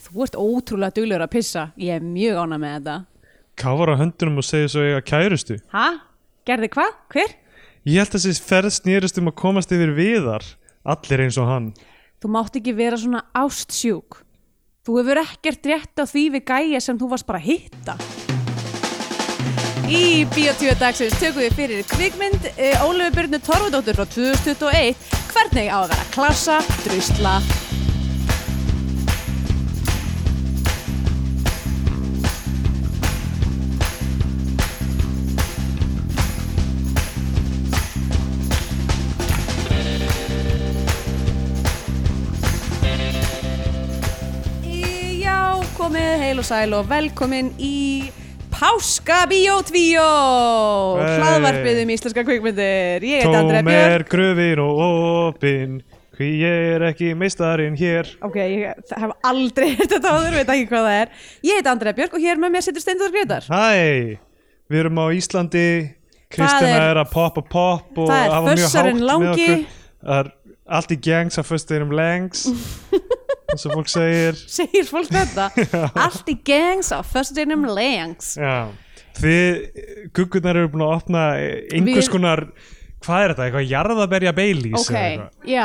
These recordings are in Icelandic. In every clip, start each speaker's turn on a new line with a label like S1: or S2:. S1: þú ert ótrúlega duglur að pissa ég er mjög ána með þetta
S2: Káfar á höndunum og segir svo eiga kærustu
S1: ha? gerði hvað? hver?
S2: Ég held að þessi ferð snýrist um að komast yfir viðar Allir eins og hann
S1: þú mátt ekki vera svona ástsjúk þú hefur ekkert rétt á því við gæja sem þú varst bara að hitta Í Bíotvíu dagsins tökum við fyrir kvikmynd uh, Ólöfu Byrnu Torfudóttur frá 2021 hvernig á að vera klassa, drusla Í- Já, komið heil og sæl og velkomin í Páska Bíotvíu
S2: Hey.
S1: hlaðvarpið um íslenska kvikmyndir Ég heit Andrea
S2: Tóm
S1: Björn
S2: er gröfin og opin Hví ég er ekki meistarinn hér
S1: Ok, ég hef aldrei hert þetta áður, veit ekki hvað það er Ég heit Andrea Björk og hér með mér situr Steindur Grétar
S2: Hæ, við erum á Íslandi Kristina
S1: Það er-
S2: er, að poppa pop og
S1: Það er
S2: hafa mjög hátt
S1: fössarinn
S2: með
S1: langi.
S2: okkur Það er allt í gangs að föstinum lengs um eins og fólk segir
S1: Segir fólk þetta? Allt í gangs á um föstudeginum lengs
S2: Já, þið guggunar eru búin að opna einhvers
S1: Við-
S2: konar hvað er þetta, eitthvað jarðaberja beilís
S1: Ok, já,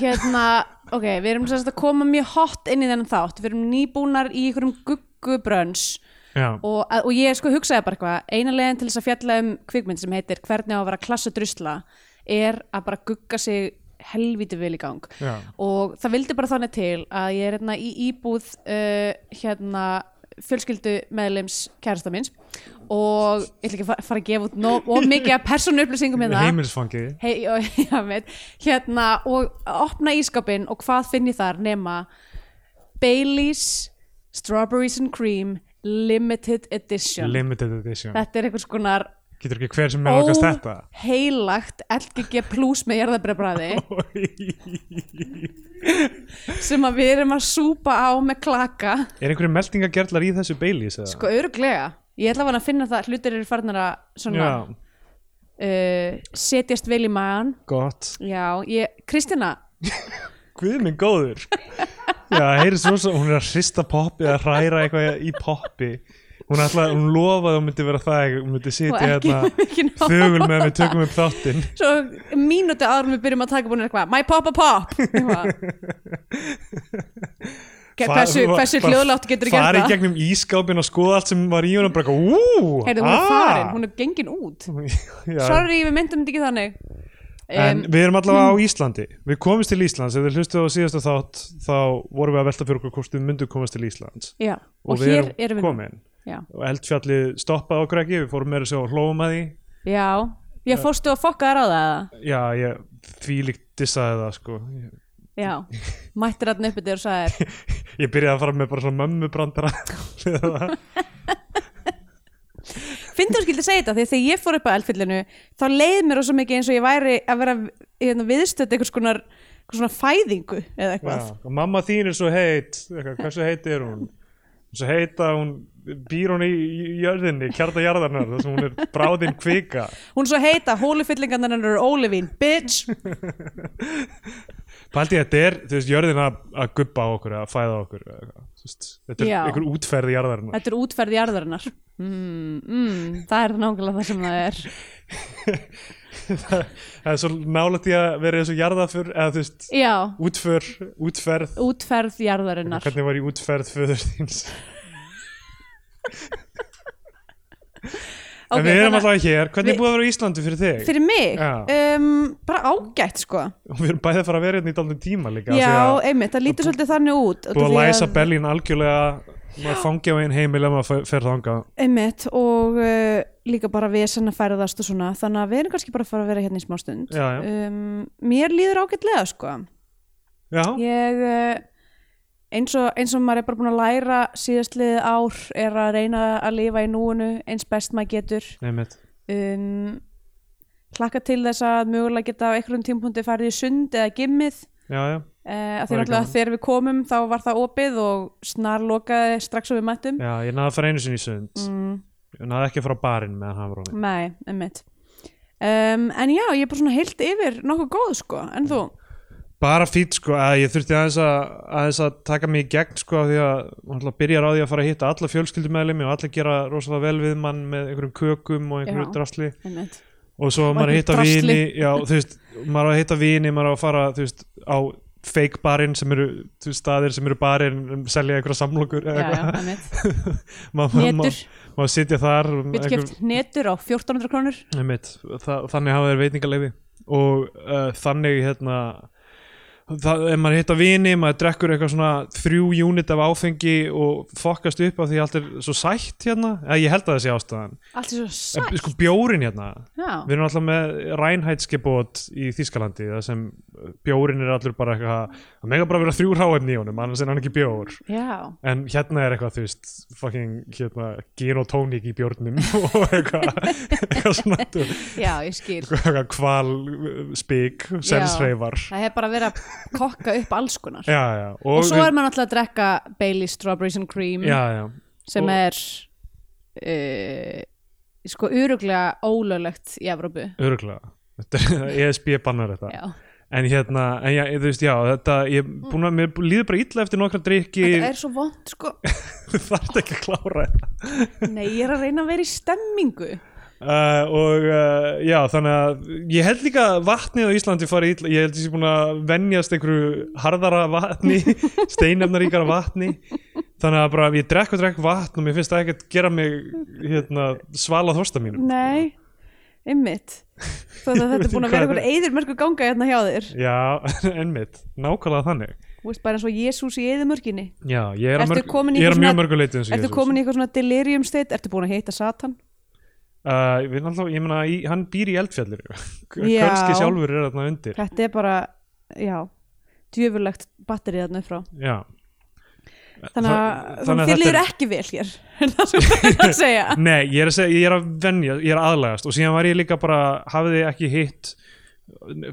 S1: hérna Ok, við erum sérst að koma mjög hot inn í þennan þátt Við erum nýbúnar í einhverjum guggubrönns
S2: Já,
S1: og, og ég sko hugsaði bara eitthvað eina leiðin til þess að fjalla um kvikmynd sem heitir hvernig á að vera klassudrusla er að bara gugga sig helvítið vel í gang
S2: Já.
S1: og það vildi bara þannig til að ég er hérna í íbúð uh, hérna fjölskyldu meðlems kærasta minns og ég ætla ekki að fa- fara að gefa út nóg, of mikið af persónu upplýsingum
S2: með
S1: hérna
S2: heimilsfangið
S1: hei, já, já, veit, hérna og opna ískapin og hvað finn ég þar nema Baileys Strawberries and Cream Limited Edition
S2: Limited Edition,
S1: þetta er einhvers konar
S2: getur ekki hver sem er okkast þetta
S1: óheilagt LGG plus með jarðabræðbræði sem að við erum að súpa á með klaka
S2: Er einhverju meldingagerlar í þessu beilís? eða?
S1: sko öruglega ég ætla að finna það að hlutir eru farnar að svona,
S2: Já,
S1: uh, setjast vel í maðan
S2: gott
S1: já, ég, Kristina
S2: Guð minn góður Já, heyri svo svo, hún er að hrista poppi að hræra eitthvað í poppi Hún ætlaði, hún lofaði að hún myndi vera það hún myndi
S1: Og
S2: sitja
S1: ekki-
S2: hérna
S1: ekki ná.
S2: þögul með að við tökum upp þáttinn
S1: svo mínúti áður en við byrjum að taka búin eitthvað, my pop a pop eitthvað. Ge- hversu,
S2: Fa-
S1: hversu
S2: bara
S1: hljóðlátt getur þú
S2: Fara í
S1: gert það
S2: gegnum ískápin og skoða allt sem var í hún og bara eitthvað, Ah! úúú
S1: Heyrðu, hún er farin, hún er gengin út
S2: hún
S1: sorry, við myndum þetta ekki þannig
S2: En
S1: um,
S2: við erum allavega á Íslandi Við komumst til Íslands, ef þið hlustuðu á síðasta þátt þá vorum við að velta fyrir okkur hvort við myndum komast til Íslands
S1: já, og,
S2: og,
S1: hér erum við nú.
S2: komin
S1: já.
S2: og eldfjallið stoppaði okkur ekki við fórum meira að sjá og hlófum að því
S1: já, ég fórstu að fokka þar á það eða?
S2: já, ég því líkt dissaði það sko Ég-
S1: já, mættir að nöppi þér og sagðir
S2: ég byrjaði að fara með bara svona mömmubrandara við það.
S1: finnst þú skildi segja þetta, því þegar ég fór upp að eldfyllinu þá leið mér svo mikið eins og ég væri að vera hérna, viðstödd einhvers konar einhvers svona fæðingu eða
S2: já,
S1: eitthvað
S2: og mamma þín er svo heit eitthvað, hversu heit er hún Hún er svo heit að hún býr hún í í jörðinni, kjarta jarðarnar þar sem hún er bráðin kvika
S1: Hún er svo heita, hólufyllingarnar hennar eru ólefín, bitch
S2: Paldi, þetta er, þú veist, jörðin að, að gubba á okkur, að fæða okkur eða eitthvað, þú veist, þetta er
S1: Já.
S2: einhver útferð jarðarnar
S1: Þetta er útferð jarðarinnar mm, mm, Það er nákvæmlega það sem það er
S2: það er svo nála því að vera eins og jarðafur eða þú veist,
S1: Já,
S2: útför, útferð
S1: útferð jarðarinnar
S2: hvernig var í útferð föður þíns
S1: Ok,
S2: en við erum
S1: þannig-
S2: alltaf hér, hvernig
S1: við-
S2: er búið að vera á Íslandi fyrir þig?
S1: Fyrir mig,
S2: Já.
S1: um, bara ágætt sko
S2: og við erum bæðið að fara að vera hérna í daldum tíma líka
S1: Já,
S2: af því
S1: einmitt, það lítur svolítið þannig út
S2: að búið að læsa bellin algjörlega maður fangi á einn heimil ef maður fer- fer þanga
S1: Einmitt, og uh, líka bara vesen að færðast og svona Þannig að við erum kannski bara að fara að vera hérna í smá stund
S2: já, já,
S1: um, Mér líður ágætlega sko
S2: já,
S1: ég eh, eins og, eins og maður er bara búin að læra síðastlið ár er að reyna að lifa í núinu eins best maður getur
S2: einmitt
S1: um, hlakka til þess að mögulega geta á einhverjum tímpúndi farið í sund eða gimmið
S2: já, já,
S1: Uh, að
S2: Það
S1: því
S2: er
S1: náttúrulega
S2: gaman.
S1: þegar við komum þá var það opið og snar lokaði strax og við mættum
S2: já, ég náði að fara einu sinni í sund
S1: mm,
S2: ég náði ekki að fara á barinn meðan hann var róni
S1: nei, einmitt um, en já, ég er bara svona heilt yfir nokkuð góð sko, en þú?
S2: bara fýtt sko að ég þurfti aðeins að, aðeins að taka mig í gegn sko af því að náttúrulega byrjar á því að fara að hitta alla fjölskyldumæðlimi og alla gera rosalega vel við mann með einhverjum kökum og einhverju
S1: Já.
S2: drasli
S1: einmitt.
S2: og svo maður að hitta
S1: einhverju
S2: vini já, þú veist, maður á að hitta vini maður á að fara, þú veist, á fake barinn sem eru, þú veist, staðir sem eru barinn um, selja einhverja samlokur
S1: Já, já, einmitt.
S2: maður ma,
S1: Netur,
S2: ma, ma sitja þar um,
S1: við
S2: einhver-
S1: keft netur á 1400 krónur
S2: Einmitt, þa þannig hafa þeir veitingaleifi og uh, þannig hérna það, ef maður hitta vini, maður drekkur eitthvað svona þrjú unit af áfengi og fokkast upp af því allt er svo sætt hérna, eða ég held að það sé ástæðan
S1: Allt er svo
S2: en,
S1: sætt
S2: sko bjórin hérna,
S1: Já,
S2: við erum alltaf með rænhætskebót í Þískalandi það sem bjórin er allur bara eitthvað það mega bara vera þrjú ráefni í honum annars er hann ekki bjór
S1: já
S2: en hérna er eitthvað, þú veist, fucking hérna, genotónik í bjórnum og eitthvað, eitthvað svona þú-
S1: Já, ég skil.
S2: eitthvað kval, spík, selsreifar
S1: Það hefur bara verið að kokka upp alls konar.
S2: já, já,
S1: og svo
S2: við-
S1: er maður náttúrulega að drekka Bailey Strawberries and Cream
S2: já, já,
S1: sem
S2: og-
S1: er uh, sko öruglega ólöglegt í Evrópu.
S2: örgulega ESB E bannar þetta
S1: Já.
S2: en hérna, en já, þú veist, já þetta, ég er búin að, mér líður bara illa eftir nokkra drikki,
S1: Þetta er svo vond sko.
S2: þú þarft ekki að klára þetta
S1: Nei, ég er að reyna að vera í stemmingu.
S2: Uh, og uh, já, þannig að ég held líka að vatnið á Íslandi fari illa, ég held að ég sé búin að venjast einhverju harðara vatni steinefnaríkara vatni þannig að bara ég drekk og drekk vatn og mér finnst það ekkert gera mig hérna, svala þorsta mínum
S1: Nei, ymmit. Þó að þetta er búin að vera eitthvað eðurmörku ganga hérna hjá þér.
S2: Já, einmitt, nákvæmlega þannig
S1: Þú veist bara eins og Jésús í eðumörkinni.
S2: Já, ég er, að
S1: Ertu
S2: mörg,
S1: komin í
S2: ég er að
S1: eitthvað
S2: mjög
S1: svona-
S2: mörgu leiti eins og
S1: Ertu
S2: Jesús.
S1: komin í eitthvað svona delirium state? Ertu búin að heita Satan?
S2: uh, Við náttúrulega, ég meina, í- hann býr í eldfjallir
S1: Já.
S2: Kanski sjálfur er þarna undir
S1: Þetta er bara, já, djöfurlegt batterið þarna upp frá.
S2: Já
S1: Þannig
S2: Þa-
S1: að
S2: þannig
S1: þér
S2: að þetta
S1: líður
S2: er-
S1: ekki vel hér er það sem ég er að segja
S2: Nei, ég er að segja, ég er að venja, ég er að aðlagast og síðan var ég líka bara, hafði ekki hitt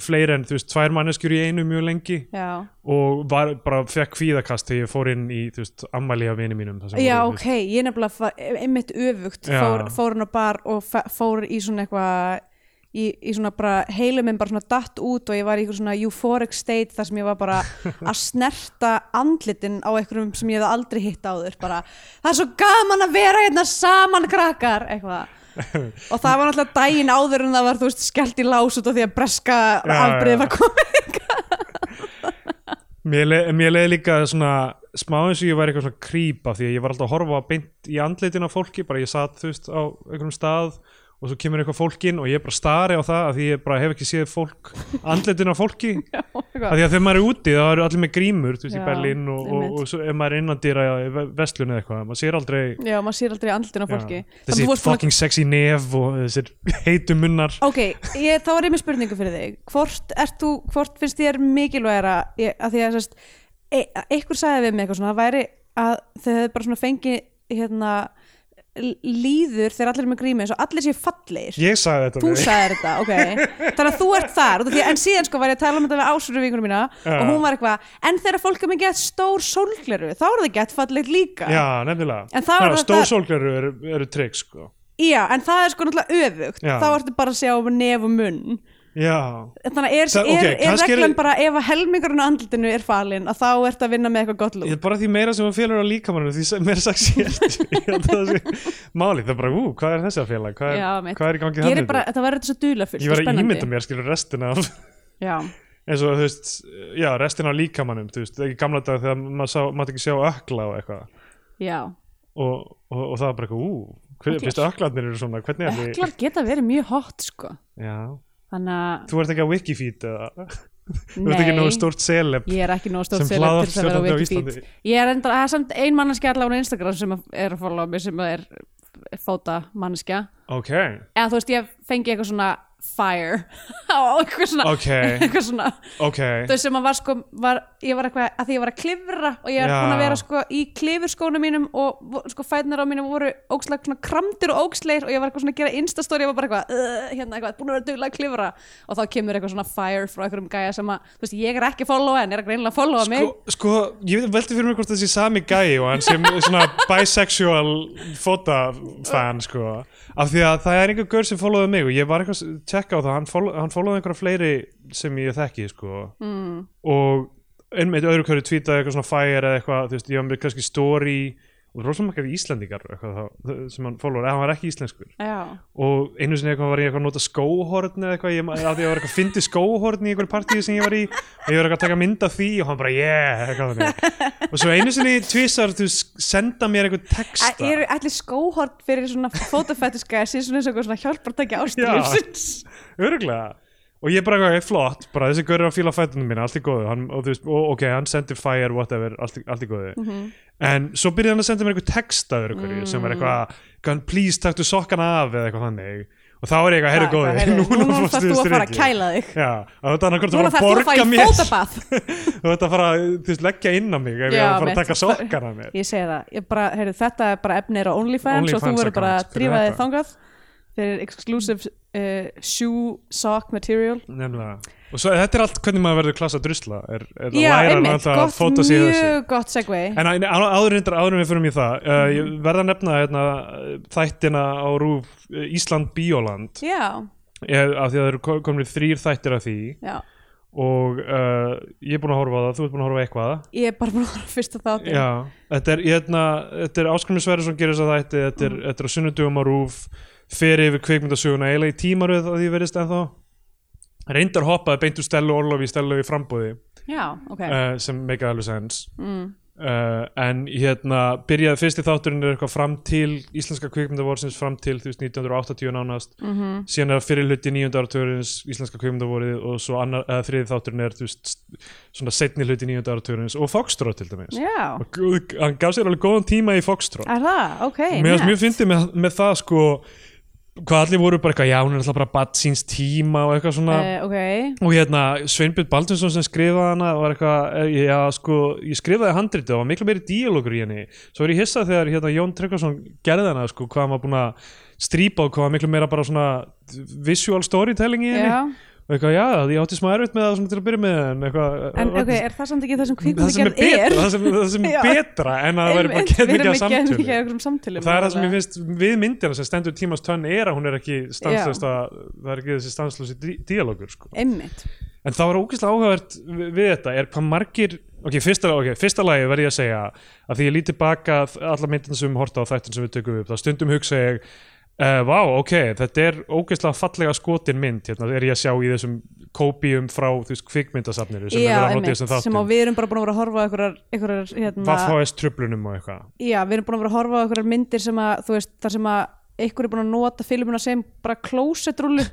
S2: fleiri en, þú veist, tvær manneskjur í einu mjög lengi
S1: Já,
S2: og var, bara fekk kvíðakast þegar ég fór inn í, þú veist, ammæli af vini mínum þar sem
S1: já
S2: voru, þú
S1: ok, ég nefnilega far, einmitt öfugt
S2: Já.
S1: fór, fór hann á bar og fa- fór í svona eitthvað í, í svona bara heilum minn bara svona datt út og ég var í eitthvað svona euphoric state þar sem ég var bara að snerta andlitin á einhverjum sem ég hefði aldrei hitt áður bara, það er svo gaman að vera hérna saman krakkar eitthvað og það var náttúrulega daginn áður en það var þú veist skellt í lás út af því að breska
S2: Já, já.
S1: afbreið var komið
S2: Mér, leið, mér leið líka svona smá eins og ég væri eitthvað svona krýpa því að ég var alltaf að horfa beint í andlitin á fólki bara ég satt þú veist á einhverjum stað og svo kemur eitthvað fólkin og ég bara stari á það af því ég bara hef ekki séð fólk andlitin á fólki af
S1: Eitthvað.
S2: því að þegar maður er úti þá eru allir með grímur þú veist í
S1: Já,
S2: Berlín og, og,
S1: einmitt.
S2: og svo ef maður er innandýra í vestlun eða eitthvað maður sér aldrei
S1: Já, maður sér aldrei andlutin á fólki
S2: Já,
S1: Þannig
S2: þessi
S1: þú varst búin að-
S2: fucking sexy nef og þessir heitu munnar
S1: Ok, ég, þá er ég með spurningu fyrir þig Hvort, ert þú, hvort finnst þér mikilvægara ég- að því að sest, e, einhver sagði við mig eitthvað svona það væri að þau hefðu bara svona fengið hérna, l- líður þegar allir eru með grími eins og allir séu fallegir
S2: ég sagði þetta
S1: Þú
S2: við þig. sagði
S1: sagðir þetta, ok Þannig að þú ert þar, út af því, en síðan sko var ég að tala um þetta við ásvöru vingunum mína
S2: Já.
S1: og hún var eitthvað, en þegar fólk er með gett stór sólgleru, þá er það gett fallegt líka
S2: Já, nefnilega
S1: En það var þetta-
S2: Stórsólgleru eru, eru trygg sko
S1: Já, en það er sko náttúrulega öfugt
S2: Já.
S1: þá ertu bara að sjá um nef og munn
S2: Já,
S1: Þannig að er,
S2: Það-
S1: er,
S2: ok,
S1: er
S2: kannski er-
S1: reglan bara ef að helmingurinn á andlutinu er falinn að þá ert að vinna með eitthvað gott
S2: Ég
S1: lúk
S2: er bara því meira sem hún félur á líkamanninu því sem meira sagt sér ég held að það sé málið, það er bara, ú, hvað er þessi að félag hvað
S1: Já,
S2: er,
S1: mitt.
S2: hvað er í gangi
S1: Ég er
S2: þannig
S1: bara, þetta verður svo dulafullt
S2: ég var
S1: og
S2: að
S1: spennandi
S2: ímynda mér, skilur restina af
S1: Já,
S2: eins og þú veist, já, restina af líkamannum þú veist, ekki gamla dag þegar maður sá, maður ekki sjá ökla og eitthvað og,
S1: já
S2: og, og það var bara eitthvað, ú, hver,
S1: Öklar.
S2: fyrst öklandir eru svona hvernig er því,
S1: Öklar geta verið mjög hot sko
S2: já
S1: Þannig að,
S2: þú ert ekki á Wikifeed eða, þú ert ekki
S1: nei
S2: nógu stórt seleb
S1: Ég er ekki nóg stórt
S2: sem
S1: seleb til þess að vera á
S2: hlaðvarpsstjórnandi á
S1: Wikifeed
S2: Íslandi.
S1: Ég er enda, það er samt ein manneskja allavega á Instagram sem að- er að followa mig sem að er fóta manneskja
S2: ok,
S1: Eða þú veist, ég fengi eitthvað svona fire á eitthvað svona,
S2: Ok.
S1: eitthvað svona
S2: ok
S1: þau sem að var sko var, ég var eitthvað, að því ég var að klifra og ég var
S2: Já.
S1: búin að vera sko í klifurskónum mínum og vo- sko fætnar á mínum voru ókslega svona kramdir og óksleir og ég var eitthvað svona að gera instastóri, ég var bara eitthvað uh, hérna eitthvað, búin að vera duglega að klifra og þá kemur eitthvað svona fire frá einhverjum gæja sem að þú veist, ég er ekki að followa en er að greinilega að followa mig
S2: sko, sko, ég veldi fyrir mig hvort þessi sami gæi og hann sem svona bisexual fotafan sko, af því að það er einhver gaur sem followaði mig og ég var eitthvað, tjekka á það hann, fol hann fólóði einhverja fleiri sem ég þekki sko.
S1: mm,
S2: og einmitt öðru hverju tweetaði eitthvað svona fire eða eitthvað, þú veist, ég var með kannski story og rosalega margar íslendingar eitthvað, þá, sem hann fólóði, eða hann var ekki íslenskur
S1: já,
S2: og einu sinni eitthvað var ég eitthvað að nota skóhorn eða eitthvað, ég, að því ég var eitthvað að fyndi skóhorn í einhverju partíu sem ég var í og ég var eitthvað að taka mynd af því og hann bara yeah eitthvað þannig og svo einu sinni tvisar þú veist, senda mér einhver texta
S1: Æ, eru allir skóhort fyrir svona fótafætiska sem svona eins og eitthvað svona hjálpartækja ástæðljófsins
S2: öruglega og ég bara eitthvað, "Hey, flott, bara þessi gaur er að fíla fætunum mína, allt í góðu hann, og þú veist, og, ok, hann sendir fire, whatever allt, í- allt í góðu
S1: Mhm.
S2: en svo byrjaði hann að senda mér eitthvað texta öðru hverju
S1: Mm.
S2: sem var eitthvað, "Can please taktu sokkana af eða eitthvað þannig og þá er ég eitthvað, heyrðu
S1: núna
S2: góði, fórstu
S1: þarf þú að fara að
S2: strikið."
S1: kæla þig
S2: Já, og þetta er annarkort að
S1: núna þarf
S2: fara að
S1: þú að
S2: borga
S1: fara í
S2: mér
S1: fótabað
S2: Þú ert að fara, þú veist, leggja inn á mig ef
S1: Já,
S2: ég er að fara að
S1: mitt.
S2: taka sokkar af mér
S1: ég segi það, ég bara, heyru, þetta er bara efnir á OnlyFans og þú
S2: OnlyFans
S1: verður bara að
S2: account, fyrir
S1: drífa þig
S2: þetta.
S1: þangað fyrir exclusive uh, shoe sock material
S2: Nefnilega Og svo þetta er allt hvernig maður verður klassa drusla er, er
S1: já,
S2: að læra
S1: einmitt,
S2: náttúrulega að
S1: gott,
S2: fóta sig í þessu
S1: mjög Mm. gott segway
S2: En á- á- áður reyndar, áður en við fyrir mér það uh, Ég verða að nefna hérna, uh, þættina á rúf Ísland Bíóland
S1: já,
S2: ég, af því að það eru ko- komnir þrýr þættir af því
S1: já,
S2: og uh, ég er búin að horfa á það, þú ert búin að horfa á eitthvað
S1: ég er bara búin að horfa fyrst að þátti
S2: Já, þetta er, hérna, þetta er Áskrimur Sverrisson gerir þess að þætti, þetta er, þetta er á sunnudugum á rúf, fer yfir kvikmyndasöguna eiginlega í tímaröð að því verðist ennþá reyndar hoppaði beint úr Stellu Orlofi í Stellu í frambúði
S1: já, ok
S2: uh, sem meika alveg sens
S1: mm.
S2: uh, en hérna byrjaði fyrsti þátturinn er eitthvað fram til íslenska kvikmyndavorsins fram til þú veist 1980 nánast
S1: Mm
S2: síðan er fyrir hluti 9. áratugurins íslenska kvikmyndavorið og svo annar, eða þriði þátturinn er þú veist svona setni hluti 9. áratugurins og Foxtrot til dæmis
S1: já,
S2: Og guð- hann gaf sér alveg góðan tíma í Foxtrot
S1: er það, ok
S2: mér finnst
S1: nett.
S2: mjög fyndið með, með það sko hvað allir voru bara eitthvað já hún er alltaf bara badd síns tíma og eitthvað svona
S1: Eh, ok,
S2: og hérna Sveinbjörn Baldinsson sem skrifaði hana var eitthvað, eh, já sko ég skrifaði handritið og var miklu meiri díalógur í henni svo er ég hissað þegar hérna Jón Tryggvason gerði hana sko hvað hann var búin að strípa og hvað var miklu meira bara svona visual storytelling í henni
S1: já
S2: og eitthvað já ég átti smá erfitt með það svona til að byrja með en eitthvað
S1: En
S2: og-
S1: ok, er það samt ekki það sem
S2: það sem er
S1: kvikmyndagerð er?
S2: betra, það sem, það sem
S1: Já.
S2: er betra en að það væri bara geðmikið að samtölu
S1: Við erum samtölu.
S2: og það er það sem ég finnst við myndina sem stendur tímans tönn er að hún er ekki stanslösta það er ekki þessi stanslösi díalógur sko.
S1: Einmitt.
S2: En það var ógeðslega áhugavert við, við þetta er hvað margir ok, fyrsta, okay, fyrsta lagi verð ég að segja að því ég lít tilbaka alla myndin sem við horta á þættin sem við tökum upp, þá stundum hugsa ég uh, vá, ok, þetta er ógeðslega fallega skotin mynd, hérna er ég að sjá í þessum kópíum frá þú veist kvikmyndasafnir sem
S1: Já,
S2: við að nota í
S1: einmitt.
S2: þessum
S1: Sem
S2: þáttum
S1: að við erum bara búin að vera að horfa á einhverjar, einhverjar hérna,
S2: Vaffháðist trublunum og eitthvað
S1: já, við erum búin að vera að horfa á einhverjar myndir sem að, þú veist, þar sem að einhver er búin að nota filmuna sem bara klósetrúlu,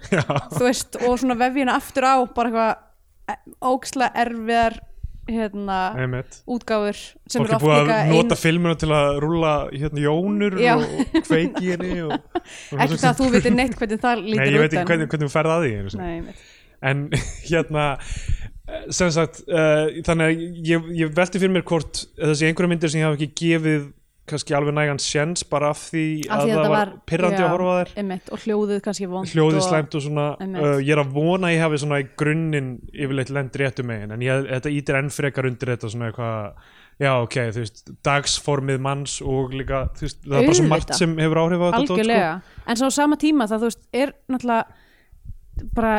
S1: þú veist, og svona vefjina aftur á, bara eitthvað e- ógeðslega erfiðar, hérna,
S2: einmitt
S1: útgáfur sem
S2: Fólk er
S1: eru
S2: búið
S1: oft
S2: að
S1: líka
S2: nota filmuna til að rúlla hérna jónur
S1: Já.
S2: og kveiki henni og, og
S1: ekki það að þú veitir neitt hvernig það lítur
S2: Nei,
S1: út
S2: ég veit ekki
S1: en-
S2: hvernig, hvernig þú ferð að því einu sinni.
S1: Nei, einmitt.
S2: en hérna eh, sem sagt uh, þannig að ég, ég velti fyrir mér hvort þessi einhverja myndir sem ég hafa ekki gefið kannski alveg nægan sjens bara af því
S1: Af
S2: að,
S1: því að
S2: það
S1: þetta
S2: var
S1: var-
S2: pirrandi
S1: já.
S2: að horfa á þær
S1: Einmitt, og hljóðið kannski vond
S2: hljóðið
S1: og...
S2: slæmt og svona
S1: Einmitt.
S2: uh, ég er að vona að ég hafi svona í grunninn yfirleitt lend réttu megin en ég, þetta ítir enn frekar undir þetta svona eitthvað já ok, þú veist, dagsformið manns og líka, þú veist, það er bara svo margt
S1: Auðvitað.
S2: sem hefur áhrif á þetta dót, sko.
S1: algjörlega, en svo á sama tíma það þú veist, er náttúrulega bara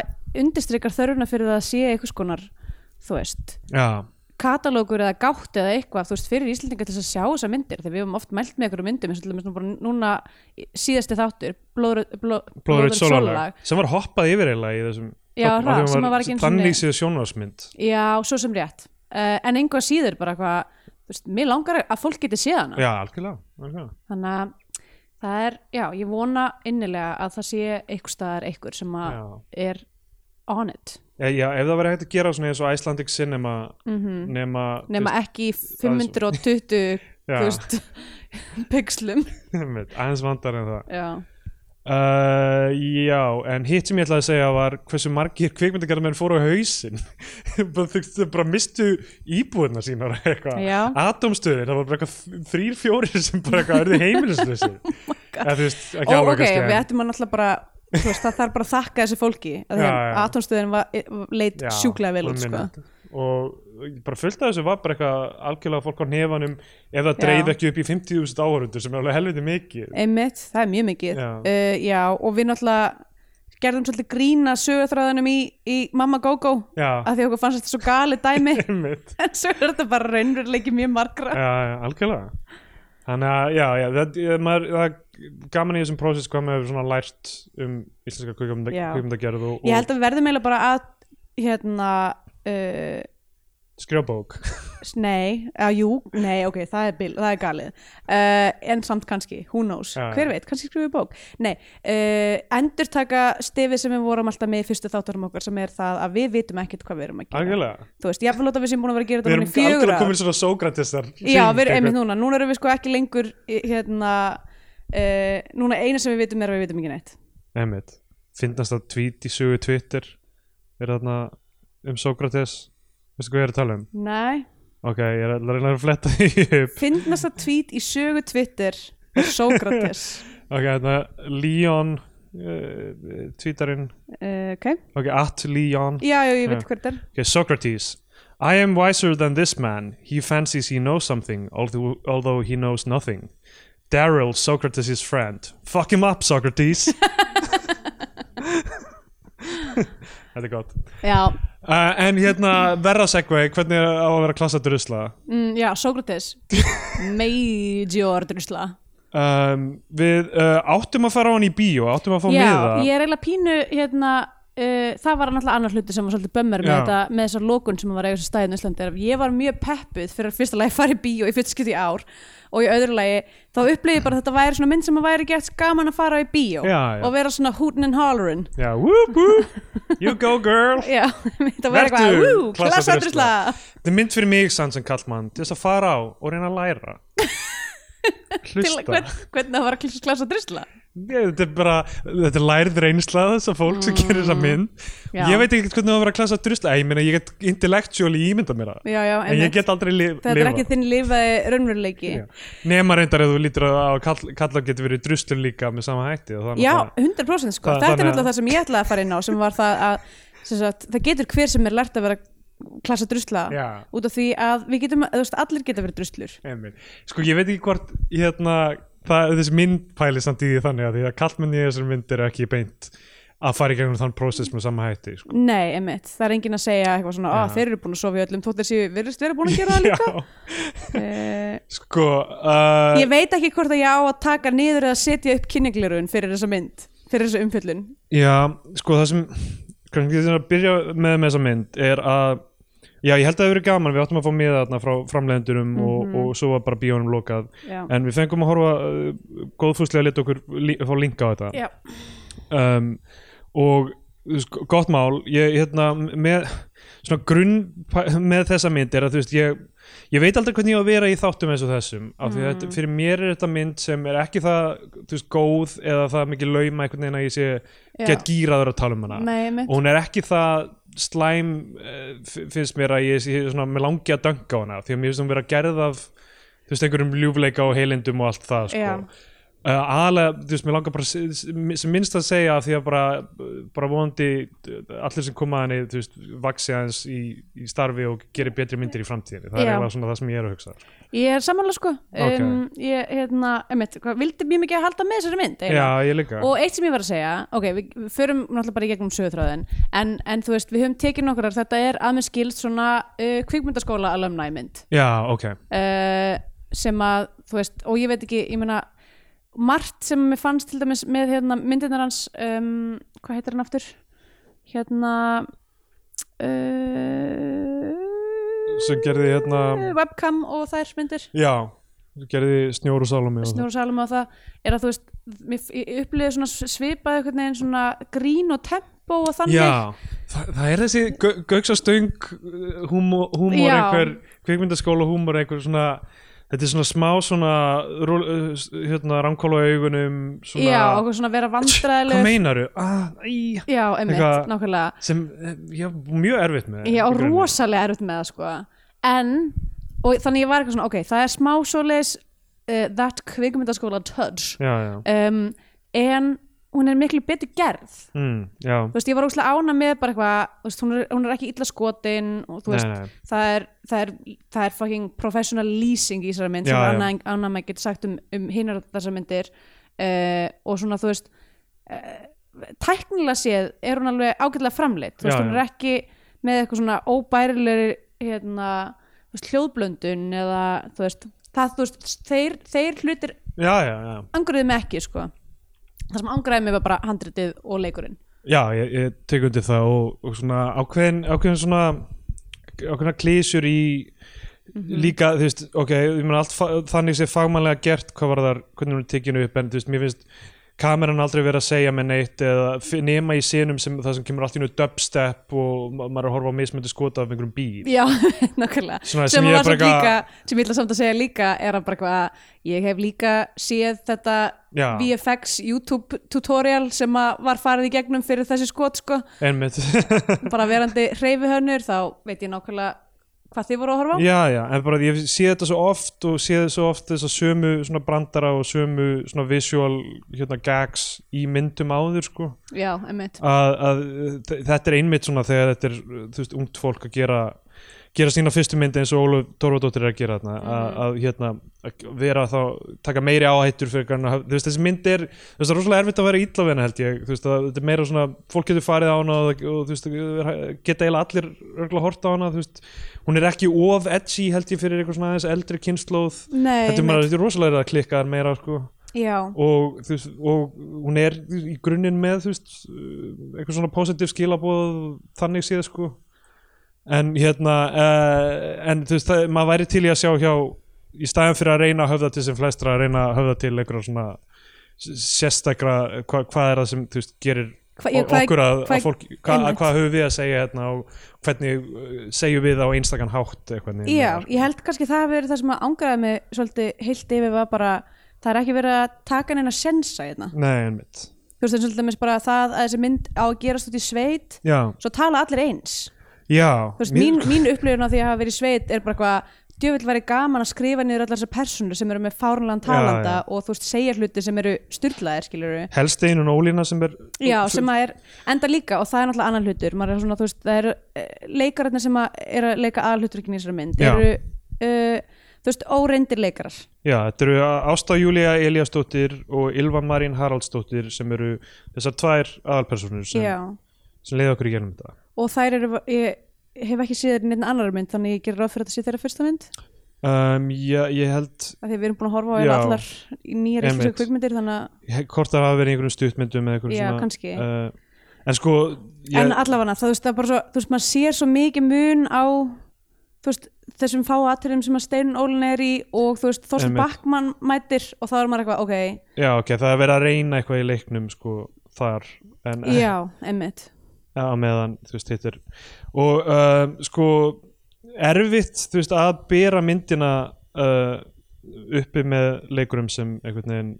S1: undirstrykar þörfuna fyrir það að sé einhvers konar, þú veist
S2: já,
S1: katalógur eða gátt eða eitthvað þú veist, fyrir Íslendinga til þess að sjá þessar myndir þegar við höfum oft mælt með einhverjum myndum eins og til dæmis nú bara núna í- síðasti þáttur Blóðröð bló,
S2: Blóðröð
S1: sólarlag.
S2: Sólalag sem var hoppað yfir eiginlega í þessum
S1: Já,
S2: af því
S1: hra,
S2: hún
S1: sem að var ekki einu sinni-
S2: þannig séð sjónvarsmynd
S1: já, svo sem rétt uh, en einhvað síður bara hvað þú veist, mér langar að fólk geti séð hana
S2: Já, algjörlega, algjörlega.
S1: þannig að það er, já, ég vona innilega að það sé einhver staðar einhver sem að
S2: Já.
S1: er on it
S2: Já, já, ef það væri hægt að gera svona eins og Icelandic Cinema
S1: Mhm.
S2: nema,
S1: nema ekki í 520
S2: Já.
S1: þú veist, pixlum
S2: Einmitt, aðeins vandar en það
S1: já,
S2: uh, Já, en hitt sem ég ætlaði að segja var hversu margir kvikmyndagerðamenn fóru á hausinn bara, þú- þau bara mistu íbúðina sínar
S1: Já.
S2: eitthvað Atomstöðir, það var bara eitthvað þrýr, fjórir sem bara eitthvað erði heimilisleysir
S1: Oh
S2: Eða þú veist, ekki
S1: og
S2: alveg
S1: ok,
S2: kannski, en-
S1: við ættum að náttúrulega bara þú veist, það þarf bara að þakka þessu fólki að því
S2: Já,
S1: að
S2: já.
S1: atomstöðin var e, leit
S2: Já,
S1: sjúklega vel
S2: og
S1: út sko.
S2: minna. og bara fullt af þessu var bara eitthvað algjörlega fólk á nefanum ef það dreif
S1: Já. Eh,
S2: ekki upp í 50.000 áhörundur sem er alveg helviti mikið
S1: einmitt, það er mjög mikið Eh,
S2: Já.
S1: Uh, já, og við náttúrulega gerðum svolítið grína sögurþræðunum í, í Mamma Go-Go
S2: já,
S1: af því okkur fannst þetta svo gali dæmi
S2: einmitt
S1: en svo er þetta bara raunveruleiki mjög margra
S2: já, já, algjörlega þannig að, já, já, það, ég- maður, það er gaman í þessum prósess hvað maður hefur svona lært um íslenska kvikmynda,
S1: Já.
S2: kvikmyndagerð og,
S1: ég held að við verðum eiginlega bara að hérna uh,
S2: og skrjábók
S1: s- nei, að jú, nei, ok, það er, bil, það er galið uh, en samt kannski, who knows,
S2: Já, já.
S1: hver veit, kannski skrifum við bók nei, uh, endurtaka stefið sem við vorum alltaf með í fyrstu þáttunum okkar sem er það að við vitum ekkert hvað við erum að gera
S2: algjörlega,
S1: þú veist, jafnvel að við séum búin að vera að gera
S2: við
S1: þetta
S2: erum
S1: núna í fjögur
S2: algjörlega
S1: ár.
S2: komin svona Sókratesar
S1: Já, við erum einmitt núna, núna erum við sko ekki lengur í- hérna, uh, núna eina sem við vitum er að við vitum ekki neitt
S2: einmitt, finnast að tweet í sögu Twitter er þarna um Sókrates veistu hvað ég er að tala um?
S1: Nei,
S2: ok, ég er að reyna að fletta því upp
S1: finnast að tweet í sögu Twitter er Sókrates
S2: ok, þarna Leon uh, tweetarinn
S1: uh, ok,
S2: ok, at Leon
S1: já, já, ég veit
S2: Já.
S1: hvert er
S2: Okay, Socrates. I am wiser than this man. He fancies he knows something, although, although he knows nothing. Daryl, Socrates' friend. Fuck him up, Socrates. Þetta er gott.
S1: Já,
S2: Uh, en hérna, verra segvei, hvernig er á að vera klassa drusla?
S1: mm, já, Sókrates Major drusla
S2: Um, við uh, áttum að fara á hann í bíó, áttum að fá með
S1: Já,
S2: það.
S1: ég er eiginlega pínu hérna Uh, það var náttúrulega annar hluti sem var svolítið bömmur með,
S2: Já.
S1: þetta, með þessar lókun sem var eiga þessu stæðin í Íslandi er að ég var mjög peppuð fyrir að fyrsta lagi fara í bíó í fyrst skipti í ár og í öðru lagi þá upplifði ég bara að þetta væri svona mynd sem að væri gett gaman að fara í bíó
S2: Já, já.
S1: og vera svona hootin and hollerin
S2: Já, whoop, whoop. You go, girl.
S1: Já, þetta var
S2: Vertu
S1: eitthvað "Ú,
S2: klassa
S1: Klassadrusla
S2: Þetta er mynd fyrir mig, sann sem kallmann, til þess að fara á og reyna að læra.
S1: Til
S2: Hlusta.
S1: hvern, hvernig það var að klassadrusla
S2: Ég, þetta er bara, þetta er lærð reynsla þess að fólk sem gerir þessa mynd.
S1: Mm, Já.
S2: Ég veit ekkert hvernig það var að klassa drusla. Ég meina, ég get intellectually ímynda mér það.
S1: Já, já,
S2: En ég get aldrei li
S1: Þetta er ekki þinn lifaði raunveruleiki
S2: Já. Nema reyndar ef þú lítur á að kall, kallar getur verið druslur líka með sama hætti. og þannig
S1: Já,
S2: að-
S1: 100% sko, þetta
S2: Það-
S1: er
S2: þannig að-
S1: náttúrulega það sem ég ætlaði að fara inn á sem var það að sem sagt, það getur hver sem er lært að vera klassa drusla
S2: Já.
S1: út af því að við getum, þú veist, allir geta verið druslur
S2: Einmitt. Sko ég veit ekki hvort hérna, það, þessi mynd pæli samt í því þannig að því að kallmenn í þessari mynd eru ekki beint að fara í gegnum þann prósess með sama hætti sko.
S1: Nei, emitt, það er enginn að segja eitthvað svona, að þeir eru búin að sofa í öllum þóttir séu, verðist vera búin að gera það líka uh,
S2: sko uh,
S1: Ég veit ekki hvort að ég á að taka niður eða setja upp kynninglirun fyrir þessa mynd fyrir þessa umfjöllun
S2: Já, sko það sem kannski þess að byrja með með þessa mynd er að Já, ég held að það hefur verið gaman, við áttum að fá miða þarna frá framlegendunum og, og svo var bara bíónum lokað
S1: Já,
S2: en við fengum að horfa uh, góðfúslega leta okkur lí, fá linka á þetta
S1: Já.
S2: um, og þú veist, gott mál ég, hérna, með, svona grunn með þessa mynd er að þú veist ég, ég veit aldrei hvernig ég á að vera í þáttum eins og þessum af því að þetta, fyrir mér er þetta mynd sem er ekki það þú veist, góð eða það mikið lauma einhvern veginn að ég sé
S1: Já.
S2: gett gýraður að tala um hana
S1: Nei, emitt
S2: og hún er ekki það slæm eh, fi- finnst mér að ég, ég svona, með langi að dönga á hana því að mér finnst hún vera gerð af þú veist, einhverjum ljúfleika og heilindum og allt það sko.
S1: Já.
S2: uh, aðalega, þú veist, mér langar bara s- s- sem minnst að segja af því að bara, bara vonandi eh, allir sem koma að henni, þú veist, vaksi aðeins í, í starfi og gerir betri myndir í framtíðinni
S1: Já.
S2: það er eiginlega svona það sem ég er að hugsa sko.
S1: Ég er samanlega sko
S2: Ok.
S1: um, Ég, hérna, emitt, vildi mjög mikið að halda með þessari mynd eiginlega.
S2: já, ég líka
S1: og eitt sem ég var að segja ok, við, við förum náttúrulega bara í gegnum sögutráðin en, en þú veist, við höfum tekið nokkrar þetta er að mér skilst svona uh, kvikmyndaskóla alumni mynd
S2: já, ok,
S1: uh, sem að, þú veist, og ég veit ekki ég meina, margt sem mér fannst til dæmis með hérna, myndirnar hans um, hvað heitir hann aftur? hérna uh,
S2: sem gerði hérna
S1: webcam og þær myndir
S2: já, gerði snjóru salumi og það.
S1: Snjóra Salome á það er að þú veist, mér upplýði svona svipað einhvern veginn svona grín og tempo og þannig
S2: Já, það, það er þessi gauksastöng húmor, húmor
S1: Já.
S2: einhver kvikmyndaskóla húmor einhver svona þetta er svona smá svona rúl, uh, s- hérna ránkóla augunum svona,
S1: já og okkur svona vera
S2: hvað
S1: vandræðileg
S2: meinaru? Ah, æ,
S1: já, emmitt,
S2: Eitthvað- Eh,
S1: nákvæmlega
S2: sem eh, ég hef mjög erfitt með
S1: ég á
S2: í grunninn.
S1: rosalega erfitt með það sko en, og þannig ég var eitthvað svona ok, það er smá svoleiðis uh, that kvikmyndaskóla touch
S2: Já, já,
S1: um, en hún er miklu betur gerð
S2: mm, já
S1: þú veist, ég var ógustlega ána með bara eitthvað, þú veist, hún er, hún er ekki illa skotin og þú
S2: Nei,
S1: veist,
S2: nei.
S1: Það, er, það er það er fucking professional leasing í þessari mynd
S2: Já,
S1: sem
S2: já.
S1: er annað, Eh, annað maður getur sagt um, um hinnar þessar myndir uh, og svona, þú veist uh, tæknilega séð er hún alveg ágætlega framleitt þú
S2: Já,
S1: veist, hún er
S2: já.
S1: ekki með eitthvað svona óbærilegri hérna, þú veist, hljóðblöndun eða þú veist, það, þú veist þeir, þeir hlutir
S2: já, já, já,
S1: angriði mig ekki sko. það sem angriði mig var bara handritið og leikurinn
S2: já ég, ég tek undir það og, og svona ákveðin, ákveðin svona ákveðina klísjur í líka, þú veist, ok ég meina allt fa- þannig sé fagmannlega gert hvað var þar, hvernig hún er tekinu upp en þú veist, mér finnst kameran aldrei verið að segja með neitt eða f- nema í senum sem það sem kemur allt í nú dubstep og ma maður er að horfa á mismöndu skota af einhverjum bíl
S1: Já, nákvæmlega
S2: Svona
S1: sem,
S2: sem
S1: sem, var
S2: ég er bara
S1: samt
S2: eitthvað-
S1: líka, sem ég ætla samt að segja líka er að bara hvað, ég hef líka séð þetta
S2: Já.
S1: VFX YouTube tutorial sem að var farið í gegnum fyrir þessi skot sko,
S2: einmitt,
S1: bara verandi hreyfihönnur þá veit ég nákvæmlega hvað þið voru að horfa á
S2: já já en bara ég sé þetta svo oft og sé þetta svo oft þess að sömu svona brandara og sömu svona visual hérna gags í myndum áður sko
S1: Já, emmitt
S2: að, að þ- þetta er einmitt svona þegar þetta er þú veist ungt fólk að gera gera sína fyrstu mynd eins og Ólaf Torfadóttir er að gera þarna að, að hérna að vera þá taka meiri áhættur fyrir hvernig að- þú veist þessi mynd er þú veist það er rosalega erfitt að vera illa við hana held ég þú veist að þetta er meira svona fólk getur farið á hana og, það- og þú veist er- geta eiginlega allir örgulega hort á hana þú veist hún er ekki of edgy held ég fyrir eitthvað svona aðeins eldri kynnslóð
S1: Nei,
S2: þetta er, maður,
S1: einmitt.
S2: þetta er rosalega að klikka þar meira sko
S1: Já,
S2: og, þú veist, og hún er í grunninn með þú veist, uh, eitthvað svona positív skilabóð þannig séð sko en hérna uh, en þú veist, það, maður væri til í að sjá hjá í staðan fyrir að reyna að höfða til sem flestra að reyna að höfða til einhverja svona s- sérstakra, hva, hvað er það sem þú veist, gerir
S1: Hva- já,
S2: o-
S1: hvað-
S2: okkur að,
S1: hvað-
S2: að fólk, hvað,
S1: einmitt.
S2: hvað höfum við að segja hérna og hvernig uh, segjum við á einstakann hátt hérna? eða hvernig
S1: já, ég held kannski það hafi verið það sem að angraði mig svolítið heilt yfir var bara það er ekki verið að taka neina sensa hérna.
S2: Nei, einmitt
S1: þú veist, eins og dæmis bara það að þessi mynd á að gerast út í sveit
S2: Já,
S1: svo tala allir eins
S2: já
S1: Þú veist,
S2: mér-
S1: mín, mín upplifun á því að hafa verið í sveit er bara eitthvað djöfull væri gaman að skrifa niður allar þessar personur sem eru með fárunlegan talanda
S2: Já,
S1: og þú veist segja hluti sem eru styrlaðir skilur
S2: helst einu nólína sem er
S1: já, sem að er enda líka og það er náttúrulega annan hlutur maður er svona, þú veist, það eru eh, leikararnir sem að eru að leika aðalhuturkin í þessari mynd
S2: Já.
S1: eru, uh, þú veist, óreindir leikarar
S2: Já, þetta eru Ásta Júlia Eliasdóttir og Ylva Marín Haraldsdóttir sem eru þessar tvær aðalpersonur sem,
S1: já,
S2: sem leiða okkur í genum þetta.
S1: og þær eru ég, hef ekki séð neinn annar mynd þannig ég gerir ráð fyrir að þetta sé þeirra fyrsta mynd
S2: Um, já, ég held,
S1: af því að við erum búin að horfa á
S2: Já.
S1: eiginlega allar í nýjar íslenska
S2: Einmitt.
S1: kvikmyndir þannig að
S2: he- hvort það hafa verið í einhverjum stuttmyndum eða einhverjum
S1: Já,
S2: svona.
S1: kannski.
S2: Uh, en sko, ég,
S1: en allavega það, þú veist, það er bara svo, þú veist, maður sér svo mikið mun á þú veist, þessum fáu atriðum sem að Steinun Ólin er í og þú veist, Þorsten
S2: Einmitt.
S1: Backmann mætir og þá er maður eitthvað, ok,
S2: já, ok, það er verið að reyna eitthvað í leiknum sko þar en
S1: já, emmitt
S2: á meðan, þú veist, hittir. Og um, sko, erfitt, þú veist, að bera myndina uh, uppi með leikurum sem einhvern veginn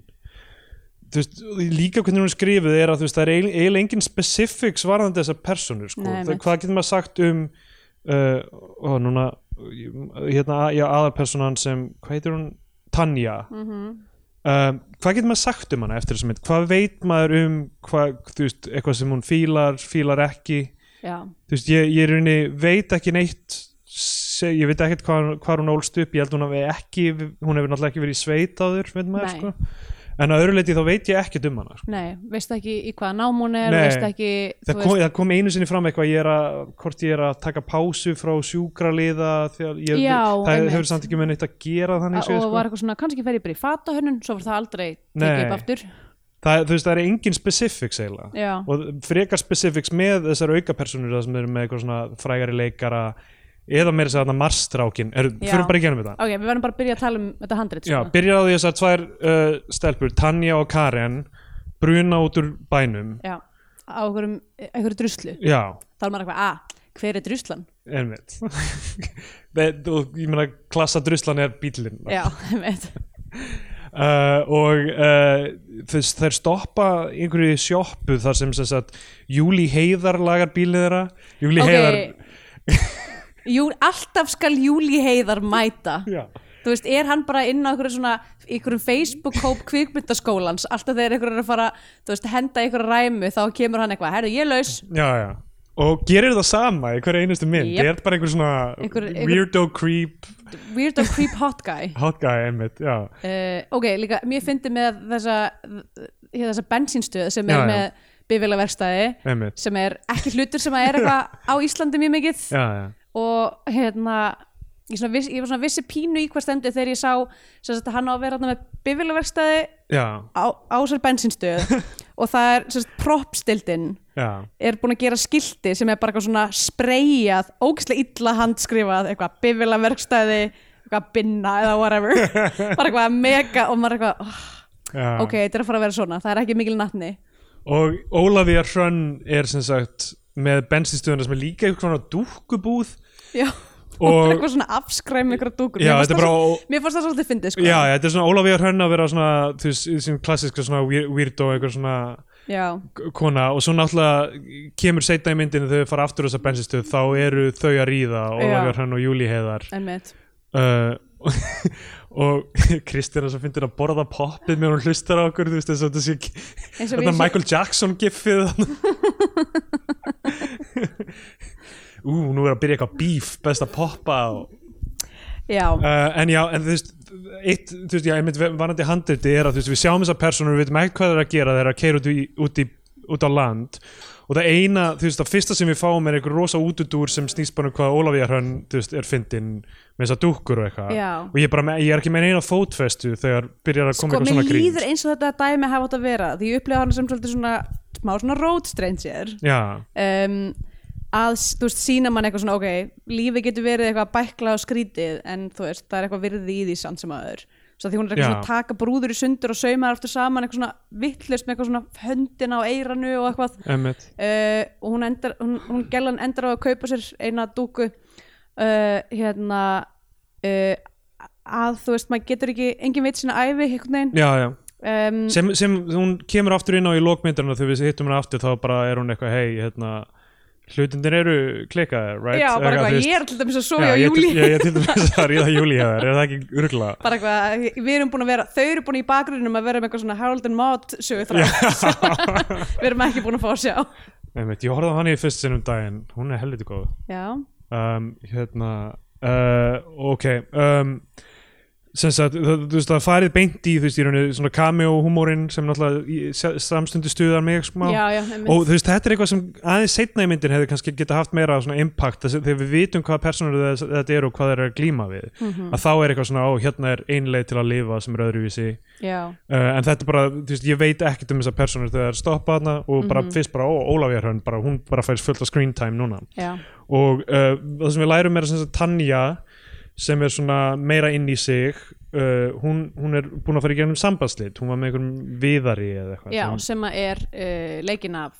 S2: þú veist, líka hvernig hún er skrifuð er að þú veist, það er eiginlega- eiginlega engin specifics varðandi þessar personur, sko,
S1: Nei,
S2: Nei,
S1: einmitt.
S2: hvað getur maður sagt um uh, ó, núna ég- hérna, já, aðarpersonan sem hvað heitir hún, Tanja
S1: Mhm.
S2: um, hvað getur maður sagt um hana eftir þessum mynd, hvað veit maður um hvað, þú veist, eitthvað sem hún fílar fílar ekki,
S1: já,
S2: þú veist, ég, ég í rauninni veit ekki neitt seg, ég veit ekkert hvað, hvað hún ólst upp ég held hún hafi ekki, hún hefur náttúrulega ekki verið í sveit áður, veit maður,
S1: Nei.
S2: sko en að öðru leiti þá veit ég ekkert um hana sko.
S1: nei, veist ekki í hvaða nám hún er,
S2: Nei.
S1: veist ekki þú
S2: það, kom, það kom einu sinni fram eitthvað ég er að, hvort ég er að taka pásu frá sjúkraliða þegar ég,
S1: Já,
S2: það
S1: einmitt.
S2: hefur samt ekki með neitt að gera þannig
S1: að,
S2: séð,
S1: og
S2: sko.
S1: var eitthvað svona, kannski fer ég bara í fatahönnun svo var það aldrei tekið
S2: Nei.
S1: upp aftur
S2: það, þú veist, það er engin specifics eiginlega
S1: já,
S2: og frekar specifics með þessar aukapersonur það sem eru með eitthvað svona frægari leikara eða meira sér þarna marstrákin er,
S1: Já.
S2: fyrir bara í genum þetta
S1: ok, við verðum bara að byrja að tala um þetta handrit
S2: Já,
S1: sko.
S2: byrjar á því þessar tvær uh, stelpur Tanja og Karen bruna út úr bænum
S1: já, á einhverjum, einhverju druslu
S2: Já,
S1: þá er maður eitthvað, að, hver er druslan?
S2: einmitt Þe- og ég meina klassa druslan er bílinn
S1: já, emmitt
S2: uh, og uh, þess, þær stoppa í einhverju sjoppu þar sem sem sagt Júli Heiðar lagar bílið þeirra Júli Heiðar
S1: Jú, alltaf skal Júli Heiðar mæta
S2: Já.
S1: þú veist, er hann bara inn á einhverjum svona einhverjum Facebook-kóp kvikmyndaskólans alltaf þegar einhverjum er að fara þú veist, henda einhverjum ræmu, þá kemur hann eitthvað herru, ég er laus,
S2: já, já. og gerir það sama í hverju einustu mynd
S1: Jep.
S2: ég er bara einhver svona
S1: Einhver- einhver-
S2: weirdo creep
S1: weird and creep hot guy Eh,
S2: hot guy einmitt já.
S1: uh, ok, líka, mér fyndi með þessa, þessa bensínstöð sem er
S2: Já, já.
S1: með bifélaverstaði
S2: einmitt
S1: sem er ekki hlutur sem að er eitthvað á Íslandi mjög mikið
S2: já, já,
S1: og hérna ég, svona viss, ég var svona vissi pínu í hvað stendur þegar ég sá sem sagt, að hann á að vera þarna með bifélaverstaði
S2: já,
S1: á, á sér bensinstöð og það er sem sagt, propstildin
S2: já
S1: er búin að gera skilti sem er bara eitthvað svona spreyjað, ógeðslega illa handskrifað, eitthvað bifila verkstæði, eitthvað binna eða whatever, bara eitthvað mega og maður er eitthvað, oh,
S2: Já.
S1: ok, þetta er að fara að vera svona, það er ekki mikil natni.
S2: og Ólafía Hrönn er sem sagt með bensinstöðuna sem er líka eitthvað svona dúkkubúð
S1: Já, og,
S2: Og-
S1: bara eitthvað svona afskræmi ykkur dúkur.
S2: Já,
S1: Mér fannst það
S2: þetta er bara-
S1: svo- Mér fannst það svolítið fyndið, sko.
S2: já, já, þetta er svona Ólafía Hrönn að vera svona þú veist, sem klassiska svona weir- weirdo eitthvað svona
S1: Já,
S2: k- kona og svo náttúrulega kemur seinna í myndinu þegar þau fara aftur á þessa bensinstöð þá eru þau að ríða Ólafía
S1: Já.
S2: Hrönn og Júli Heiðar
S1: einmitt.
S2: uh, og Kristina sem finnir að borða poppið meðan hún hlustar á okkur þú veist þess að þetta sé
S1: Eins og
S2: Þetta
S1: við
S2: er
S1: sé-
S2: Michael Jackson gifið þarna. Ú, nú er að byrja eitthvað bíf, best að poppa og,
S1: Já,
S2: uh, En já, en þú veist eitt, þú veist, já, einmitt varandi handriti er að þú veist, við sjáum þessar persónur, við veitum ekki hvað það er að gera þeir eru að keira út, í, út, í, út á land og það eina, þú veist, það fyrsta sem við fáum er einhver rosa útudúr sem snýst bara um hvað Ólafía Hrönn, þú veist, er fyndin með þessar dúkkur og eitthvað
S1: Já.
S2: og ég, er bara, með- ég er ekki með eina fótfestu þegar byrjar að koma
S1: sko,
S2: eitthvað
S1: mér
S2: svona grín
S1: líður eins og þetta dæmi hafa átt að vera, því ég upplifa hann sem svolítið svona, smá svona road stranger.
S2: Já,
S1: um, að þú veist, sína mann eitthvað svona ok, lífið getur verið eitthvað bækla og skrítið en þú veist, það er eitthvað virði í því samt sem aður svo því hún er eitthvað
S2: Já.
S1: svona að taka brúður í sundur og sauma þær aftur saman eitthvað svona vittlust með eitthvað svona höndina og eiranu og eitthvað
S2: emmitt
S1: uh, og hún, endar, hún, hún gellan endar á að kaupa sér eina dúku uh, hérna uh, að þú veist, maður getur ekki engin veit sína æfi, einhvern veginn
S2: Já, já
S1: um,
S2: sem, sem hún kemur aftur inn á í lokmyndarinn og þegar við hittum hana aftur þá bara er hún eitthvað hei, hérna, hlutindir eru klikaðir, right?
S1: já, bara
S2: þú
S1: eitthvað,
S2: veist,
S1: ég er til dæmis að sofa á
S2: ég til-
S1: júli
S2: Ég, ég til dæmis að ríða júli hjá þér, er það ekki urgla?
S1: bara eitthvað, við erum búin að vera þau eru búin í bakgrunum að vera með eitthvað svona Harold and Maude sögu þrá við erum ekki búin að fá að sjá
S2: Einmitt, ég horfði á hann í fyrst sinn um daginn, hún er helviti góð
S1: já,
S2: um, Hérna, uh, ok, um, sem sagt, það, þú veist, það er farið beint í, þú veist, í rauninni svona cameo-humorinn sem náttúrulega samstundu stuðar mig sko. smá
S1: já, já, einmitt.
S2: og þú veist, þetta er eitthvað sem aðeins setna í myndin hefði kannski geta haft meira svona impact þess, þegar við vitum hvaða personur þess- þetta eru og hvað þeir eru að glíma við
S1: Mhm.
S2: að þá er eitthvað svona, ó, hérna er einleið til að lifa sem er öðruvísi uh,
S1: já,
S2: en þetta er bara, þú veist, ég veit ekkert um þessar personur þegar þær stoppa hana og bara
S1: Mhm.
S2: fyrst bara, ó, Ólafía Hrönn, bara hún bara færs fullt af screen time núna
S1: já,
S2: og uh, það sem við lærum er sem sagt Tanja sem er svona meira inn í sig uh, hún, hún er búin að fara í gegnum sambandslit hún var með einhverjum viðari eða eitthvað
S1: já
S2: sem-
S1: sem að er uh, leikin af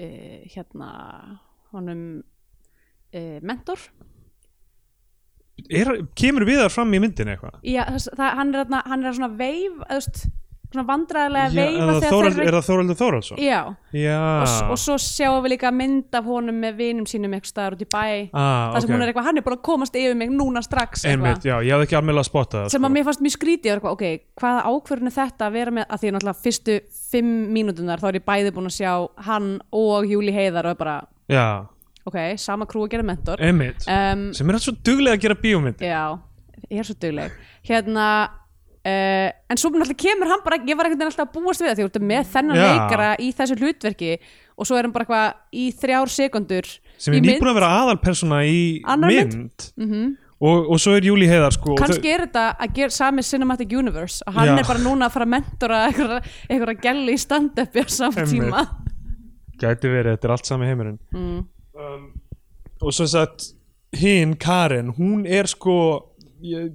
S1: uh, hérna honum uh, mentor
S2: er, kemur viðar fram í myndinni eitthvað?
S1: já, þess, það, hann, er, þarna- hann er svona veif eðust, svona vandræðilega
S2: Já,
S1: veifa
S2: er það
S1: þegar
S2: Þórald-
S1: þeir
S2: Er
S1: eru
S2: það Þóraldur Þóraldsson?
S1: já,
S2: Já
S1: og, s- og svo sjáum við líka mynd af honum með vinum sínum eitthvað staðar út í bæ
S2: ah,
S1: það sem hún er eitthvað, hann er búin að komast yfir mig núna strax eitthvað.
S2: Einmitt, já, ég hafði ekki alveg að spotta það sko.
S1: sem að mér fannst mjög skrítið ég var eitthvað, ok, hvaða ákvörðun er þetta að vera með að því að náttúrulega fyrstu fimm mínútunar þá er ég bæði búin að sjá hann og Júli Heiðar og er bara,
S2: Já,
S1: ok, sama krú að gera mentor
S2: einmitt
S1: um,
S2: Sem er alltaf svo duglega að gera bíómynd
S1: já, ég er svo dugleg hérna Uh, en svo náttúrulega kemur hann bara ég var ekkert alltaf að búast við það því að þú ert með þennan
S2: Já.
S1: leikara í þessu hlutverki og svo er hann bara eitthvað í þrjár sekundur
S2: Sem
S1: í
S2: er
S1: mynd.
S2: nýbúin að vera aðalpersona í
S1: Annar mynd. Mhm.
S2: mynd og, og svo er Júli Heiðar sko og
S1: kannski er þetta að gera sami Cinematic Universe og hann
S2: Já.
S1: er bara núna að fara að mentora einhverja gæli í stand-upi á saman
S2: Einmitt.
S1: tíma
S2: þau- Gæti verið, þetta er allt sami heimurinn mm. um, Og svo sagt Hinn, Karen, hún er sko ég,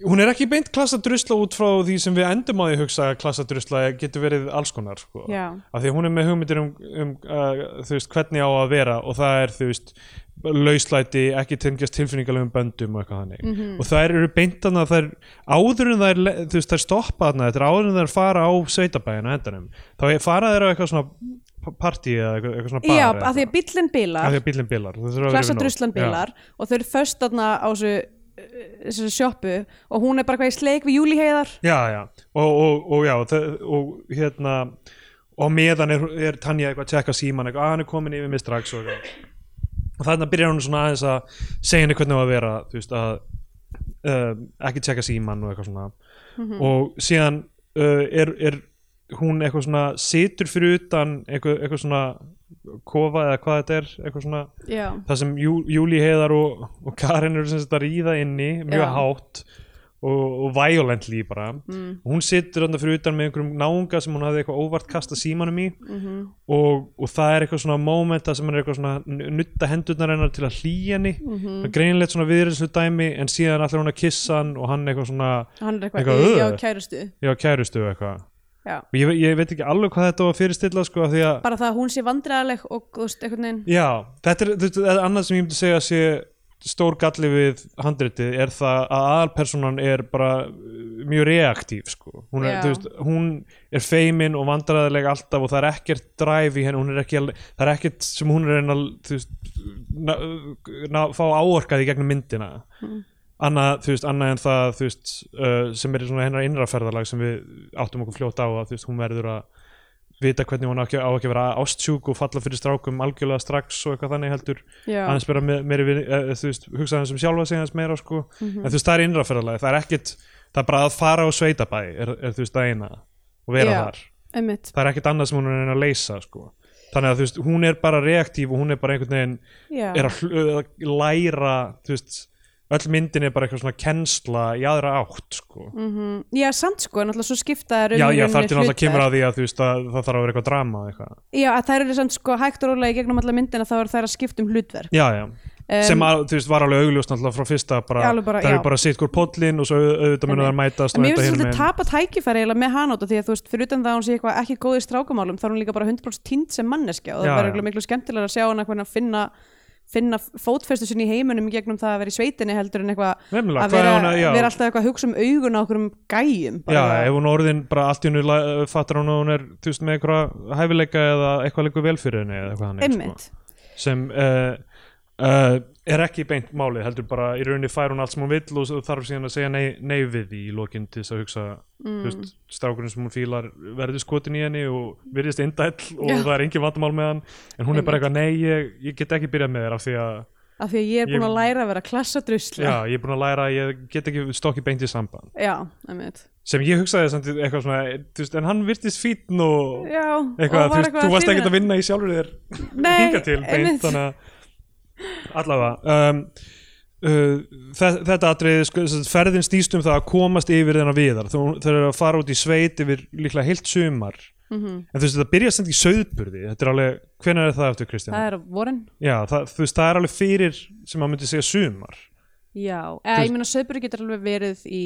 S2: Hún er ekki beint klassadrusla út frá því sem við endum á því hugsa að klassadrusla getur verið alls konar sko.
S1: Já.
S2: af því að hún er með hugmyndir um, um uh, þú veist, hvernig á að vera og það er þú veist, lauslæti ekki tengjast tilfinningalegum böndum og eitthvað þannig
S1: Mhm.
S2: og þær eru beintana þær, áður en þær, le- þú veist, þær stoppa þarna þetta er áður en þær fara á sveitabæðina endanum, þá er- fara þær á eitthvað svona p- partí eða eitthvað, eitthvað svona bar
S1: já, af því
S2: eða eitthvað.
S1: að bíllinn
S2: Af
S1: bílar
S2: því að bílinn bílar
S1: klassadruslan bílar og þau eru föst þarna á þessu, eh, þessu sjoppu og hún er bara hvað í sleik við Júli heiðar
S2: Já, já, og, og, og já, þau- og hérna og á meðan er, er Tanja eitthvað að tjekka síman eitthvað, að hann er komin yfir mig strax og, eitthvað. og þarna byrjar hún svona aðeins að segja henni hvernig á að um, vera þú veist, að uh, ekki tjekka síman og eitthvað svona og síðan uh, er, er hún eitthvað svona situr fyrir utan eitthvað, eitthvað svona kofa eða hvað þetta er eitthvað svona
S1: já,
S2: það sem Jú, Júli Heiðar og, og Karin eru sem sagt að ríða inni mjög
S1: Já.
S2: hátt og, og violently bara
S1: mm,
S2: hún situr þarna fyrir utan með einhverjum náunga sem hún hafði eitthvað óvart kasta símanum í
S1: mm
S2: og, og það er eitthvað svona moment þar sem hann er eitthvað svona að nutta hendurnar hennar til að hlýja henni
S1: Mhm.
S2: það er greinleitt svona viðrinslu dæmi en síðan allir hún að kissa hann og hann eitthvað svona
S1: hann er eitthvað,
S2: Eitthvað,
S1: eitthvað já,
S2: "Ugh."
S1: kærustu
S2: já kærustu og eitthvað
S1: já.
S2: og ég, ég veit ekki alveg hvað þetta var að fyrirstilla sko af því að
S1: bara það að hún sé vandræðaleg og þú veist, einhvern veginn
S2: já, þetta er, þetta er annað sem ég myndi segja að sé stór galli við handritið er það að aðalpersonan er bara uh, mjög reaktív sko. hún,
S1: Já.
S2: er, þú veist, hún er feimin og vandræðileg alltaf og það er ekkert drive í henni, hún er ekki, al- það er ekkert sem hún er að reyna að, þú veist, ná, ná, fá áorkað í gegnum myndina
S1: Mm.
S2: annað, þú veist, annað en það þú veist, uh, sem er svona hennar innraferðalag sem við áttum okkur fljótt á að þú veist, hún verður að vita hvernig hún á ekki, á ekki að vera ástsjúk og falla fyrir strákum algjörlega strax og eitthvað þannig heldur
S1: já,
S2: aðeins vera me- meiri við, uh, þú veist, hugsa aðeins um sjálfa sig aðeins meira sko,
S1: Mhm.
S2: en þú veist, það er innraferðalagi það er ekkit, það er bara að fara á sveitabæ er, er þú veist, það eina og vera
S1: Já.
S2: þar,
S1: einmitt
S2: það er ekkit annað sem hún er að reyna að leysa, sko þannig að þú veist, hún er bara reaktív og hún er bara einhvern veginn
S1: já,
S2: er að hl- að læra, þú veist öll myndin er bara eitthvað svona kennsla í aðra átt, sko
S1: mm já samt sko, náttúrulega svo skipta þær um í
S2: já, já,
S1: rauninni
S2: þar til náttúrulega
S1: hlutverk.
S2: kemur að því að þú veist að það þarf að vera eitthvað drama og eitthvað
S1: já, að þær eru samt sko hægt og rólega í gegnum alla myndina þá eru þær að skipta um hlutverk
S2: já, já, sem að, þú veist, var alveg augljóst náttúrulega frá fyrsta, bara,
S1: Alveg bara,
S2: það
S1: já.
S2: er bara sitt hvort pollin og svo au- auðvitað
S1: Einmitt.
S2: munum þær mætast
S1: En
S2: og
S1: mér
S2: enda
S1: finnst
S2: hinum
S1: þetta
S2: megin.
S1: tapa tækifæri eiginlega með hana út af því að þú veist, fyrir utan það að hún sé eitthvað ekki góð í strákamálum þá er hún líka bara 100% tínd sem manneskja og
S2: Já,
S1: það
S2: já.
S1: verður eiginlega miklu skemmtilega að sjá hana hvernig að finna, finna fótfestu sinni í heiminum í gegnum það að vera í sveitinni heldur en eitthvað
S2: Nefnilega,
S1: að
S2: hvað
S1: vera,
S2: er hún að, já,
S1: vera alltaf eitthvað að hugsa um augun á okkur um gæjum
S2: já, ef hún orðin bara allt í hennu fattar hún að hún er, þú veist, með eitthvað hæfileika eða eitthvað leikur vel fyrir henni eða eitthvað hann,
S1: Einmitt,
S2: sko, sem uh, uh, er ekki beint málið, heldur bara í rauninni fær hún allt sem hún vill og svo þarf síðan að segja nei, nei við því í lokin til þess að hugsa,
S1: Mm.
S2: þú veist, strákurinn sem hún fílar verður skotin í henni og virðist indæll og
S1: Já.
S2: það er engin vandamál með hann en hún er bara eitthvað, nei, ég, ég get ekki byrjað með þér af því að,
S1: af því að ég er búin
S2: Ég-
S1: að læra að vera klassadrusla
S2: já, ég er búin að læra að ég get ekki stokki beint í samband
S1: já, einmitt
S2: sem ég hugsaði samt eitthvað svona þú veist, en hann virtist fítn og
S1: Já,
S2: eitthvað,
S1: og
S2: þú,
S1: var
S2: veist, þú varst ekkert að
S1: hrifin-
S2: vinna í sjálfur þér
S1: Nei,
S2: hinga til beint,
S1: einmitt.
S2: þannig að allavega um, uh, þe- þetta atriði, sko, sem sagt, ferðin snýst um það að komast yfir þennan viðar þú, þau eru að fara út í sveit yfir líklega heilt sumar
S1: Mhm.
S2: en þú veist, þetta byrja samt í söðburði þetta er alveg, hvenær er það eftir Kristján?
S1: Það er á vorin
S2: Já, það, þú veist, það er alveg fyrir sem maður myndi segja sumar
S1: Já,
S2: Þú
S1: eða ég
S2: veist-
S1: meina söðbúri getur alveg verið í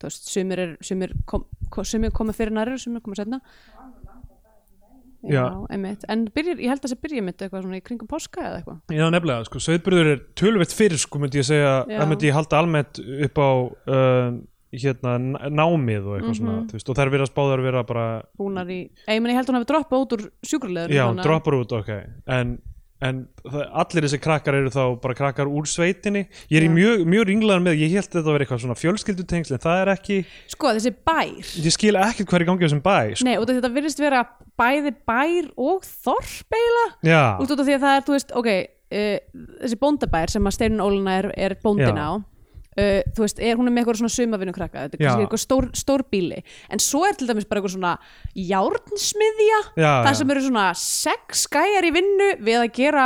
S1: þú veist, sumir, er, sumir, kom, ko- sumir koma fyrir nærri, sumir koma setna Já,
S2: Já.
S1: einmitt en byrjir, ég held að það byrja mitt eitthvað svona í kringum páska eða eitthvað
S2: Já, nefnilega, sko, sauðburður er tölvett fyrir, sko, myndi ég segja,
S1: Já.
S2: það myndi ég halda almennt upp á uh, hérna, n- námið og eitthvað
S1: Mhm.
S2: svona, þú veist, og þær virðast báðar vera bara,
S1: búnar í, eða ég meina ég held að hún hafi droppað út úr sjúkraleður
S2: já, hún droppar út, ok, en, en það, allir þessi krakkar eru þá bara krakkar úr sveitinni, ég er í
S1: Já.
S2: mjög, mjög ringlegar með, ég held þetta að vera eitthvað svona fjölskyldutengsl, en það er ekki,
S1: Sko, þessi bær
S2: ég skil ekkert hvað er í gangi á þessum bæ, sko,
S1: Nei, út af því að þetta virðist vera bæði bær og þorp eiginlega
S2: já,
S1: út út af því að það er, þú veist, ok uh, þessi bóndabær sem að Steinun Óluna er, er bóndin
S2: Já.
S1: á Uh, þú veist, er, hún er með eitthvað svona sumavinnu krakka þetta er
S2: Já.
S1: kannski eitthvað stór, stór bíli en svo er til dæmis bara eitthvað svona járnsmiðja,
S2: Já,
S1: það
S2: já.
S1: sem eru svona sex gæjar í vinnu við að gera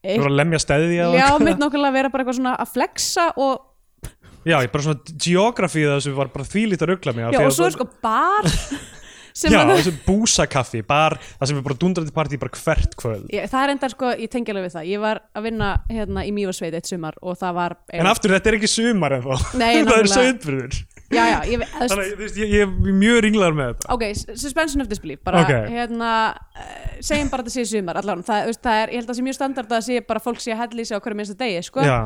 S2: þú voru að lemja stæði
S1: já, mitt nokkulega vera bara eitthvað svona að flexa og,
S2: já, ég bara svona geografi þessu var bara þvílít að ruggla mig, af
S1: já,
S2: því
S1: og
S2: að
S1: svo
S2: það-
S1: er sko bar sem
S2: Já,
S1: að
S2: þessu búsakaffi, bar, það sem er bara dundrandi partí bara hvert kvöld.
S1: ég, það er enda sko, ég tengi alveg við það ég var að vinna hérna í Mývarsveit eitt sumar og það var
S2: En aftur, þetta er ekki sumar en þá.
S1: Nei,
S2: það er
S1: nákvæmlega.
S2: söðbröður.
S1: já, já, ég, þú veist-
S2: Þannig, að, þú veist, ég, ég er mjög ringlar með þetta.
S1: ok, s- suspension of disbelief bara,
S2: Ok.
S1: hérna, uh, segjum bara að þetta sé í sumar allan, það, þú veist, það er, ég held að það sé mjög standard að það sé bara fólk sé að hella í sig á hverju minnsta degi sko.
S2: Já,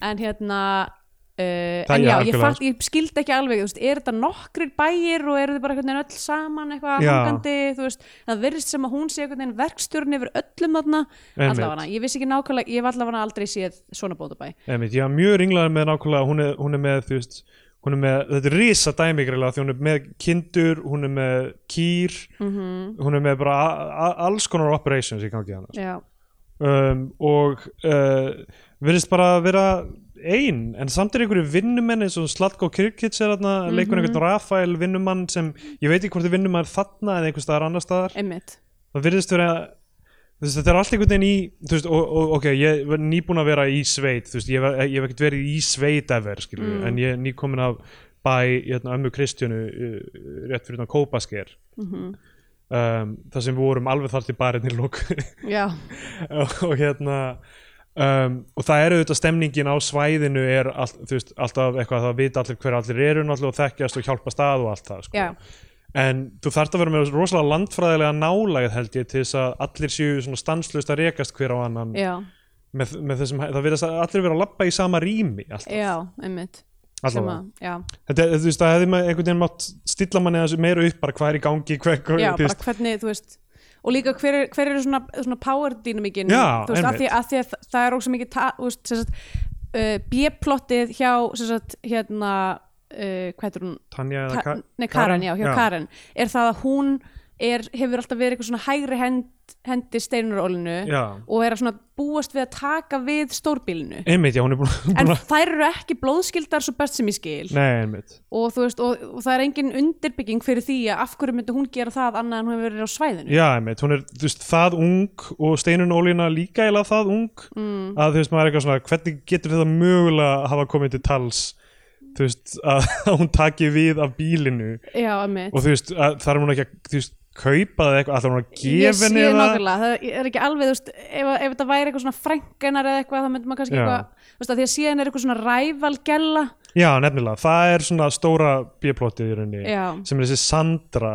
S1: en hérna uh,
S2: Það
S1: en já,
S2: er
S1: ég,
S2: algjörlega,
S1: fatt, ég skildi ekki alveg þú veist, er þetta nokkrir bæir og eru þið bara einhvern veginn öll saman eitthvað
S2: Já.
S1: hangandi, þú veist, það virðist sem að hún sé einhvern veginn verkstjórn yfir öllum þarna
S2: Einmitt.
S1: allavega, ég vissi ekki nákvæmlega, ég hef allavega aldrei séð svona bóndabæ,
S2: einmitt, ég er mjög ringlar með nákvæmlega, hún er, hún er með, þú veist, hún er með, þetta er risa dæmi greiðlega, því hún er með kindur, hún er með kýr,
S1: mm -hmm.
S2: hún er með bara a- a- alls konar operations í gangi hann.
S1: já
S2: um, og uh, virðist bara að vera ein, en samt er einhverju vinnumenn eins og Slatko Kirkits er þarna mm -hmm. leikur einhvern Rafael vinnumann sem ég veit ekki hvort þið vinnumann er þarna eða einhvers staðar annar staðar
S1: einmitt
S2: það virðist vera þú veist, þetta er allt einhvern veginn í þú veist, og, og, ok, ég var nýbúin að vera í sveit þú veist, ég, var- ég hef ekkert verið í sveit efer, skilur, mm. en ég er nýkomin af bæ, hérna, ömmu Kristjánu uh, rétt fyrir þannig Kópasker um, þar sem við vorum alveg þar til barinir lók
S1: já,
S2: og hérna um, og það eru auðvitað stemningin á svæðinu er all, þú veist, alltaf eitthvað það vita allir hver allir eru náttúrulega og þekkjast og hjálpa stað og allt það, sko
S1: já,
S2: en þú þarft að vera með rosalega landfræðilega nálægð held ég til þess að allir séu svona stanslust að rekast hver á annan
S1: já,
S2: með, með þessum, hæ- það verðast að allir vera að labba í sama rými alltaf,
S1: já, einmitt Sem
S2: allavega
S1: að- já,
S2: þetta, er- þú veist, það hefði maður einhvern veginn mátt stilla manni þessu meira upp bara hvað er í gangi hver, hver,
S1: já,
S2: þú
S1: bara
S2: veist,
S1: hvernig, þú veist og líka hver, er- hver eru svona, svona power dynamikin
S2: Já,
S1: þú veist, að því,
S2: einmitt.
S1: að því að þa- það er óg sem ekki ta, þú veist, sem sagt, uh, B-plottið hjá sem sagt, hérna uh, hvað heitir hún,
S2: Tanja eða
S1: Ka
S2: Ka
S1: nei, Karen, já, hjá
S2: Já.
S1: Karen er það að hún er, hefur alltaf verið eitthvað svona hægri hend, hendi steinurólinu
S2: Já.
S1: og er að svona búast við að taka við stórbílinu
S2: einmitt, já, hún er búin,
S1: en
S2: búin að
S1: þær eru ekki blóðskildar svo best sem ég skil
S2: nei, einmitt,
S1: og, þú veist, og, og það er engin undirbygging fyrir því að af hverju myndi hún gera það annað en hún hefur verið á svæðinu
S2: já, einmitt hún er, þú veist, það ung og Steinun Ólína líka eða það ung mm. að þú veist, maður er eitthvað svona, hvernig getur þetta mögulega að hafa komið til tals þú veist, að, að hún taki við af bílinu
S1: já, emmitt
S2: og þú veist, að, þar er hún ekki að, þú veist, kaupa það eitthvað, allar hún að
S1: ég
S2: gefa
S1: sé
S2: henni það
S1: nákvæmlega, það er ekki alveg þú veist, ef, ef þetta væri eitthvað svona frænkenar eða eitthvað, þá myndi maður kannski
S2: Já.
S1: eitthvað þú veist, að því að síðan er eitthvað svona rævalgella
S2: Já, nefnilega, það er svona stóra bíoplotið í rauninni
S1: Já.
S2: sem er þessi Sandra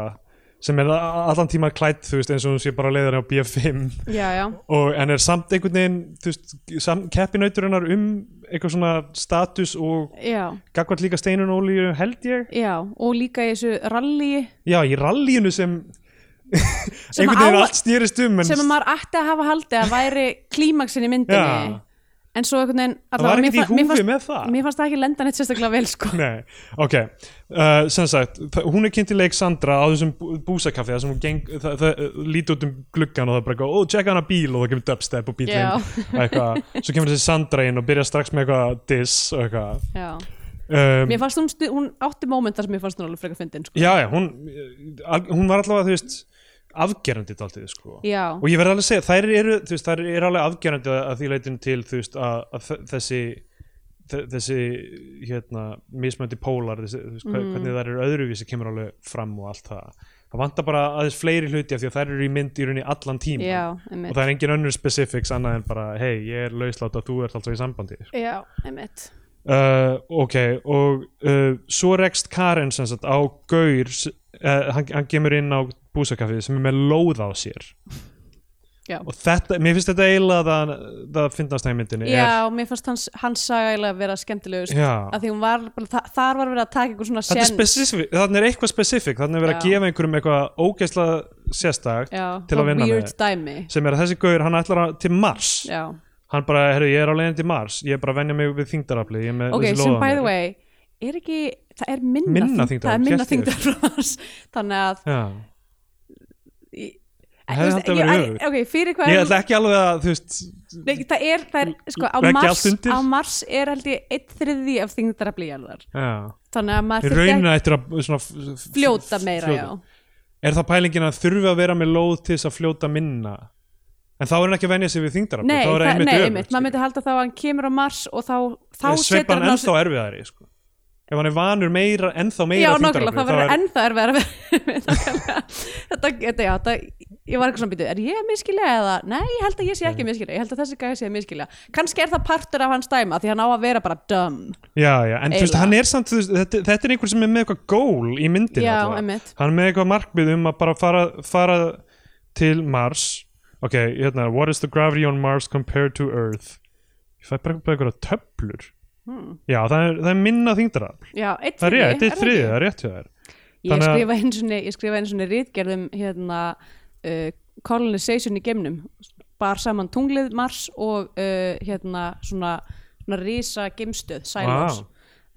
S2: sem er a- allan tíma klætt, þú veist, eins og hún sé bara leiðan á B5
S1: já, já,
S2: og en er samt einhvern veginn, þú veist, sam, keppinautur hennar um eitthvað svona status og
S1: já,
S2: gagvart líka steinun og olíu held ég.
S1: já og líka í þessu rallyi
S2: Já, í rallíinu sem,
S1: Sem
S2: einhvern veginn
S1: á-
S2: allt snýrist um en
S1: sem að maður ætti að hafa haldið að væri klímaksin í myndinni
S2: Já.
S1: en svo einhvern veginn
S2: það var
S1: mér
S2: ekkert í
S1: fa- mér
S2: húfi
S1: fannst-
S2: með það.
S1: mér fannst það ekki lenda neitt sérstaklega vel sko
S2: Nei, ok, uh, sem sagt þa- hún er kynnt í leik Sandra á þessum bú- búsakaffi þar sem hún geng, það, það, líti út um gluggan og það er bara eitthvað, ó, tjekka hana bíl og það kemur dubstep og bílinn
S1: Já.
S2: og eitthvað, svo kemur þessi Sandra inn og byrja strax með eitthvað diss og eitthvað
S1: já.
S2: um,
S1: mér fannst hún, stu, hún átti móment þar sem mér fannst hún alveg frekar fyndin sko.
S2: Já, já, hún eh, al- hún var allavega, þú veist afgerandi dálítið, sko
S1: já,
S2: og ég verð alveg að segja, þær eru, þú veist, þær eru alveg afgerandi að að því leitinu til, þú veist, að, að þe- þessi þe- þessi, hérna, mismöndi pólar, þessi, þú veist, mm. hvernig þær eru öðruvísi kemur alveg fram og allt það það vantar bara aðeins fleiri hluti af því að þær eru í mynd í rauninni allan tíma
S1: já,
S2: og
S1: einmitt
S2: það er engin önnur specifics annað en bara, hei, ég er lauslátt og þú ert alltaf í sambandi
S1: já, einmitt
S2: uh, ok, og uh, svo rekst Karen sem sagt á Gaur s- uh, hann, hann kemur inn á búsakafið sem er með lóð á sér
S1: Já.
S2: og þetta, mér finnst þetta eiginlega það, það finnast það í myndinni
S1: já, mér fannst hans, hans saga eiginlega að vera skemmtilegust
S2: er, já
S1: að því hún var, bara, þa þar var verið að taka eitthvað svona
S2: Þetta er
S1: sen-
S2: specific, þannig er eitthvað specific, þannig er verið að
S1: Já.
S2: gefa einhverjum eitthvað ógeðslega sérstakt
S1: já,
S2: til að
S1: það
S2: vinna
S1: weird
S2: með
S1: dæmi
S2: sem er að þessi gaur, hann ætlar að, til Mars
S1: já,
S2: hann bara, herru, ég er á leiðin til Mars ég er bara að venja mig við þingdarafli ég er með
S1: ok,
S2: þessi
S1: sem
S2: hérna." lóð á
S1: by the
S2: mér.
S1: way er ekki, það er minna,
S2: Minna
S1: þyngd-
S2: þyngdarafl,
S1: það er minna
S2: hélt ég.
S1: þingdar þannig að
S2: Já.
S1: Ég-
S2: Það hefði
S1: þú
S2: haldið að vera
S1: ég-
S2: öfugt.
S1: ok, fyrir hvað
S2: ég
S1: er-
S2: ætla ekki alveg að, þú veist
S1: nei, það er, það er sko, á,
S2: Leggja
S1: mars,
S2: allt undir.
S1: á mars er held ég eitt þriði af þingdarafli jarðar
S2: já
S1: þannig að maður þurfti ekki
S2: raunin ættir að svona, f- f-
S1: fljóta meira já.
S2: Er það pælingin að þurfi að vera með lóð til þess að fljóta minna? En þá er hann ekki að venja sig við þingdarafli
S1: nei,
S2: þá
S1: það,
S2: er það einmitt
S1: nei,
S2: öfugt,
S1: einmitt,
S2: sko.
S1: maður myndi halda þá að hann kemur á mars og þá, þá
S2: Þá
S1: setur
S2: sveipar hann
S1: á sig-
S2: ennþá erfiðari sko. Ef hann er vanur meira, ennþá meira
S1: já,
S2: þyngdarafli,
S1: nokkulega, það
S2: þá
S1: verður
S2: er-
S1: ennþá erfið að vera þetta, þetta, já, það ég var eitthvað svona býtu, er ég að miskilja eða nei, ég held að ég sé ekki að miskilja, ég held að þessi gæði sé að miskilja kannski er það partur af hans dæma því hann á að vera bara dumb
S2: Já, já, en þú veist,
S1: Eiginlega.
S2: hann er samt þú veist, þetta, þetta er einhver sem er með eitthvað gól í myndin
S1: Já, einmitt.
S2: Hann er með eitthvað markmið um að bara fara, fara til Mars Ok, hérna, what is the gravity on Mars compared to Earth? Ég fæ bara bara eitthvað töflur Já, það er, það er minna þingdarafl
S1: já, eitt
S2: Það er rétt,
S1: Hmm. þriðji,
S2: þetta
S1: það
S2: er
S1: ekki?
S2: þriðið, það er rétt hjá þér
S1: Ég
S2: Þannig að-
S1: skrifa einu sinni, ég skrifa einu sinni rítgerðum hérna uh, colonization í geimnum bar saman tunglið Mars og uh, hérna svona, svona risa geimstöð, Silence
S2: Vá. Mm.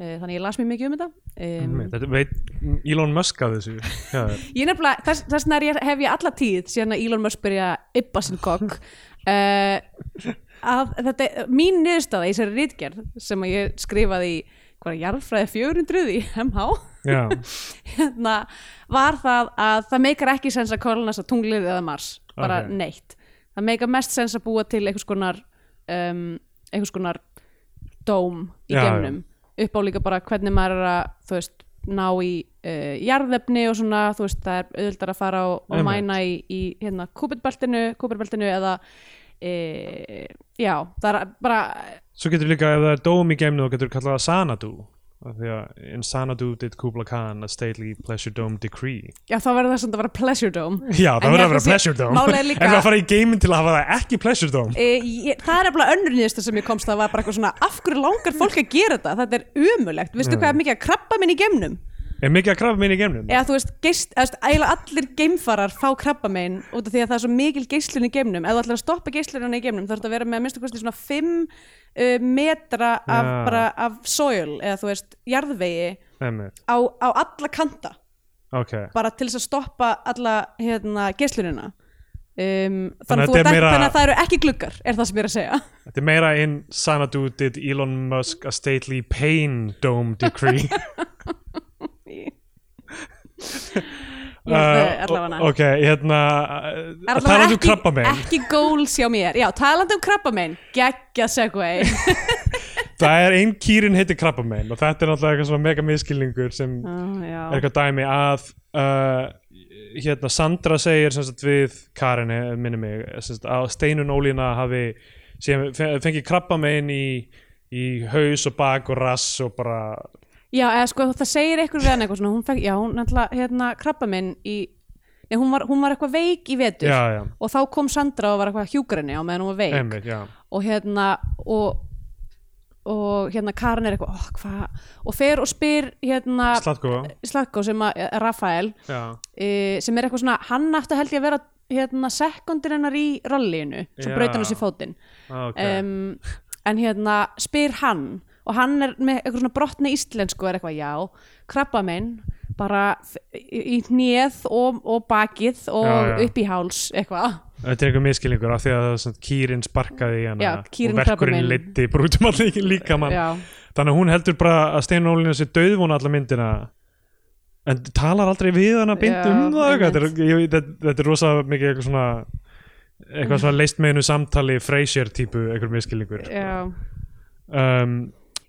S1: Eh, þannig ég las mér mikið um þetta um,
S2: Einmitt, Þetta veit Elon Musk að þessu Já,
S1: ég nefnilega, þess, þess vegna er ég- hef ég alla tíð síðan að Elon Musk byrja að yppa sinn kokk uh, að þetta, mín niðurstaða í þessari rítgerð sem að ég skrifaði í hvað er jarðfræði 400 í MH
S2: já,
S1: hérna, var það að það meikar ekki sens að kolonast að tunglið eða Mars bara
S2: Ok.
S1: neitt það meikar mest sens að búa til einhvers konar um, einhvers konar dóm í
S2: Já, já.
S1: geimnum upp á líka bara hvernig maður er að þú veist, ná í uh, jarðefni og svona, þú veist, það er auðvildar að fara og, og
S2: Einmitt.
S1: mæna í, í hérna, kúpitbeltinu, kúpitbeltinu eða e, já, það er bara
S2: svo getur líka ef það er dóm í geimnu þá getur við kallað það Sanadu af því að in Sanadu did Kubla Khan a stately pleasure dome decree
S1: já, þá verður það samt að vera pleasure dome
S2: Já,
S1: En
S2: það
S1: ég
S2: verður að vera
S1: ætla að sé-
S2: pleasure dome
S1: málið er
S2: En
S1: líka-
S2: það fara í geimin til að hafa það ekki pleasure dome
S1: E, ég, það er eftir önnur nýðustu sem ég komst að var bara eitthvað svona af hverju langar fólk að gera þetta, þetta er umulegt
S2: Mm.
S1: veistu hvað er mikið að krabba minn í geimnum
S2: Er mikið að krafa minni í geimnum?
S1: eða þú veist, geist, eða, þú veist, eiginlega allir geimfarar fá krabba minn út af því að það er svo mikil geislun í geimnum ef þú ætlar að stoppa geislunina í geimnum þá þarf þetta að vera með að minnstu kosti svona 5 uh, metra af,
S2: Já.
S1: bara, af soil eða þú veist, jarðvegi
S2: Einmitt,
S1: á, á alla kanta
S2: ok
S1: bara til þess að stoppa alla hérna, geislunina um, þannig,
S2: Þannig
S1: þannig,
S2: að þetta er
S1: að meira...
S2: meira-
S1: þannig að það eru ekki gluggar er það sem ég er að segja
S2: Þetta er meira in Sanadu did Elon Musk a stately pain dome decree Uh,
S1: Ég held að allavega
S2: Ok, hérna
S1: Það er
S2: Það er
S1: allavega
S2: að þú
S1: ekki-
S2: krabba minn
S1: Ekki goals hjá mér, já, talandi um krabbamein Gekkja segway
S2: Það er einn kýrin heitir krabbamein og þetta er náttúrulega eitthvað svona mega miskilningur sem
S1: oh, já.
S2: er eitthvað dæmi að uh, hérna Sandra segir sem sagt við Karin eh, minni mig sem sagt, að Steinun Ólína hafi sem, fengið krabbamein í, í haus og bak og rass og bara
S1: já, eða sko það segir eitthvað við hann eitthvað svona, hún fekk, Já, hún náttúrulega, hérna, krabbamein í Nei, hún var, hún var eitthvað veik í vetur
S2: já, já,
S1: Og þá kom Sandra og var eitthvað hjúgrinni á meðan hún var veik
S2: einmitt, já
S1: Og hérna, og og hérna Karin er eitthvað, oh, hvað og fer og spyr hérna
S2: Slatko,
S1: Slakko sem að, Rafael
S2: já,
S1: uh, sem er eitthvað svona, hann aftur held ég að vera hérna sekundir hennar í rallinu svo
S2: Já.
S1: braut hann á sér fótinn
S2: ah, ok
S1: um, en hérna spyr hann og hann er með eitthvað svona brotni íslensku er eitthvað já, krabba minn bara f- í í hnéð og, og bakið og
S2: Já, já.
S1: upp í háls eitthvað
S2: Þetta er einhver miskilningur af því að það er svona kýrin sparkaði í hana
S1: Já, kýrin
S2: og verkurinn
S1: krabbamein.
S2: leiddi brútum allir líka mann
S1: já,
S2: þannig að hún heldur bara að Steinun Ólína sé döðvona alla myndina en talar aldrei við hana beint
S1: Já,
S2: um það eitthvað. þetta
S1: einmitt.
S2: er, ég, þetta, þetta er rosa mikið eitthvað svona eitthvað svona leist meinu samtali Frasier típu einhver miskilningur
S1: já.
S2: um,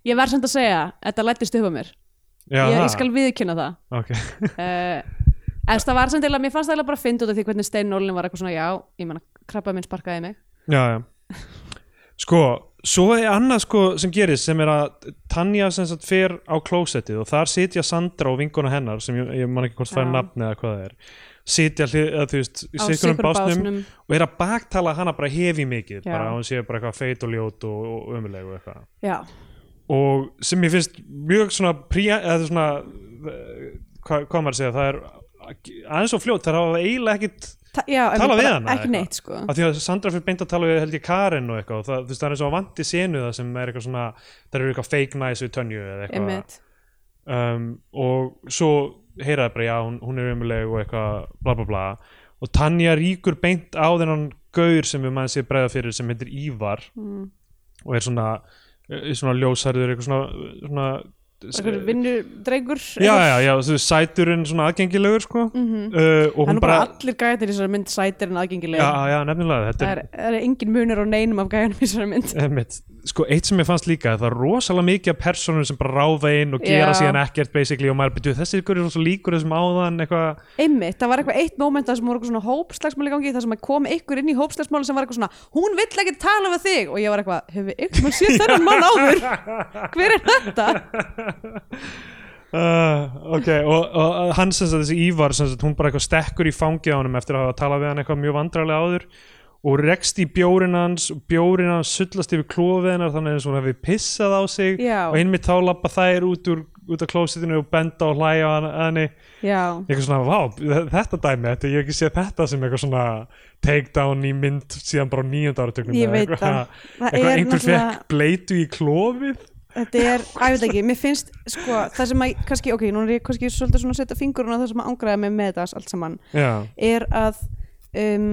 S1: ég verð samt að segja, þetta lættist upp á mér
S2: já,
S1: ég,
S2: það.
S1: ég skal viðkynna það
S2: Ok.
S1: uh, en það var samt eða, mér fannst það eiginlega bara að finna út af því hvernig Steinn Nólin var eitthvað svona já, ég menna krabba minn sparkaði mig
S2: já, já. sko, svo er annað sko sem gerist sem er að Tanja sem sagt fer á klósettið og þar sitja Sandra og vinkona hennar sem ég, ég man ekki hvort það er
S1: Já.
S2: nafn eða hvað það er sitja hlið, eða þú veist, í
S1: á
S2: sikkurum
S1: sitthvorum
S2: básnum og er að baktala hana bara hefi
S1: Já.
S2: mikið bara að hún sé bara eitthvað feit og ljót og, og ömuleg og eitthvað
S1: já,
S2: og sem ég finnst mjög svona príja, eða svona eh, hvað hva maður að segja, það er aðeins og fljótt, það hafa eiginlega ekkit
S1: Ta já, en
S2: Tala
S1: bara
S2: við hana
S1: ekki
S2: eitthvað?
S1: neitt sko
S2: að því að Sandra fyrir beint að tala við held ég Karen og eitthvað og það, þú veist, það er eins og að vandi senu það sem er eitthvað svona, það eru eitthvað fake nice við tönju eða eitthvað
S1: Einmitt.
S2: um, og svo heyraði bara já, hún, hún er umuleg og eitthvað bla bla bla og Tanja ríkur beint á þennan gaur sem við maður sé bregða fyrir sem heitir Ívar
S1: Mm.
S2: og er svona, er svona ljósarður eitthvað svona,
S1: Einhver
S2: svona
S1: vinnudrengur
S2: já, já, já, þú veist, sæturinn svona aðgengilegur sko
S1: mm -hmm.
S2: uh, og
S1: Það er
S2: hún
S1: nú bara
S2: bara,
S1: allir gætir í þessari mynd sætir en aðgengilega
S2: já, já, nefnilega þetta
S1: Það
S2: er,
S1: er, það er engin munur á neinum af gæjanum í þessari mynd
S2: Einmitt. sko eitt sem ég fannst líka það er rosalega mikið af personum sem bara ráða inn og gera
S1: Já.
S2: síðan ekkert basically og maður byrjuð þessi ykkur er svo líkur þessum áðan eitthvað
S1: Einmitt, það var eitthvað eitt moment þar sem voru eitthvað svona hópslagsmáli gangi þar sem að kom ykkur inn í hópslagsmáli sem var eitthvað svona hún vill ekki tala við þig og ég var eitthvað, hefur ykkur maður séð þennan mann áður hver er þetta?
S2: uh, ok, og, og uh, hann sem sagt þessi Ívar sem sagt, hún bara eitthvað stekkur í fangið á honum eftir að hafa talað við hann eitthvað mjög vandrarlega áður og rekst í bjórin hans og bjórin hans sullast yfir klófið hennar þannig eins og hún hefði pissað á sig
S1: Já.
S2: og einmitt þá lappa þær út úr út af klósitinu og benda og hlæja á hann- henni
S1: Já,
S2: eitthvað svona, vá, þe- þetta dæmi þetta, ég hef ekki séð þetta sem eitthvað svona takedown í mynd síðan bara á nýjönda áratögnum
S1: Ég veit
S2: eitthvað,
S1: það. Það
S2: eitthvað
S1: er
S2: einhver
S1: náttúrulega-
S2: fekk bleitu í klófið
S1: þetta er, að ég veit ekki, mér finnst sko, það sem að, kannski, ok, nú er ég kannski svolítið svona að setja fingurinn á það sem að ángraða mig með þetta allt saman,
S2: já,
S1: er að um,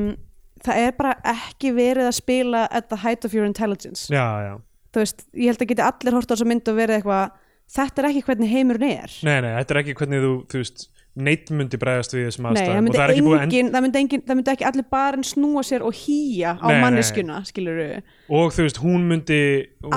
S1: það er bara ekki verið að spila at the height of your intelligence
S2: já, já
S1: þú veist, ég held að geti allir hort á þess að mynd og verið eitthvað, þetta er ekki hvernig heimurinn er
S2: nei, nei, þetta er ekki hvernig þú, þú veist neitt myndi bregðast við í þessum
S1: Nei, það
S2: aðstæðum og
S1: myndi,
S2: það er ekki búið að
S1: engin, það, myndi engin, það myndi ekki allir barinn snúa sér og hýja á
S2: Nei, nei.
S1: manneskuna, skilur við
S2: end og þú veist, hún myndi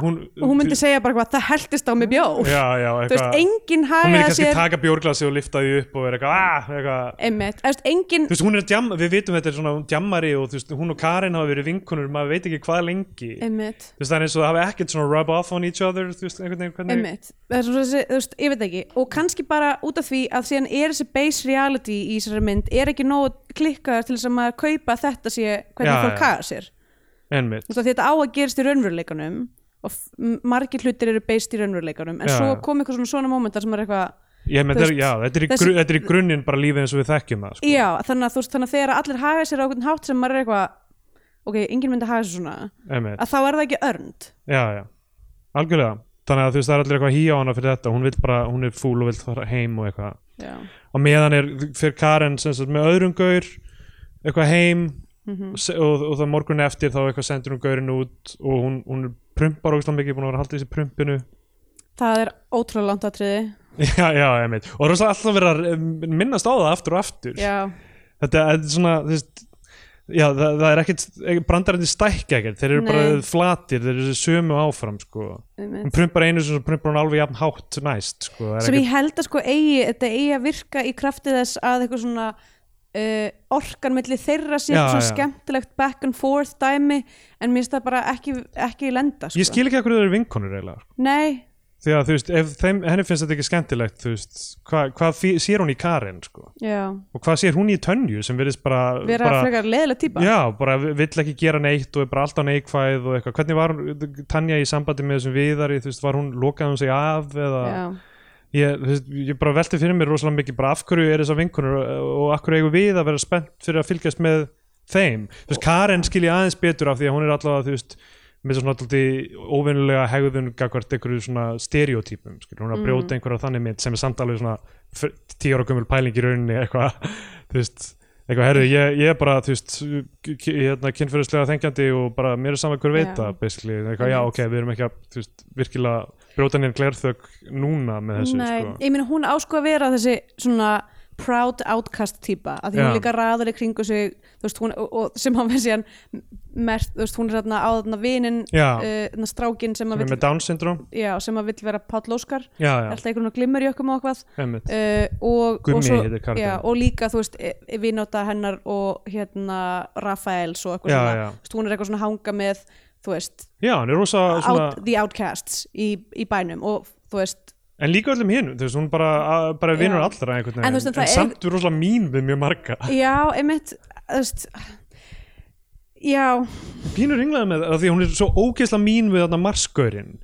S2: hún,
S1: Ah, og hún myndi segja bara hvað, það heldist á mig bjór
S2: já, já,
S1: þú veist,
S2: eitthvað
S1: enginn
S2: hún myndi
S1: hagaði
S2: kannski
S1: sér
S2: taka bjórglasi og lifta því upp og vera eitthvað, ah, eitthvað
S1: einmitt, þú veist, enginn
S2: þú veist, hún er djamma, við vitum þetta er svona hún djammari og þú veist, hún og Karin hafa verið vinkunur maður veit ekki hvað lengi
S1: einmitt,
S2: þú veist, það er eins og það hafa ekkert svona rub off on each other þú veist, einhvern veginn, hvernig
S1: einmitt það er svo þessi, þú veist, ég veit ekki og kannski bara út af því að síðan er þessi base reality í þessari mynd, er ekki nógu klikkaðar til þess að maður kaupa að þetta sé hvernig
S2: Já,
S1: fólk
S2: já.
S1: hagaði sér
S2: einmitt,
S1: Þú veist, af því þetta á að gerast í raunveruleikanum og f- m- margir hlutir eru based í raunveruleikanum en
S2: Já,
S1: svo
S2: já.
S1: kom eitthvað svona svona momentar sem er eitthvað
S2: ég menn,
S1: Þú
S2: þetta er-
S1: veist,
S2: já, þetta er, í
S1: þessi-
S2: gru, þetta er í grunninn bara lífið eins og við þekkjum það, sko
S1: já, þannig að þú veist, þannig að þegar allir haga sér á einhvern hátt sem maður er eitthvað ok, enginn myndi haga sér svona
S2: einmitt,
S1: að þá er það ekki örnd
S2: já, já, algjörlega þannig að þú veist, það er allir eitthvað hí á hana fyrir þetta hún vil bara, hún er fúl og vil fara heim og eitthvað
S1: já,
S2: og meðan er, fyrir Karen sem sagt, með öðrum gaur eitthvað heim
S1: Mhm.
S2: og, se- og, og það morgun eftir þá eitthvað sendur hún gaurin út og hún, hún prumpar ógstlega mikið, búin að vera að halda í þessi prumpinu
S1: það er ótrúlega langt atriði
S2: Já, já, ég meit. Og rosalega alltaf verið að eh, minnast á það aftur og aftur.
S1: já,
S2: Þetta er svona, þú veist, já, það, það er ekkit, brandarandi stækka ekkert, þeir eru bara
S1: Nei.
S2: flatir, þeir eru sömu áfram, sko.
S1: einmitt
S2: Hún prumpar einu sem prumpar hún alveg jafn hátt næst, sko. Það er
S1: sem
S2: ekkit,
S1: ég held að sko eigi, þetta eigi að virka í krafti þess að eitthvað svona uh, orkan milli þeirra sé
S2: Já,
S1: eitthvað svona
S2: já.
S1: skemmtilegt back and forth dæmi en mér finnst það bara ekki, ekki lenda sko.
S2: ég skil ekki hverju þeir eru vinkonur eiginlega, sko.
S1: nei,
S2: Því að, þú veist, ef þeim, henni finnst þetta ekki skemmtilegt, þú veist, hvað hva sér hún í Karen, sko?
S1: já,
S2: Og hvað sér hún í Tönju sem virðist bara...
S1: vera
S2: bara,
S1: frekar leðilega típa
S2: Já, bara vill ekki gera neitt og er bara alltaf neikvæð og eitthvað. Hvernig var hún- Tanja í sambandi með þessum viðari, þú veist, var hún, lokaði hún sig af eða,
S1: Já.
S2: ég, þú veist, ég bara velti fyrir mér rosalega mikið, bara af hverju er þessar vinkunur og af hverju eigum við að vera spennt fyrir að fylgjast með þeim. Þú veist, Karen skilji aðeins betur af því að hún er allavega, þú veist, með svona alltaf óvinnulega hegðun gagvart einhverju svona stereotypum, skilur, hún er að brjóta einhverja þannig mynd sem er samt alveg svona fyr- tíu ára gömul pæling í rauninni eitthvað, þú veist, eitthvað, herru, ég, ég er bara, þú veist, k- k- hérna, kynfyrirslega þengjandi og bara mér er saman hver veit
S1: Já.
S2: það, basically, eitthvað, já,
S1: Einmitt.
S2: ok, við erum ekki að, þú veist, virkilega brjóta nýjan glerþök núna með þessu,
S1: Nei,
S2: sko.
S1: ég meina hún á sko að vera þessi svona proud outcast típa að því hún
S2: Já.
S1: líka raður í kringu sig þú veist, hún, og, og, sem hann veist síðan mert, þú veist, hún er þarna á þarna vinin
S2: Já.
S1: uh, strákin sem að
S2: Með
S1: vill
S2: Down syndrom,
S1: já, sem að vill vera Páll Óskar
S2: já, já,
S1: alltaf einhvern veginn glimmur í okkur og eitthvað
S2: emmitt,
S1: uh, og,
S2: Gummi
S1: og, svo,
S2: heitir karakterinn.
S1: já, og líka þú veist e- e- vinóta hennar og hérna Rafaels og eitthvað
S2: Já,
S1: svona
S2: já.
S1: Þú Veist, hún er eitthvað svona að hanga með þú veist,
S2: já, hann er rosa, svona,
S1: out, the outcasts í, í bænum og þú veist
S2: en líka öllum hinn, þú veist, hún bara, að- bara vinur
S1: Já.
S2: allra einhvern
S1: En þú
S2: veginn,
S1: veist, en
S2: en,
S1: það er-
S2: samt er rosalega mín við mjög marga,
S1: já, einmitt þú veist já,
S2: pínur ringlaði með það, af því hún er svo ógeðslega mín við þarna marskaurinn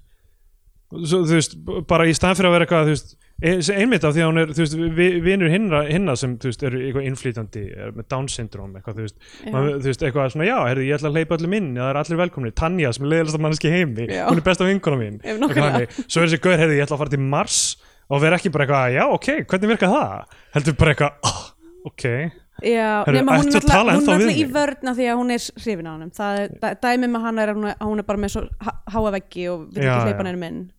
S2: svo, þú veist, b- bara í staðan fyrir að vera eitthvað þú veist, e- sem einmitt af því að hún er þú veist, vi- vinur hinna, hinna sem þú veist, eru eitthvað innflýtandi, er með Down syndrome eitthvað, þú veist, maður, þú veist, eitthvað svona já, herri, ég ætla að hleypa öllum inn, það er allir velkomni Tanja sem er leiðilegsta mannski í heimi,
S1: Já.
S2: hún er besta vinkona mín,
S1: Ef
S2: Eitthvað
S1: nokkulega.
S2: þannig. svo er þessi gaur, herri, ég ætla að fara til Mars og vera ekki bara eitthvað, já, ok, hvernig virka það heldur bara eitthvað, oh, ok
S1: já
S2: Herru,
S1: nema hún er
S2: ertu að
S1: náttúrulega-
S2: tala
S1: hún
S2: ennþá
S1: er
S2: við
S1: náttúrulega í
S2: mig?
S1: vörna því að hún er hrifin á hannum það er dæ- dæmi með hana er að hún er- að hún er bara með svo há- háa veggi og vil
S2: Já,
S1: ekki
S2: já.
S1: hleypa hann minn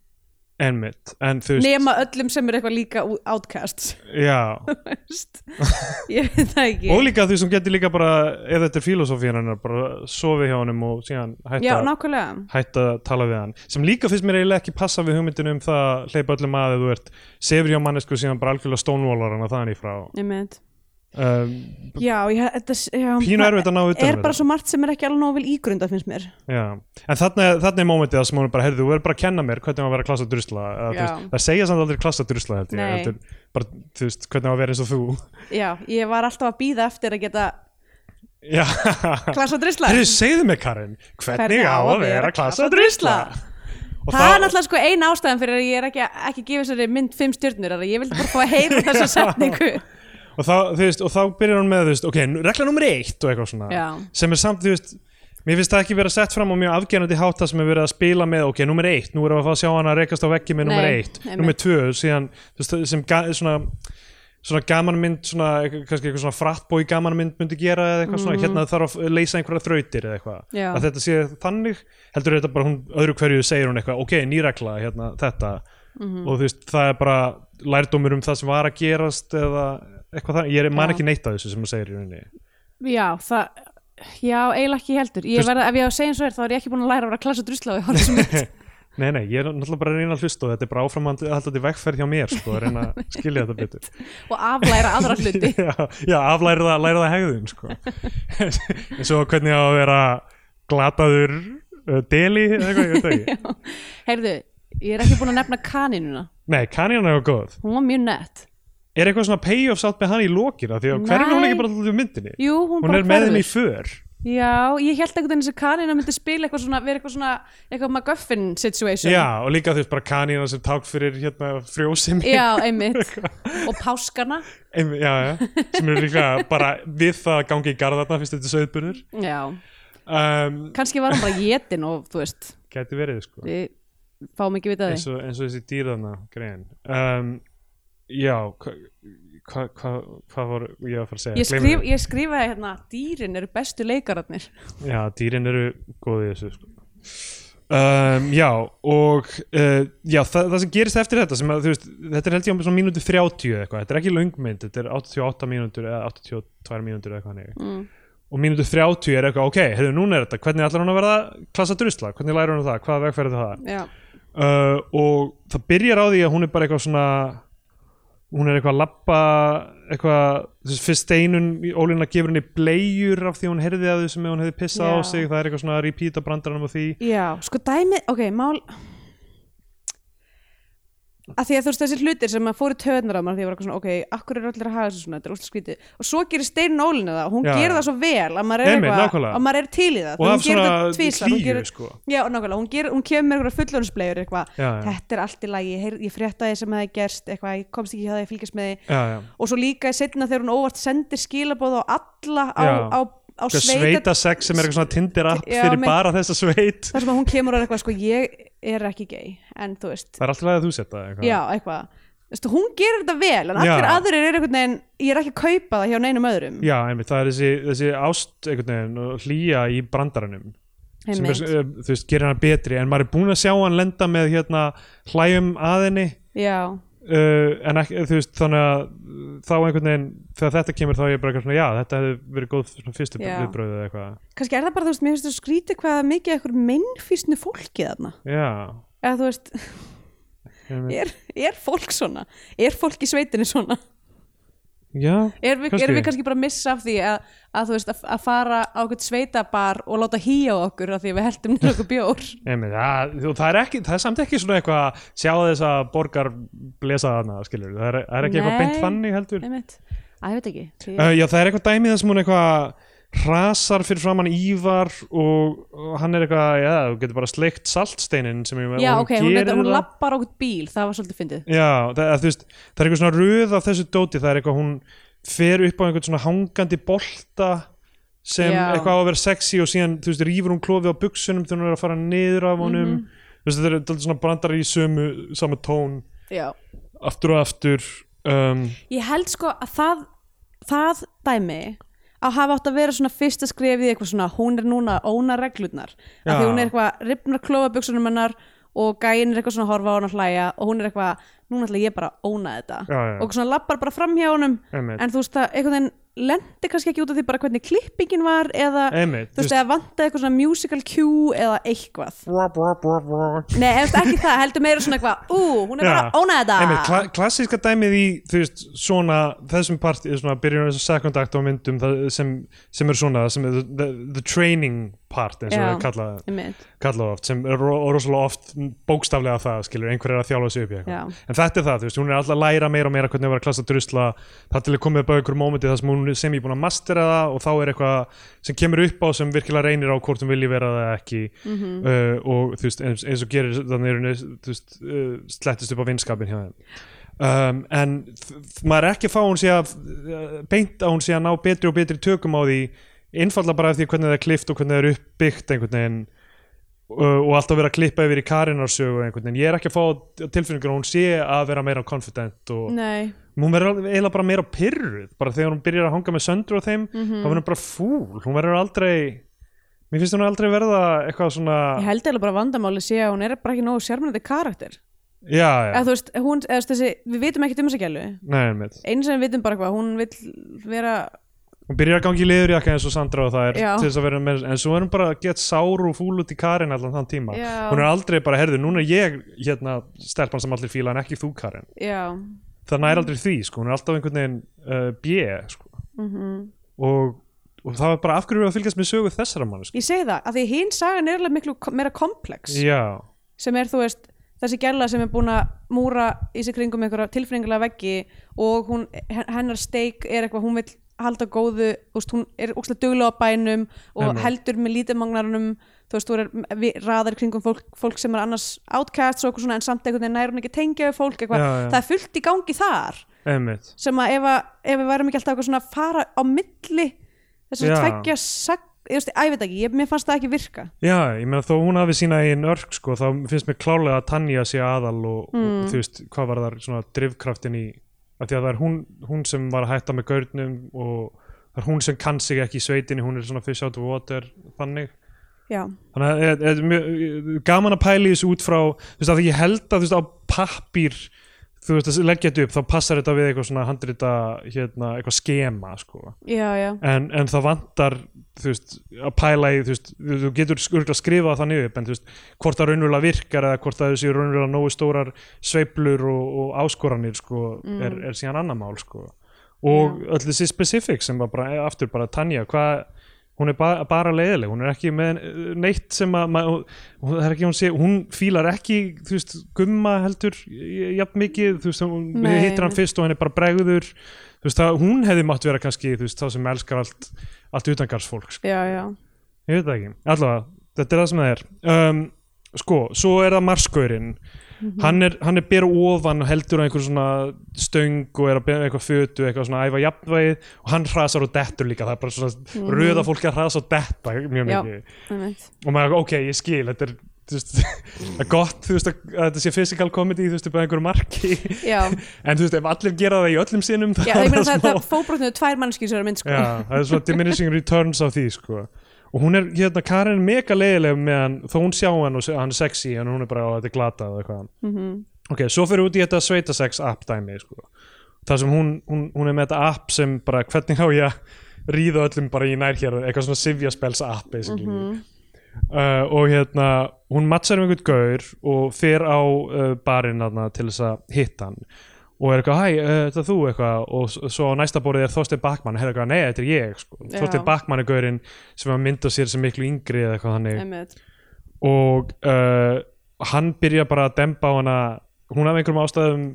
S2: einmitt, en þú veist,
S1: nema öllum sem er eitthvað líka outcasts
S2: já
S1: veist ég veit það ekki
S2: og líka því sem getur líka bara ef þetta er filosófían hennar bara sofi hjá honum og síðan
S1: já,
S2: hætta,
S1: nákvæmlega
S2: hætta að tala við hann sem líka finnst mér eiginlega ekki passa við hugmyndinu um það að hleypa öllum að ef þú ert sefur hjá mannesku síðan bara algjörlega stónvólar hann að þannig frá
S1: Einmitt.
S2: um,
S1: já, ég, þetta já,
S2: pínu erfitt að ná utan
S1: er
S2: um
S1: bara svo margt sem er ekki alveg nóg vel ígrunda finnst mér
S2: Já. en þarna, þarna er mómentið að sem hún er bara heyrðu, þú verður bara að kenna mér hvernig á að vera klassa drusla
S1: Já.
S2: það segja samt aldrei klassa drusla held ég
S1: Nei.
S2: heldur bara, þú veist, hvernig á að vera eins og þú
S1: já, ég var alltaf að býða eftir að geta
S2: Já,
S1: klassa drisla
S2: heyrðu, segðu mig Karin hvernig, á að vera klassa drusla Og
S1: það
S2: þá-
S1: er náttúrulega sko ein ástæðan fyrir að ég er ekki, ekki gefið sér mynd fimm stjörnur er að ég vildi bara fá að heyra þessa setningu
S2: og þá, þú veist, og þá byrjar hún með þú veist, ok, nú- regla nummer eitt og eitthvað svona
S1: Já.
S2: sem er samt, þú veist Mér finnst það ekki verið að sett fram á mjög afgerandi hátta sem er verið að spila með, ok, nummer eitt, nú erum við að fá að sjá hana að rekast á veggi með nummer
S3: Nei,
S2: eitt,
S3: einmitt.
S2: nummer tvö, síðan þú veist, sem ga svona, svona gamanmynd, svona, kannski eitthvað svona frattbói gamanmynd myndi gera eða eitthvað svona, hérna þarf að leysa einhverja þrautir eða eitthvað,
S3: Mm. Já.
S2: að þetta sé þannig, heldur þetta bara hún, öðru hverju segir hún eitthvað, ok, nýrakla, hérna, þetta,
S3: Mhm.
S2: og þú veist, það er bara lærdómur um það sem var að gerast eða eitthvað það, ég er- man
S3: Já.
S2: ekki neitt af þessu sem hún segir í rauninni.
S1: Já, það, já, eiginlega ekki heldur ég
S2: Þú veist-
S1: verð, Ef ég á að segja eins og er, þá er ég ekki búin að læra að vera klasa drusla og ég horf sem
S2: Nei, nei, ég er náttúrulega bara að reyna að hlusta og þetta er bara áframhaldandi vegferð hjá mér sko, að reyna að skilja þetta betur
S1: og aflæra aðra hluti
S2: Já, já aflæra það, læra það hegðun sko. eins og hvernig á að vera glataður uh, deli eða eitthvað, ég veit það ekki
S1: Heyrðu, ég er ekki búin að nefna kaninuna
S2: Nei, kanina er góð
S1: Hún var mjög nett
S2: Er eitthvað svona payoff sátt með hann í lokina því að hvernig hún
S1: Nei.
S2: ekki bara alltaf myndinni
S1: Jú, hún,
S2: Hún
S1: bara
S2: er með þeim í
S1: hverfur.
S2: för
S1: Já, ég held einhvern veginn þessi kanina myndi spila eitthvað svona, vera eitthvað svona eitthvað MacGuffin situation
S2: Já, og líka þú veist bara kanina sem ták fyrir hérna frjósemi
S1: Já, einmitt Og páskana
S2: Einmi- já, já, sem eru líka bara við það að gangi í garðarna fyrst þetta er söðbunur
S1: Já,
S2: um,
S1: kannski var hann bara getin og þú veist,
S2: Gæti verið sko
S1: við fáum ekki vitað
S2: eins
S1: því
S2: og, eins og þessi dýrðana grein um, já hvað hva, hva, hva var ég að fara að segja
S1: Ég,
S2: Gleymdi
S1: skrif, ég skrifaði hérna dýrin eru bestu leikararnir
S2: því. já, dýrin eru góð í þessu sko. um, já og uh, já, þa það sem gerist eftir þetta sem að, þú veist, þetta er held ég um svona mínútu 30 eða eitthvað, þetta er ekki löngmynd þetta er 88 mínútur eða 82 mínútur eða eitthvað nefnir
S1: mm.
S2: og mínútu 30 er eitthvað, ok, hefðu núna er þetta hvernig ætlar hún að verða klassa drusla, hvernig lærir hún það hvaða vegferði það
S1: Já,
S2: uh, og það byrjar á því að hún er bara eitthvað svona hún er eitthvað að labba eitthvað, þessi fyrst steinun Ólína gefur henni bleiur af því að hún heyrði að þessum ef hún hefði pissað á
S1: Já.
S2: sig það er eitthvað svona að repeata brandaranum á því
S1: Já, sko dæmið, ok, mál að því að þú veist þessi hlutir sem að fóru töðnar á maður því að ég var eitthvað svona, ok, akkur er allir að haga þessu svona, þetta er úrslega skrítið og svo gerir Stein Nólinu það, og hún
S2: Já.
S1: gerir það svo vel að maður er,
S2: Einmitt,
S1: eitthvað,
S2: nákvæmlega.
S1: að maður er til í það
S2: og
S1: Þegar hún
S2: af
S1: gerir
S2: svona
S1: þetta tvisvar, hún
S2: hlýju
S1: gerir,
S2: sko
S1: Já, nákvæmlega, hún, gerir, hún kemur með eitthvað fullorðinsblegur eitthvað,
S2: já, já,
S1: þetta er allt í lagi, ég, heyr, ég frétta því sem það er gerst eitthvað, ég komst ekki hjá það, ég fylgist með því
S2: já, já.
S1: og svo líka setna þegar hún óvart sendir skilabóð á alla á,
S2: Já.
S1: á, á, á
S2: Sveita,
S1: sveita
S2: sveita sex sem er eitthvað svona tindir app
S1: Já,
S2: fyrir
S1: mitt.
S2: bara þessa sveit
S1: þar sem að hún kemur og er eitthvað sko ég er ekki gay en þú veist,
S2: það er alltaf að þú setja eitthvað
S1: já eitthvað Þú veist, hún gerir þetta vel en allir
S2: Já.
S1: aðrir eru einhvern veginn ég er ekki að kaupa það hjá neinum öðrum
S2: Já, einmitt, það er þessi, þessi ást einhvern veginn og hlýja í brandaranum sem er,
S1: Einmitt.
S2: uh, þú veist, gerir hann betri en maður er búin að sjá hann lenda með hérna hlæjum að henni
S1: já,
S2: uh, en ekki, þú veist þannig að uh, þá einhvern veginn þegar þetta kemur þá er ég bara eitthvað svona já þetta hefði verið góð svona fyrstu
S1: Já.
S2: viðbröðu eða eitthvað
S1: kannski er það bara þú veist, mér finnst þú skrítið hvað mikið eitthvað minnfísnu fólki þarna
S2: já,
S1: eða þú veist,
S2: einmitt.
S1: er, er fólk svona er fólk í sveitinni svona
S2: já,
S1: er við,
S2: Kannski.
S1: erum við kannski bara að missa af því að, að þú veist, að, að fara á eitthvað sveitabar og láta hýja á okkur af því að við heldum niður okkur bjór
S2: einmitt, að, og það er ekki það er samt ekki svona eitthvað að sjá þess að borgar blesa þarna skilur það er, það er ekki eitthvað beint
S1: Nei.
S2: fannig heldur
S1: einmitt, að ég veit ekki Því-
S2: Uh, já, það er eitthvað dæmið sem hún eitthvað hrasar fyrir framann Ívar og, og hann er eitthvað, já, þú getur bara sleikt saltsteinin sem ég með
S1: Já, ok, hún,
S2: gerir
S1: hún, hún
S2: það.
S1: lappar okkur bíl, það var svolítið fyndið.
S2: Já, það, að, þú veist, það er eitthvað svona röð af þessu dóti, það er eitthvað hún fer upp á einhvern svona hangandi bolta sem
S1: Já.
S2: eitthvað á að vera sexy og síðan, þú veist, rýfur hún klofið á buksunum þegar hún er að fara niður af honum
S1: Mhm.
S2: þú veist, þetta er dálítið svona brandar í sömu sama tón,
S1: Já.
S2: aftur og aftur um,
S1: Ég held sko að það, það dæmi að hafa átt að vera svona fyrsta skrefið í eitthvað svona, hún er núna að óna reglurnar.
S2: Já.
S1: Af því hún er eitthvað, ripnar klófabuksunum hennar og gæin er eitthvað svona að horfa á hann að hlæja og hún er eitthvað, núna ætla ég bara að óna þetta.
S2: Já, já.
S1: Og svona lappar bara fram hjá honum,
S2: einmitt,
S1: en þú veist að einhvern veginn lendi kannski ekki út af því bara hvernig klippingin var eða,
S2: einmitt
S1: þú veist, eða vantaði eitthvað svona musical cue eða eitthvað.
S2: brá, brá, brá, brá.
S1: Nei, eftir ekki það, heldur meira svona eitthvað, ú, hún er bara
S2: Já.
S1: að óna þetta.
S2: Einmitt, kla klassíska dæmið í þú veist, svona, þessum part svona, byrjun þessum second act á myndum það, sem, sem er svona sem er the, the, the training part eins og
S1: Já.
S2: það er kallað
S1: Einmitt.
S2: kallað oft, sem er ro- rosalega oft bókstaflega það, skilur, einhver er að þjálfa sig upp
S1: Já.
S2: í eitthvað, en þetta er það, þú veist, hún er alltaf að læra meira og meira hvernig að vera klassa drusla það til að koma upp á einhverjum mómenti þar sem hún sem ég er búin að mastera það og þá er eitthvað sem kemur upp á sem virkilega reynir á hvort hún vilji vera það eða ekki
S1: Mhm.
S2: uh, og þú veist, eins, eins og gerir þannig er hún, þú veist, uh, slettist upp á vinskapin hjá þeim um, en eh, þ- þ- maður er ekki að fá hún sé að uh, beint að hún sé að ná betri og betri tökum á því einfallega bara af því hvernig það er klift og hvernig það er uppbyggt einhvern veginn uh, og alltaf verið að klippa yfir í Karinarsögu einhvern veginn, ég er ekki að fá tilfinningur að hún sé að vera meira confident og
S1: Nei,
S2: hún verður alveg- eiginlega bara meira pyrruð bara þegar hún byrjar að hanga með söndur og þeim þá verður hún bara fúl, hún verður aldrei mér finnst hún aldrei verða eitthvað svona
S1: ég held eða bara vandamáli sé að hún er bara ekki nógu sérmennandi karakter
S2: já, já,
S1: eða þú veist, hún, eða þú veist, þessi, við vitum ekkert um þessa gælu
S2: nei, einmitt
S1: einu sem við vitum bara hvað, hún vill vera
S2: hún byrjar að gangi í liður jakka eins og Sandra og það er
S1: Já.
S2: til þess að vera með, en svo er hún bara að geta sár og fúl út í Karin allan þann tíma
S1: Já.
S2: hún er aldrei bara, herðu, núna er ég hérna stelpan sem allir fíla en ekki þú Karin
S1: já,
S2: það
S1: Mm.
S2: nær aldrei því, sko, hún er alltaf einhvern veginn uh, bjö, sko
S1: Mhm.
S2: og, og það er bara af hverju erum við að fylgjast með sögu þessara mann, sko
S1: ég segi það, af því hinn sagan er alveg miklu kom- meira komplex
S2: já,
S1: sem er, þú veist, þessi gæla sem er búin að múra í sig kringum einhverja tilfinningulega veggi og hún, hen- hennar steik er eitthvað, hún vill halda góðu, þú veist, hún er úkslega duglega á bænum og
S2: Einmitt.
S1: heldur með lítimagnarunum þú veist, þú er við, raðar kringum fólk, fólk sem er annars outcasts og okkur svona en samt einhvern veginn nær hún ekki að tengja við fólk eitthvað,
S2: Já, já.
S1: það er fullt í gangi þar
S2: einmitt
S1: sem að ef, að, ef við værum ekki alltaf eitthvað svona að fara á milli þessar
S2: Já.
S1: tveggja sag, ég veist, æ, ég veit ekki, ég, mér fannst það ekki virka
S2: Já, ég meina þó hún hafi sína einn örk sko, þá finnst mér klálega að Tanja sé aðal og, og þú veist, hvað var þar svona drifkraftin í, af því að það er hún, hún sem var að hætta með gaurnum og það er hún sem kann sig ekki í sveitinni hún er svona fish out of water, þannig
S1: já,
S2: þannig að er, er mjög, eh, gaman að pæli þessu út frá þú veist, af því ég held að þú veist, á pappír þú veist, að leggja þetta upp, þá passar þetta við eitthvað svona handrita, hérna, eitthvað skema, sko
S1: já, já
S2: en, en það vantar þú veist, að pæla í þú, veist, þú getur skurgla að skrifa það niður upp, en þú veist, hvort það raunverulega virkar eða hvort það séu raunverulega nógu stórar sveiflur og, og áskoranir sko, er, er síðan annar mál sko. og öll þessi specific sem var bara aftur bara Tanja hvað hún er ba bara leiðileg, hún er ekki með eh, neitt sem að ma- hún, það er ekki, hún, sé, hún fílar ekki þú veist, gumma heldur eh, jafn mikið, þú veist, hún
S1: Nei,
S2: hittir hann
S1: nei.
S2: fyrst og henni bara bregður þú veist, það, hún hefði mátt vera kannski þú veist, þá sem elskar allt, allt utangarsfólk sko.
S1: já, já,
S2: ég veit það ekki, allavega, þetta er það sem það er um, sko, svo er það marskaurinn
S1: Mhm.
S2: hann er, hann er bera ofan og heldur á einhver svona stöng og er að bera eitthvað fötu, eitthvað svona æfa jafnvægið og hann hrasar og dettur líka það er bara svona röða fólki að hrasa og detta mjög
S1: Mhm. Já.
S2: mikið
S1: einmitt
S2: og maður, ok, ég skil, þetta er þú veist, það er gott, þú veist, að, að þetta sé physical comedy, þú veist, upp að einhverju marki
S1: Já,
S2: en þú veist, ef allir gera það í öllum sinnum þá
S1: já
S2: er
S1: ég meina það,
S2: smá-
S1: það fóbrotnuðu tvær mannskýr sem eru mynd sko.
S2: Já, það er svona diminishing returns á því sko. og hún er, hérna, Karin er mega leiðileg með hann, þó hún sjá hann og se- hann er sexy en hún er bara á þetta er glatað og eitthvað
S1: Mhm.
S2: ok, svo fyrir út í þetta sveitasex app dæmi sko. þar sem hún, hún, hún er með þetta app sem bara, hvernig á ég að ríða öllum bara í nær hér eitthvað svona sifjaspels app basically uh, og hérna hún mattsar um einhvern gaur og fer á uh, barinn aðna til þess að hitta hann og er eitthvað, hæ, uh, þetta er þú eitthvað og s- svo á næsta borðið er Þorstein Bakmann er eitthvað, nei, þetta er ég sko.
S1: Já.
S2: Þorstein Bakmann er gaurinn sem að mynda sér sem miklu yngri eða eitthvað þannig
S1: Einmitt.
S2: og uh, hann byrja bara að dempa á hana hún af einhverjum ástæðum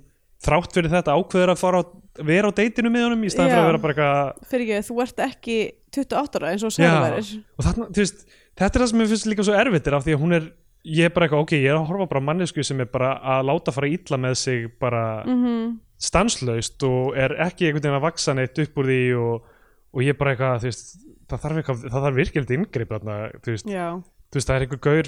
S2: þrátt fyrir þetta ákveður að fara á, vera á deitinu með honum í staðan fyrir
S1: Já.
S2: að vera bara eitthvað
S1: Fyrir ekki, þú ert ekki 28 ára eins og
S2: Já,
S1: Sara værir
S2: og þarna, þú veist, þetta er það sem mér finnst líka svo erfitt er af því að hún er, ég er bara eitthvað ok, ég er að horfa bara á mannesku sem er bara að láta fara illa með sig bara
S1: mm -hmm.
S2: stanslaust og er ekki einhvern veginn að vaksa neitt upp úr því og, og ég er bara eitthvað, þú veist það þarf, eitthvað, það þarf virkjöld inngrip þarna, þú veist,
S1: Já,
S2: þú veist, það er einhver gaur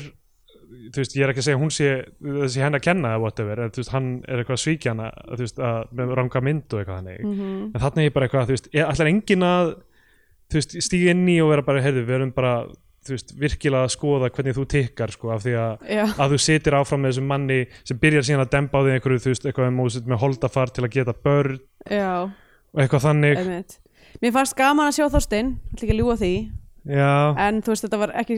S2: þú veist, ég er ekki að segja að hún sé þessi henn að kenna eða whatever, en þú veist, hann er eitthvað að svíkja hana, þú veist, að, með ranga mynd og eitthvað þannig, en þarna er ég bara eitthvað þú veist, ég ætlar engin að þú veist, stíga inn í og vera bara, heyrðu, við erum bara þú veist, virkilega að skoða hvernig þú tikkar sko, af því að,
S1: já,
S2: að þú sitir áfram með þessum manni sem byrjar síðan að dempa á því einhverju, þú veist, eitthvað um ósitt með holdafar til að geta börn
S1: já,
S2: og eitthvað þannig,
S1: einmitt Mér fannst gaman að sjá Þorstein, ætla ekki að ljúga því
S2: já,
S1: En þú veist, þetta var ekki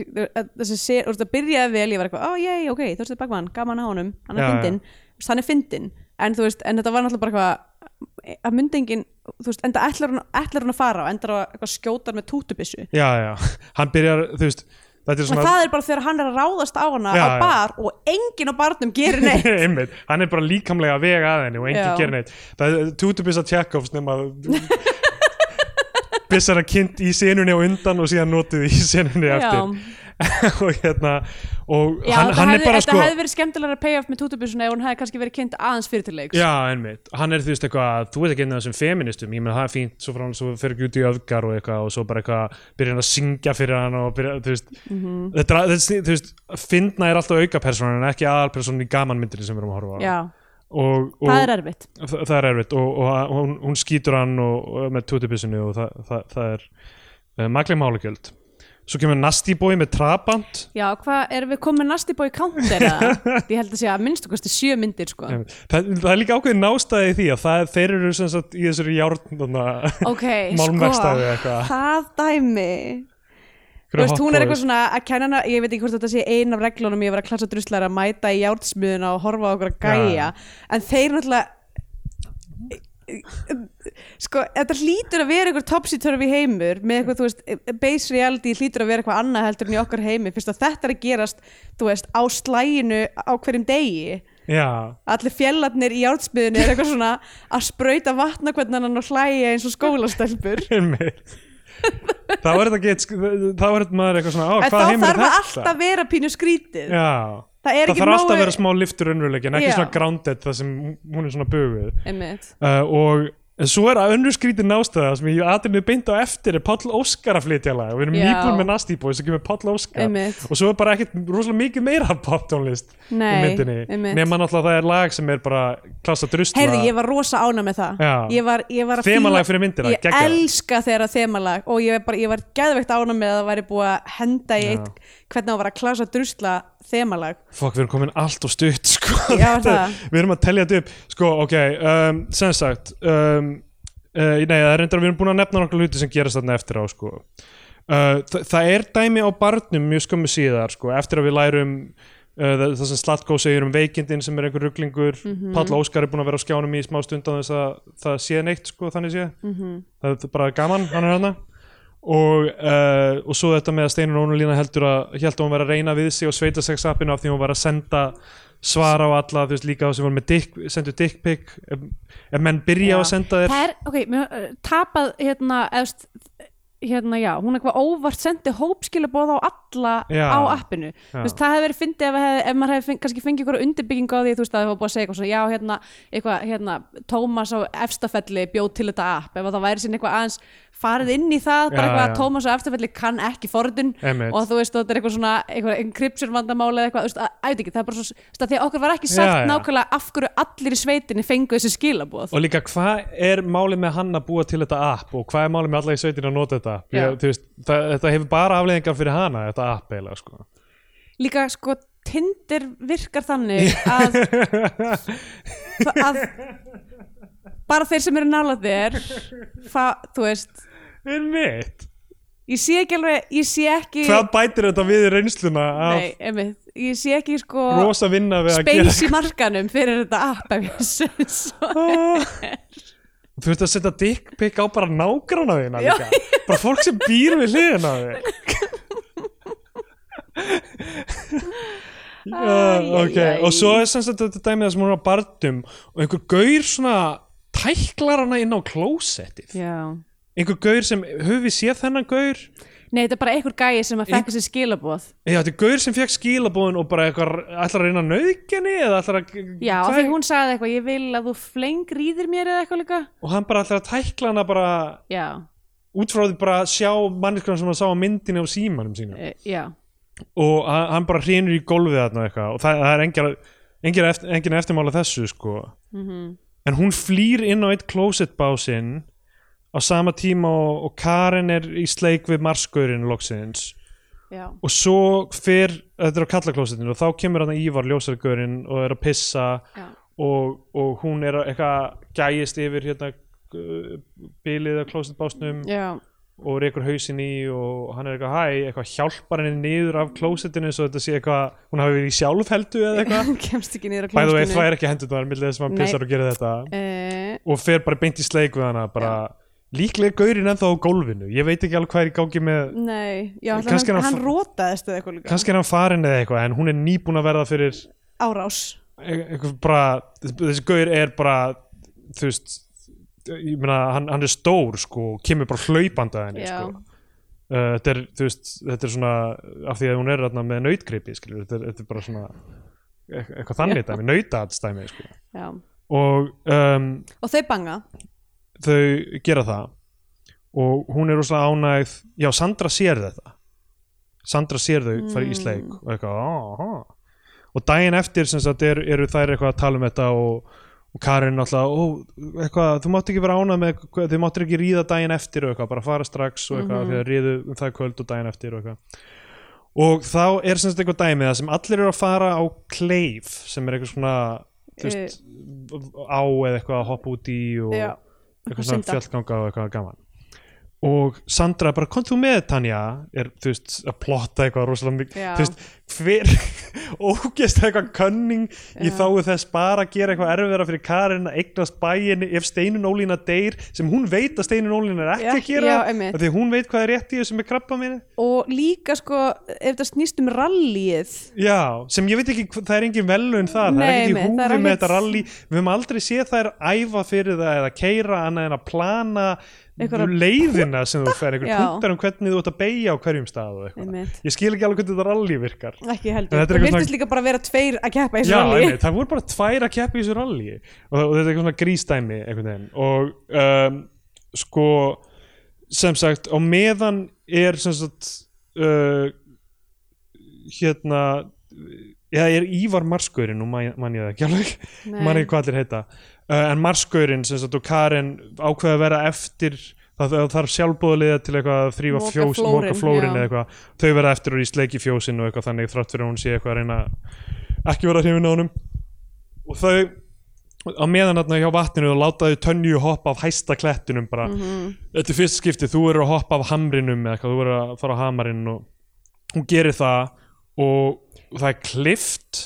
S1: þessi, ser, þú veist, það byrjaði vel, ég var eitthvað, ó, jæj, ok, Þorstein Bakmann, gaman á honum Hann er
S2: Já, já.
S1: fyndinn, Þú veist, hann er fyndinn En þú veist, en þetta var náttúrulega bara eitthvað að myndingin, þú veist, enda ætlar hún, ætlar hún að fara og endar á eitthvað skjótar með tútubissu
S2: já, já hann byrjar, þú veist, þetta er
S1: Og
S2: svona
S1: það er bara þegar hann er að ráðast á hana
S2: Já,
S1: á
S2: já.
S1: bar og enginn á barnum gerir neitt
S2: einmitt, hann er bara líkamlega að vega að henni og enginn
S1: Já.
S2: gerir neitt það er tútubissa Tjekovs nema bissar að kynnt í senunni á undan og síðan notið í senunni
S1: Já.
S2: eftir og hérna og
S1: Já,
S2: hann,
S1: þetta
S2: hann
S1: hefði,
S2: er bara
S1: þetta
S2: sko
S1: hefði verið skemmtilega að payoff með tútubusuna ef hún hefði kannski verið kynnt aðeins fyrir til leiks
S2: Já, einmitt, hann er þú veist eitthvað að þú ert ekki einn af þessum feministum, ég meina það er fínt svo frá hann svo fer ekki út í öfgar og eitthvað og svo bara eitthvað byrja hann að syngja fyrir hann og byrja, þú veist,
S1: Mhm.
S2: þetta, er- þetta, er- þú veist fyndna er alltaf aukapersónan en ekki aðalpersónan í gamanmyndinni sem við erum að horfa á
S1: Já,
S2: og, og
S1: það er erfitt
S2: þa- það er erfitt og, og hann- hún, hún skýtur hann og, og með tutubissinu og það, það, það er uh, magleg málugjöld svo kemur Nasty Boy með trabant
S1: Já, hvað, erum við komin næst í bói counter eða? Ég held að sé að minnstu kosti sjö myndir sko
S2: það, það er líka ákveðin nástæði í því að það, þeir eru sem sagt í þessari járn þarna,
S1: Ok, sko,
S2: málmverkstæði eða eitthvað
S4: það dæmi
S1: Þú veist, hún er eitthvað svona að kenna hana, ég veit ekki hvort þetta sé ein af reglunum ég var að klassa druslar að mæta í járnsmiðuna og horfa á okkur að gæja
S2: Já.
S1: en þeir náttúrulega sko, þetta hlýtur að vera einhver topsy-turvy heimur með eitthvað, þú veist, base reality hlýtur að vera eitthvað annað heldur en í okkar heimi fyrst að þetta er að gerast, þú veist, á slæginu á hverjum degi
S2: já,
S1: allir fjellarnir í járnsmiðinu er eitthvað svona að sprauta vatna hvernig annan og hlæja eins og skólastelpur
S2: einmitt þá er þetta get þá er þetta maður eitthvað svona, á,
S1: en
S2: hvað
S1: þá
S2: heimur er
S1: þarf
S2: þetta?
S1: að alltaf vera pínu skrítið
S2: já
S1: Það er
S2: Það
S1: ekki
S2: þarf alltaf
S1: nógu-
S2: að vera smá liftur raunveruleiki en ekki
S1: Já.
S2: svona grounded það sem hún er svona buguð
S1: Einmitt.
S2: uh, og en svo er að önnur skrítin nástæða sem ég aðrinnið beint á eftir er Páll Óskar að flytja lag og við erum
S1: Já.
S2: nýbúin með Nasty Boy sem kemur Páll Óskar
S1: Einmitt.
S2: og svo er bara ekkert rosalega mikið meira poptónlist í
S1: Nei,
S2: myndinni
S1: einmitt.
S2: nema náttúrulega það er lag sem er bara klassa drusla
S1: Heyrðu, ég var rosa ána með það
S2: Já.
S1: ég var, ég var að
S2: Þemalag
S1: fíla-
S2: fyrir myndina,
S1: Ég
S2: geggjað.
S1: elska þegar að þemalag og ég, er bara, ég var geðveikt ána með að það væri búið að henda í eitt hvernig á var að klasa drusla þemalag
S2: Fokk, við erum komin allt og stutt sko.
S1: Já,
S2: Þetta-
S1: það.
S2: Við erum að telja þetta upp Sko, ok, um, sem sagt um, uh, Nei, það er reyndar að við erum búin að nefna nokkla hluti sem gerast þarna eftir á sko. uh, þa Það er dæmi á barnum mjög skömmu síðar sko, eftir að við lærum Uh, það, það sem Slatko segir um veikindin sem er einhver rugglingur,
S1: Mhm.
S2: Páll Óskar er búin að vera á skjánum í smá stund á þess að það sé neitt sko, þannig sé,
S1: Mhm.
S2: það er bara gaman hann er hann og, uh, og svo þetta með að Steinun Ónulína heldur að held að hún var að reyna við sig og sveita sex appinu af því hún var að senda svara á alla, þú veist líka á sem voru með dick, sendu dick pic ef, ef menn byrja á að senda þér
S1: Það er, ok, mér, uh, tapað hérna, eðst, hérna, já hún eitthvað óvart sendi hópskilabóð á alla
S2: Já.
S1: á appinu Þú veist, það hefði verið fyndið ef, hef, ef maður hefði feng, kannski fengið ykkur undirbygging á því þú veist að það hefði búið að segja eitthvað svona, já, hérna, eitthvað, hérna Tómas á efstafelli bjóð til þetta app ef að það væri sinni eitthvað aðeins farið inn í það, bara
S2: Já,
S1: eitthvað
S2: já.
S1: að Tómas á efstafelli kann ekki forðun
S2: Einmitt.
S1: og þú veist, þetta er eitthvað svona eitthvað encryption vandamál eða eitthvað, þú veist, að, að, ekki, það er bara svo, þú veist, að því að okkur var ekki sagt
S2: Já, já.
S1: nákvæmlega af hverju allir í sveitinni fengu þessi skilabóð
S2: og líka hvað er málið með hann að búa til þetta app og hvað er málið með alla í sveitin að nota þetta
S1: Já.
S2: ég, þú veist, það, þetta hefur bara afleðingar fyrir hana þetta app eiginlega sko.
S1: líka sko Tinder virkar þannig að, að bara þeir sem eru nálað þér það, þú veist
S2: einmitt,
S1: ég sé ekki alveg, ég sé ekki
S2: hvað bætir þetta við reynsluna af
S1: nei, einmitt, ég sé ekki sko
S2: rosa vinna við að gera
S1: space í markanum fyrir þetta app ef ég sé svo.
S2: Þú veist að setja dick pic á bara nágrána þína
S1: Já.
S2: líka Bara fólk sem býr við hliðina á þér
S1: Æ,
S2: Já, ok,
S1: æ, æ.
S2: og svo er sem sagt þetta dæmið það sem hún er á barndum og einhver gaur svona tæklar hana inn á klósettið
S1: já
S2: einhver gaur sem, höfum við séð þennan gaur?
S1: Nei, þetta er bara einhver gæi sem að fekka sér skilaboð.
S2: Já, þetta er gaur sem fekk skilabóðin og bara eitthvað ætlar að reyna nöðgenni eða ætlar að
S1: Já, af því hún sagði eitthvað, ég vil að þú fleng rýðir mér eða eitthvað líka.
S2: og hann bara ætlar að tækla hana bara
S1: Já,
S2: út frá því bara að sjá manneskunum sem hann sá á myndinni á símanum sínum
S1: e, já.
S2: og hann hann bara hrýnur í gólfið þarna og eitthvað og það, það er engin, engin, eftir, engin eftirmála þessu sko
S1: Mhm.
S2: en hún flýr inn á eitt closetbásinn á sama tíma og, og Karen er í sleik við marskaurin loksins
S1: Já,
S2: og svo fer, þetta er á kallaklósettinu og þá kemur hann Ívar ljósargaurin og er að pissa
S1: já.
S2: og, og hún er að eitthvað gæjist yfir hérna uh, bilið af klósettbásnum
S1: Já,
S2: og rekur hausinn í og hann er eitthvað hæ, eitthvað hjálpar henni niður af klósettinu eins og þetta sé eitthvað, hún hafi verið í sjálfheldu eða eitthvað,
S1: hún kemst ekki niður á
S2: bæðu veit
S1: klósettinu.
S2: það er ekki hendurnar millir þess að hann
S1: Nei.
S2: pissar og gerir þetta
S1: Eh,
S2: og fer bara beint í sleik við hana bara, líklega er gaurinn ennþá á gólfinu ég veit ekki alveg hvað er í gangi með
S1: nei, já, ætli
S2: Kannski
S1: hann, hann,
S2: er
S1: hann
S2: hann fa-
S1: rótaðist eða eitthvað líka
S2: kannski er hann farin eða eitthvað, en hún er nýbúin að verða fyrir
S1: Árás
S2: e- eitthvað bara, þessi gaur er bara þú veist ég meina, hann, hann er stór sko, og kemur bara hlaupandi að henni
S1: Já.
S2: sko. Uh, þetta, er, þú veist, þetta er svona af því að hún er þarna, með nautgripi skilur, þetta, er, þetta er bara svona eit- eitthvað þannig dæmi, nautaatstæmi sko.
S5: já.
S2: og um,
S5: og þau banga
S2: þau gera það og hún er rosalega ánægð já, Sandra sér þetta Sandra sér þau fara í sleik og eitthvað, áhá og daginn eftir sem sagt er, eru þær eitthvað að tala um þetta og, og Karin alltaf ó, eitthvað, þú mátt ekki vera ánað með hvað- þau máttir ekki ríða daginn eftir og eitthvað bara fara strax og eitthvað mm -hmm. ríðu um það kvöld og daginn eftir og eitthvað og þá er sem sagt eitthvað dæmið það sem allir eru að fara á kleif sem er eitthvað svona þú veist, á eða eitthvað að hoppa út í og
S5: Já.
S2: eitthvað
S5: Synda.
S2: svona fjallganga og eitthvað gaman og Sandra bara kom þú með Tanja er þú veist að plotta eitthvað rosalega mikið
S5: Já.
S2: þú veist hver ógest eitthvað cunning í þáu þess bara að gera eitthvað erfiðara fyrir Karin að eignast bæin ef Steinun Ólína deyr sem hún veit að Steinun Ólína er ekki
S5: Já,
S2: að gera
S5: já, einmitt.
S2: af því að hún veit hvað er rétt í þessu með krabba minni
S5: og líka sko ef það snýst um rallíið
S2: Já, sem ég veit ekki, hv- það er engin velun þar, það er
S5: Nei,
S2: ekki
S5: einmitt,
S2: húfi
S5: það er
S2: með
S5: ekkert-
S2: þetta rally, við höfum aldrei séð þær æfa fyrir það eða keira annað en að plana
S5: Einhverja
S2: leiðina sem þú fer, einhver
S5: Já.
S2: punktar um hvernig þú ert að beigja á hverjum stað og
S5: Einmitt.
S2: eitthvað. Ég skil ekki alveg hvernig þetta rally virkar.
S5: ekki
S2: En
S5: heldur,
S2: þetta er
S5: það
S2: eitthvað
S5: virtist
S2: svona-
S5: líka bara að vera tveir að keppa í þessu
S2: Já,
S5: rallíi
S2: einmitt, það voru bara tvær að keppa í þessu rally og, og þetta er eitthvað svona grísdæmi einhvern veginn og um, sko, sem sagt, á meðan er sem sagt uh, hérna Já, er Ívar Marskurinn, nú man man ég það ekki alveg, man ekki hvað allir heita uh, en Marskurinn, sem sagt, og Karin ákveða að vera eftir það, það þarf sjálfbúðaliða til eitthvað að þrýfa
S5: Moka
S2: fjós,
S5: flórinn,
S2: moka flórin
S5: já.
S2: eða eitthvað, þau vera eftir og í sleiki fjósin og eitthvað þannig, þrátt fyrir að hún sé eitthvað að reyna að ekki vera hrifin á honum og þau á meðan hérna hjá vatninu og látaðu tönju hoppa af hæsta klettinum bara
S5: Mhm.
S2: þetta er fyrst skipti, þú eru að hoppa af hamrinum eða eitthvað, þú eru að fara á hamarinn og hún gerir það og það er klift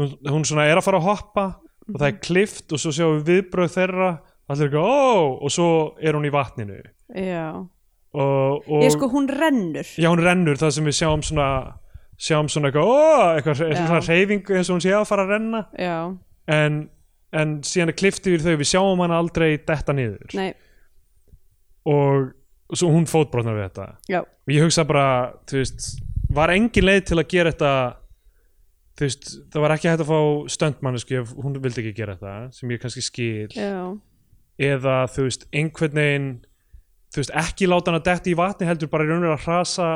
S2: hún, hún svona er að fara að hoppa og
S5: Mhm.
S2: það er klift og svo sjáum við viðbröð þeirra allir eitthvað, ó, og svo er hún í vatninu
S5: já.
S2: og, og
S5: ég sko hún rennur
S2: já, hún rennur það sem við sjáum svona sjáum svona eitthvað, ó, eitthvað, eitthvað svona reyfing eins og hún sé að fara að renna
S5: já,
S2: en, en síðan er klift yfir þau við sjáum hana aldrei detta niður
S5: nei,
S2: og svo hún fótbrotnar við þetta
S5: já
S2: og ég hugsa bara, þú veist var engin leið til að gera þetta þú veist, það var ekki hægt að fá stöndmannesku ef hún vildi ekki gera þetta sem ég kannski skil
S5: Já,
S2: eða þú veist, einhvern veginn þú veist, ekki láta hann að detti í vatni heldur bara í raunir að hrasa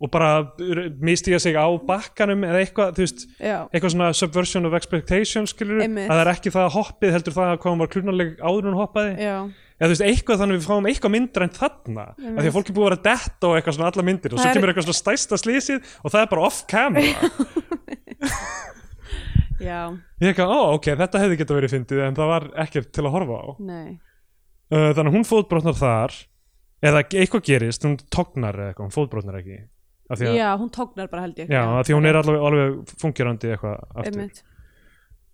S2: og bara mistiga sig á bakkanum eða eitthvað, þú veist,
S5: já,
S2: eitthvað svona subversion of expectation skilur
S5: Einmitt.
S2: að það er ekki það að hoppið heldur það að hvað hún var klunarleg áður en hún hoppaði
S5: já.
S2: eða þú veist eitthvað þannig við fáum eitthvað myndrænt þarna af því að fólk er búið að vera detta og eitthvað svona alla myndir og
S5: Það
S2: svo
S5: er-
S2: kemur eitthvað svona stæsta slísið og það er bara off camera ég
S5: Já,
S2: er eitthvað, ó ok, þetta hefði geta verið fyndið en það var ekkert til að horfa á uh,
S5: nei
S2: Eh, þannig að hún fótbrotnar þar eða eitthvað gerist, hún tognar eða eitthvað, hún fótbrotnar ekki af því að,
S5: Já, hún tóknar bara held ég
S2: já, af því að hún er alveg, alveg fungerandi eitthvað aftur
S5: Einmitt.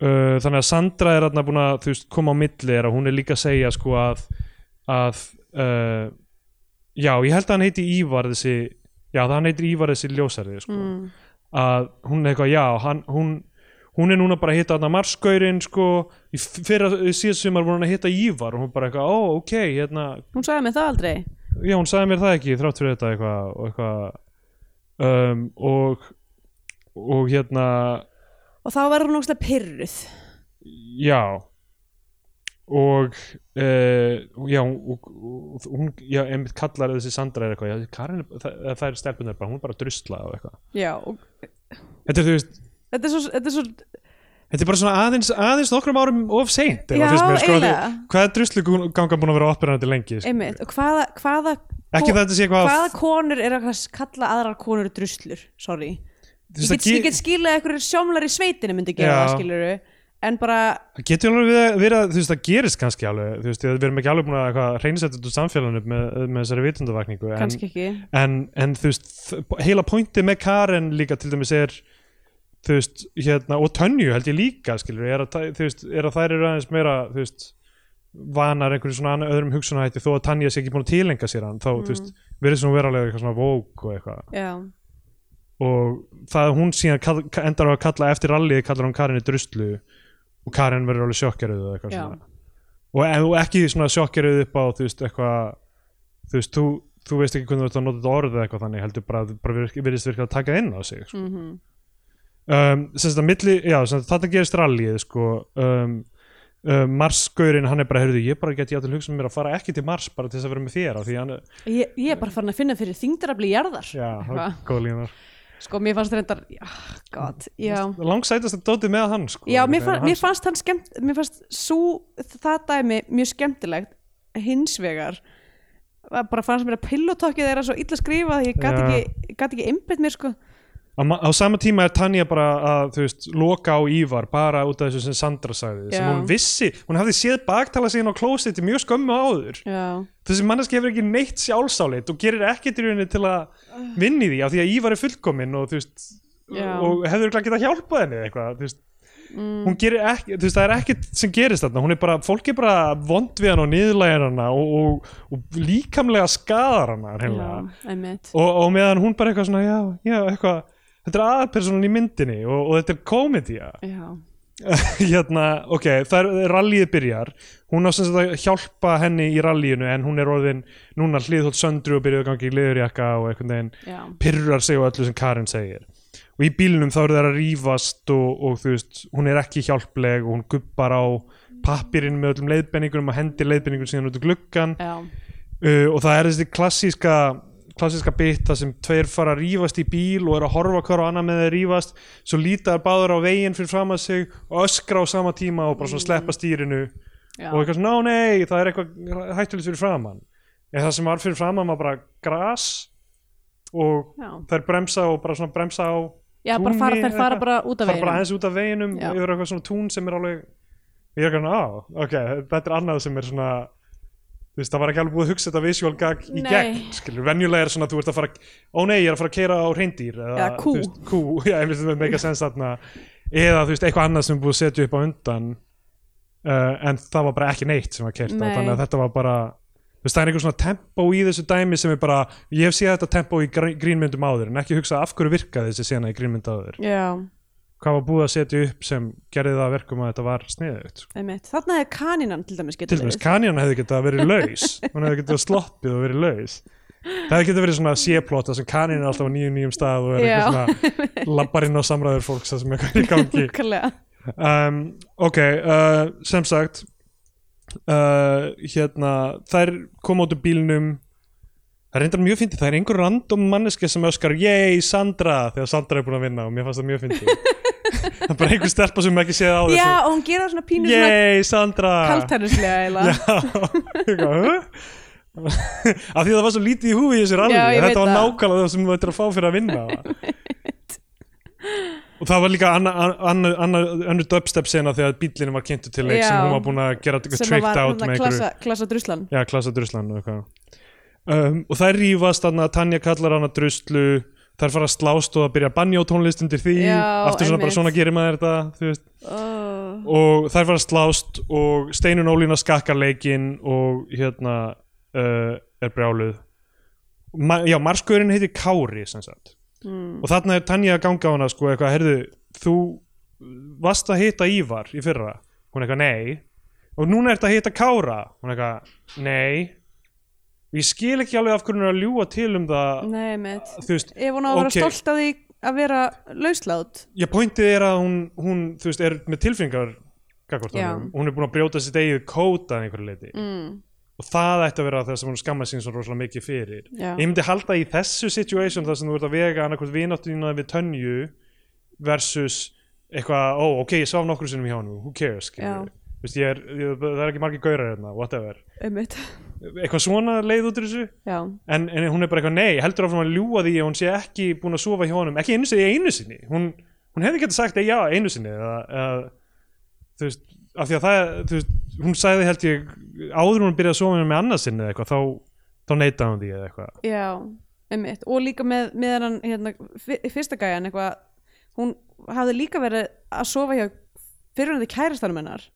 S2: uh, þannig að Sandra er þarna búin að þú veist, koma á milli er að hún er líka að segja sko að, að uh, já, ég held að hann heiti Ívar þessi, já það hann heitir Ívar þessi ljósari sko,
S5: Mm.
S2: að hún er eitthvað, já, hann, hún hún er núna bara að hitta þarna marskaurinn sko, í fyrra síðast sumar voru hann að hitta Ívar og hún bara eitthvað, ó, ok hérna,
S5: Hún sagði mér það aldrei
S2: já, hún sagði mér það ekki þrátt fyrir þetta eitthvað og eitthvað um, og og hérna
S5: Og þá var hún ógstlega pyrruð
S2: já og uh, já, og, og, og hún já, einmitt kallar þessi Sandra er eitthvað já, Karin, er- það, það er stelpunar bara, hún er bara að drusla og eitthvað
S5: Já, og
S2: þetta er, þú veist,
S5: þetta er svo, þetta er svo
S2: þetta er bara svona aðeins, aðeins nokkrum árum of seint
S5: Já,
S2: sko, því-
S5: eiginlega.
S2: hvað er druslu ganga búin að vera operandi lengi sko?
S5: Einmitt, og hvaða, hvaða
S2: ekki þetta sé eitthvað
S5: Hvaða konur er að kalla aðrar konur druslur, sorry
S2: þú
S5: Ég
S2: veist,
S5: get,
S2: það
S5: ég get skilað að einhverjir sjómlar í sveitinni myndi gera
S2: Já.
S5: það skiluru En bara,
S2: Það getur alveg verið að- verið að, þú veist, það gerist kannski alveg, þú veist, við erum ekki alveg búin að eitthvað reynsætt út úr samfélaginu með, með þessari vitundavakningu, en,
S5: kannski ekki
S2: en, en þú veist, þ- heila pointið með Karen líka til dæmis er þú veist, hérna, og Tönju held ég líka skilur, er að, tæ- þú veist, er að þær eru aðeins meira, þú veist vanar einhverju svona anna- öðrum hugsunahætti þó að Tanja sé ekki búin að tilenga sér hann þá, þú veist, verið svona verulega eitthvað svona vók og eitthvað,
S5: Já,
S2: og það að hún síðan kall, ka- endar á að kalla eftir rallið kallar hún Karin í druslu og Karin verður alveg sjokkeruð og eitthvað
S5: Já.
S2: svona og, en, og ekki svona sjokkeruð upp á þú veist, eitthvað þú veist, þú, þú veist ekki hvernig þú ert að nota þetta orð eða eitthvað þannig heldur bara, bara virk- virðist virka að taka inn á sig sko.
S1: mhm,
S2: um, sem þetta milli, já, sem sagt, þarna gerist rallið sko um, Uh, Marsgaurin, hann er bara, heyrðu, ég bara geti játtil hugsað mér að fara ekki til Mars bara til þess að vera með þér á því hann,
S1: Ég, ég er bara farin að finna fyrir þingdarafli jarðar
S2: já, það
S1: Eitthvað.
S2: er góð línar
S1: Sko, mér fannst reyndar, ah, god, já
S2: langsætast að dótið með hann sko,
S1: Já, mér,
S2: Hann-
S1: fann, mér fannst hann skemmt mér fannst svo, það dæmi mjög skemmtilegt hins vegar var bara fannst mér að pillotokkið þeirra svo illa skrifað ég gat
S2: Já.
S1: ekki, gat ekki einbytt mér sko
S2: á, ma- á sama tíma er Tanja bara að þú veist, loka á Ívar bara út af þessu sem Sandra sagði sem
S1: Já.
S2: hún vissi, hún hafði séð baktala síðan á klósetti mjög skömmu áður
S1: Já,
S2: þessi manneski hefur ekki neitt sjálfsálit og gerir ekkert í rauninni til að vinni því af því að Ívar er fullkominn og þú veist
S1: Já. Mm.
S2: og hefur ekki getað hjálpað henni eða eitthvað þú veist Hún gerir ekki, þú veist, það er ekkert sem gerist þarna, hún er bara, fólk er bara vond við hann og niðurlægir hana og, og, og líkamlega skadar hana,
S1: já,
S2: hreinlega
S1: einmitt
S2: og, og meðan hún bara eitthvað svona já, já, eitthvað, þetta er aðalpersonan í myndinni og, og þetta er komedía
S1: Já,
S2: hérna, ok, það er rallið byrjar hún á sem sagt að hjálpa henni í rallíinu en hún er orðin núna hliðhótt söndru og byrjuð að gangi í liðurjakka og einhvern veginn
S1: já,
S2: pyrrar sig á öllu sem Karin segir og í bílnum þá eru þær að rífast og, og þú veist, hún er ekki hjálpleg og hún gubbar á pappirinn með öllum leiðbenningunum og hendir leiðbenningun síðan út úr gluggan
S1: já,
S2: uh, og það er þessi klassíska klassíska bit þar sem tveir fara að rífast í bíl og eru að horfa hver á annað með þeir rífast svo lítar báður á veginn fyrir fram að sig og öskra á sama tíma og bara svona sleppa stýrinu
S1: já
S2: og eitthvað svona, ná nei, það er eitthvað hættulegt fyrir framann en það sem var fyrir framann var bara gras og
S1: Já,
S2: þær bremsa og bara svona bremsa á
S1: já bara fara,
S2: túni
S1: þær fara
S2: eitthvað.
S1: bara út af
S2: fara bara
S1: veginn
S2: aðeins út af veginum
S1: Já.
S2: yfir eitthvað svona tún sem er alveg ég er ekki að, á, ok, þetta er annað sem er svona þú veist, það var ekki alveg búið að hugsa þetta visual gag í
S1: Nei.
S2: gegn, skilur, venjulega er svona þú ert að fara, ó nei, ég er að fara að keira á reyndýr eða,
S1: Eða kú.
S2: þú veist, kú, já, ég veist, það meika sens þarna eða, þú veist, eitthvað annað sem er búið að setja upp á undan uh, en það var bara ekki neitt sem var keirt á,
S1: Nei.
S2: þannig að þetta var bara þú veist, það er einhver svona tempo í þessu dæmi sem er bara, ég hef séð þetta tempo í gr- grínmyndum áður, en ekki hugsa af hverju virkaði þessi sena í grínmynd áður
S1: Já,
S2: hvað var búið að setja upp sem gerði það að verkum að þetta var sniðugt
S1: einmitt Þarna er kanínan til dæmis
S2: til
S1: getur
S2: dæmis kanjan hefði getað verið laus hún hefði getað sloppið og verið laus það hefði getað verið svona séplota sem kanjan er alltaf á nýjum nýjum stað og er
S1: Já.
S2: eitthvað svona labbarinn á samræður fólks það sem eitthvað er í gangi
S1: Nákvæmlega.
S2: um, ok, uh, sem sagt uh, hérna þær koma út úr bílnum það er reyndar mjög fyndið, það er einhver random manneski sem öskar, yey, Sandra þegar Sandra er búin að vinna og mér fannst það mjög fyndið það er bara einhver stelpa sem ekki séð á þessu
S1: Já, og hún gera svona pínu svona
S2: Yey, Sandra
S1: kaltænislega eiginlega.
S2: Eitthvað, huh? Af því að það var svo lítið í húfi í þessu rally
S1: Já, ég veit
S2: Þetta var
S1: það.
S2: nákvæmlega það sem þú ættir að fá fyrir að vinna Og það var líka anna- anna- anna- önnur dubstep sena þegar bíllinn var kynntu til leik sem
S1: Já.
S2: hún var búin að gera eitthvað
S1: sem að
S2: tricked
S1: var
S2: out
S1: þarna
S2: með einhverju
S1: klassa, klassa druslan
S2: Já, klassa druslan og eitthvað um, Og þær rífast þarna, Tanja kallar hana druslu Þær fara að slást og að byrja að banja á tónlist undir því
S1: Já,
S2: Aftur svona
S1: einmitt.
S2: bara svona gerir maður þetta Þú veist
S1: oh.
S2: og þær fara að slást og Steinun Ólína skakkar leikinn og hérna uh, er brjáluð Ma já, marskaurin heitir Kári sem sagt og þarna er Tanja að ganga á hana sko eitthvað, herðu, þú varst að hitta Ívar í fyrra hún eitthvað, nei og núna ertu að hitta Kára hún eitthvað, nei ég skil ekki alveg af hvernig hún er að ljúga til um það
S1: Nei, mitt
S2: þú veist,
S1: Ef hún á að vera
S2: Ok.
S1: stolt af því að vera lauslát
S2: Já, pointið er að hún, hún þú veist, er með tilfinningar gagnvart
S1: Já.
S2: honum. Hún er búin að brjóta sitt eigið kóta að einhverju leiti.
S1: mm.
S2: Og það ætti að vera það sem hún skamma sín svo rosalega mikið fyrir.
S1: Já,
S2: Ég myndi halda í þessu situation þar sem þú ert að vega annarkvort vináttuðina við tönju versus eitthvað, ó, ok, ég svaf nokkru sinnum hjá hann, who cares, skilur við. Þú veist, ég er, ég, það er ekki margir gaurar hérna, whatever.
S1: einmitt
S2: Eitthvað svona leið út úr þessu?
S1: Já,
S2: en, en hún er bara eitthvað nei, heldur áfram að ljúa því að hún sé ekki búin að sofa hjá honum, ekki einu sinni, einu sinni. Hún, hún hefði getað sagt, já, einu sinni eða, eða, þú veist, af því að það þú veist, hún sagði held ég áður en hún byrjaði að sofa með annarsinni eða eitthvað, þá, þá neitaði hún því eða eitthvað
S1: já, einmitt Og líka með, með hann hérna, fyr- fyrsta gæjan eitthvað Hún hafði líka verið að sofa hjá fyrirhandi kærastanum hennar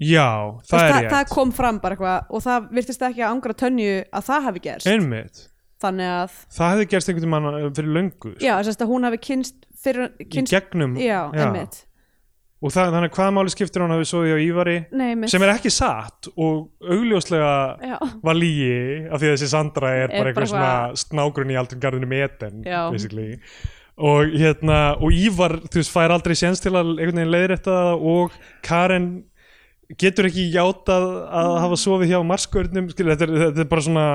S2: já,
S1: Þú
S2: það
S1: veist,
S2: er
S1: það,
S2: ég,
S1: það kom fram bara eitthvað og það virtist ekki að angra tönju að það hafi gerst
S2: einmitt
S1: þannig að,
S2: það hefði gerst einhvern tímann fyrir löngu sko,
S1: já, sérst að hún hafi kynst fyrir,
S2: í
S1: kynst,
S2: gegnum
S1: já, einmitt
S2: og það, þannig að hvaða máli skiptir hann að við svoði á Ívari
S1: Nei, mitt.
S2: sem er ekki satt og augljóslega
S1: Já.
S2: var lígi af því að þessi Sandra er,
S1: Er
S2: bara
S1: bara
S2: eitthvað svona snágrun í aldrei garðinu með Eden
S1: Já.
S2: basically. og hérna og Ívar þú veist fær aldrei séns til að einhvern veginn leiðrétta það og Karen getur ekki játað að
S1: Mm.
S2: hafa sofið hjá marskörnum skil, þetta, er, þetta er bara svona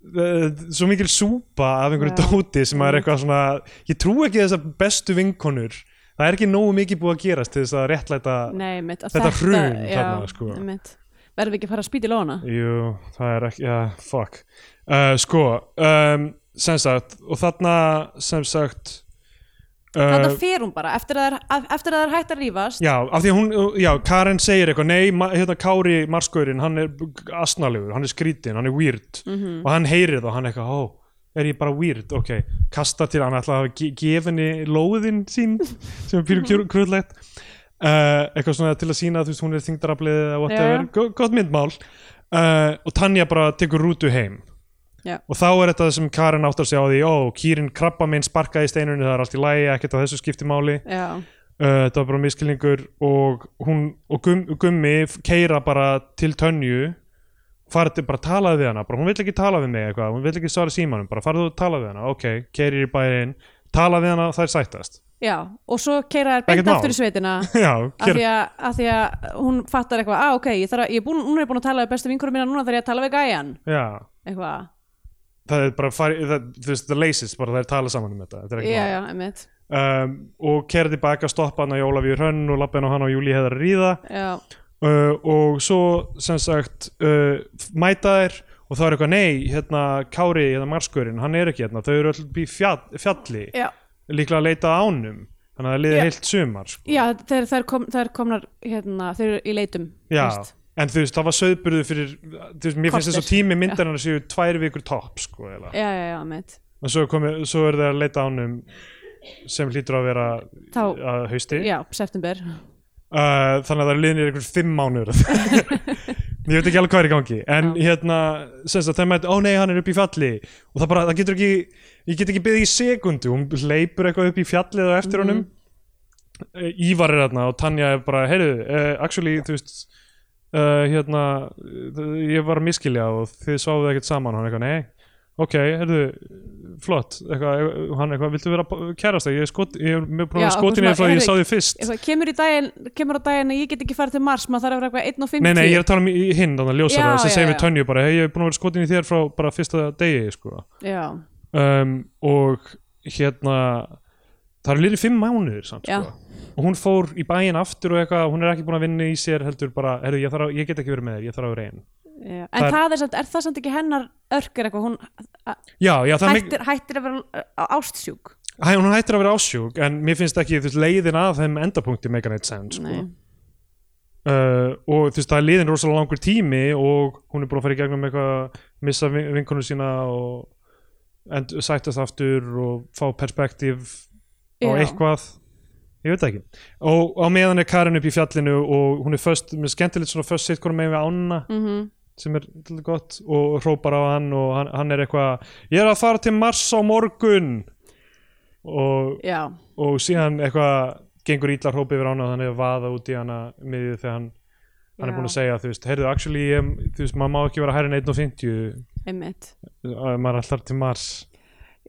S2: eh, svo mikil súpa af einhverju
S1: Já. Mm.
S2: dóti sem er eitthvað svona ég trú ekki þessar bestu vinkonur það er ekki nógu mikið búið að gerast til þess að réttlæta
S1: Nei, mitt. að
S2: Þetta hrun
S1: já,
S2: þarna, sko.
S1: Mitt. Verðum við ekki að fara að spýta í lóna?
S2: Jú, það er ekki, já, fuck uh, Sko, um, sem sagt og þarna, sem sagt
S1: Þetta
S2: uh,
S1: fer hún bara, eftir að það er, eftir að það er hægt að rífast.
S2: Já, af því að hún, já, Karen segir eitthvað Nei, ma- hérna Kári Marskaurinn, hann er asnalegur, hann er skrítinn, hann er weird
S1: Mhm.
S2: og hann heyrir það, hann er eitthvað, ó er ég bara weird, ok, kasta til hann ætlaði að ge- gefa henni lóðin sín sem er
S1: Mhm.
S2: pýrum krullegt uh, eitthvað svona til að sína þú veist, hún er þingdarablið eða whatever,
S1: Já, já.
S2: Go, gott myndmál uh, og Tanja bara tekur rútu heim
S1: Já.
S2: og þá er þetta sem Karen áttar sig á því ó, kýrin krabba minn sparkaði í steinunni það er allt í lægi, ekkert á þessu skipti máli
S1: Já.
S2: uh, þetta var bara miskilningur og hún og gum, gummi keira bara til tönju farið bara talaði við hana bara, hún vill ekki tala við mig eitthvað, hún vill ekki svara símanum bara farið og talaði við hana, ok, keirir í bærin talaði við hana, þær sættast
S1: Já, og svo keira þær beint
S2: Ekkert mál.
S1: aftur í sveitina
S2: já,
S1: af því,
S2: keira,
S1: að, af því að hún fattar eitthvað, ah, ok, ég þarf að, ég er búin, hún er búin að tala við bestu vinkurum mína, núna þarf ég að tala við gæjan,
S2: já
S1: eitthvað.
S2: það er bara, farið, það, þú veist, það leysist bara þær tala saman um þetta, þetta er ekki
S1: Já,
S2: mál.
S1: já, einmitt.
S2: um, og keira tilbaka, stoppa hana í Ólafíur Hönn og lappa hana á hann og Júli heðar að ríða
S1: Já,
S2: uh, og svo sem sagt uh, mæta þær og þá er eitthvað nei, hérna Kári, hérna Marskurinn, hann er ekki hérna þau eru öll upp í fjall, fjalli
S1: já,
S2: líklega að leita að ánum þannig að það liði
S1: Já.
S2: heilt sumar sko.
S1: já þeir, þeir, kom, þeir komnar, hérna, þeir eru í leitum.
S2: Já,
S1: fyrst.
S2: en þú veist, það var söðburðu fyrir þú veist, mér finnst
S1: Korter.
S2: þess að tími myndarinnar séu tvær vikur topp sko, eiginlega.
S1: Já, já, já, einmitt.
S2: en svo, komi, svo eru þeir að leita að ánum sem hlýtur að vera
S1: Þá-
S2: að hausti
S1: Já, september.
S2: uh, þannig að það eru liðnir einhver fimm mánuður ég veit ekki alveg hvað er í gangi en hérna, sem sagt, það mætti, ó nei, hann er upp í fjalli og það bara, það getur ekki ég get ekki beðið í sekundu, hún leipur eitthvað upp í fjallið og
S1: Mhm.
S2: eftir honum uh, Ívar er þarna og Tanja er bara heyrðu, uh, actually, þú veist uh, hérna, uh, ég var að miskilja og þið sváðu ekkert saman hann eitthvað, nei, ok, heyrðu flott, eitthvað, eh, hann eitthvað viltu vera kærast það, ég er skot ég er búin
S1: Já,
S2: að skotin
S1: eitthvað
S2: ég frá því
S1: svona,
S2: ég sá því fyrst
S1: Eitthvað, kemur, í daginn, kemur á daginn að ég get ekki farið til Mars, maður þarf að vera eitthvað 1 og 50.
S2: Nei, nei, ég er að tala um í- hinn, þannig að ljósara
S1: Já,
S2: sem
S1: já,
S2: segir við
S1: já.
S2: Tönju bara, hei, ég er búin að vera skotin í þér frá bara fyrsta degi, sko
S1: Já,
S2: um, og hérna það eru liðið fimm mánuðir samt,
S1: Já.
S2: sko og hún fór í bæinn aftur og eitthvað hún er ekki búin að vinna í sér heldur bara heyrðu, ég, þarf að, ég get ekki verið með þér, ég þarf að vera einn
S1: já. En
S2: Það er-
S1: það, er samt, er það samt ekki hennar örkur eitthvað, hún
S2: Já, já, það hættir...
S1: hættir, hættir að vera uh, ástsjúk.
S2: Hæ, hún hættir að vera ásjúk en mér finnst ekki, þú veist, leiðin að þeim endapunkti make a night sense, sko
S1: Nei.
S2: uh, og þú veist það er liðin rosalega langur tími og hún er búin að fara í gegnum eitthvað missa vin- vinkonu sína og end, sættast aftur og fá perspektíf á
S1: Já.
S2: eitthvað ég veit það ekki og á meðan er Karen upp í fjallinu og hún er föst, með skemmtilegt svona föst sitt konum með ána
S1: Mm
S2: sem er til gott og hrópar á hann og hann, hann er eitthvað ég er að fara til Mars á morgun og
S1: Já,
S2: og síðan eitthvað gengur ítlar hópi yfir ána og hann er að vaða út í hana miðið þegar hann, hann er
S1: Já.
S2: búin að segja þú veist, heyrðu, actually, ég, þú veist, maður má ekki vera hærri en 1.50
S1: einmitt.
S2: uh, maður er alltaf til mars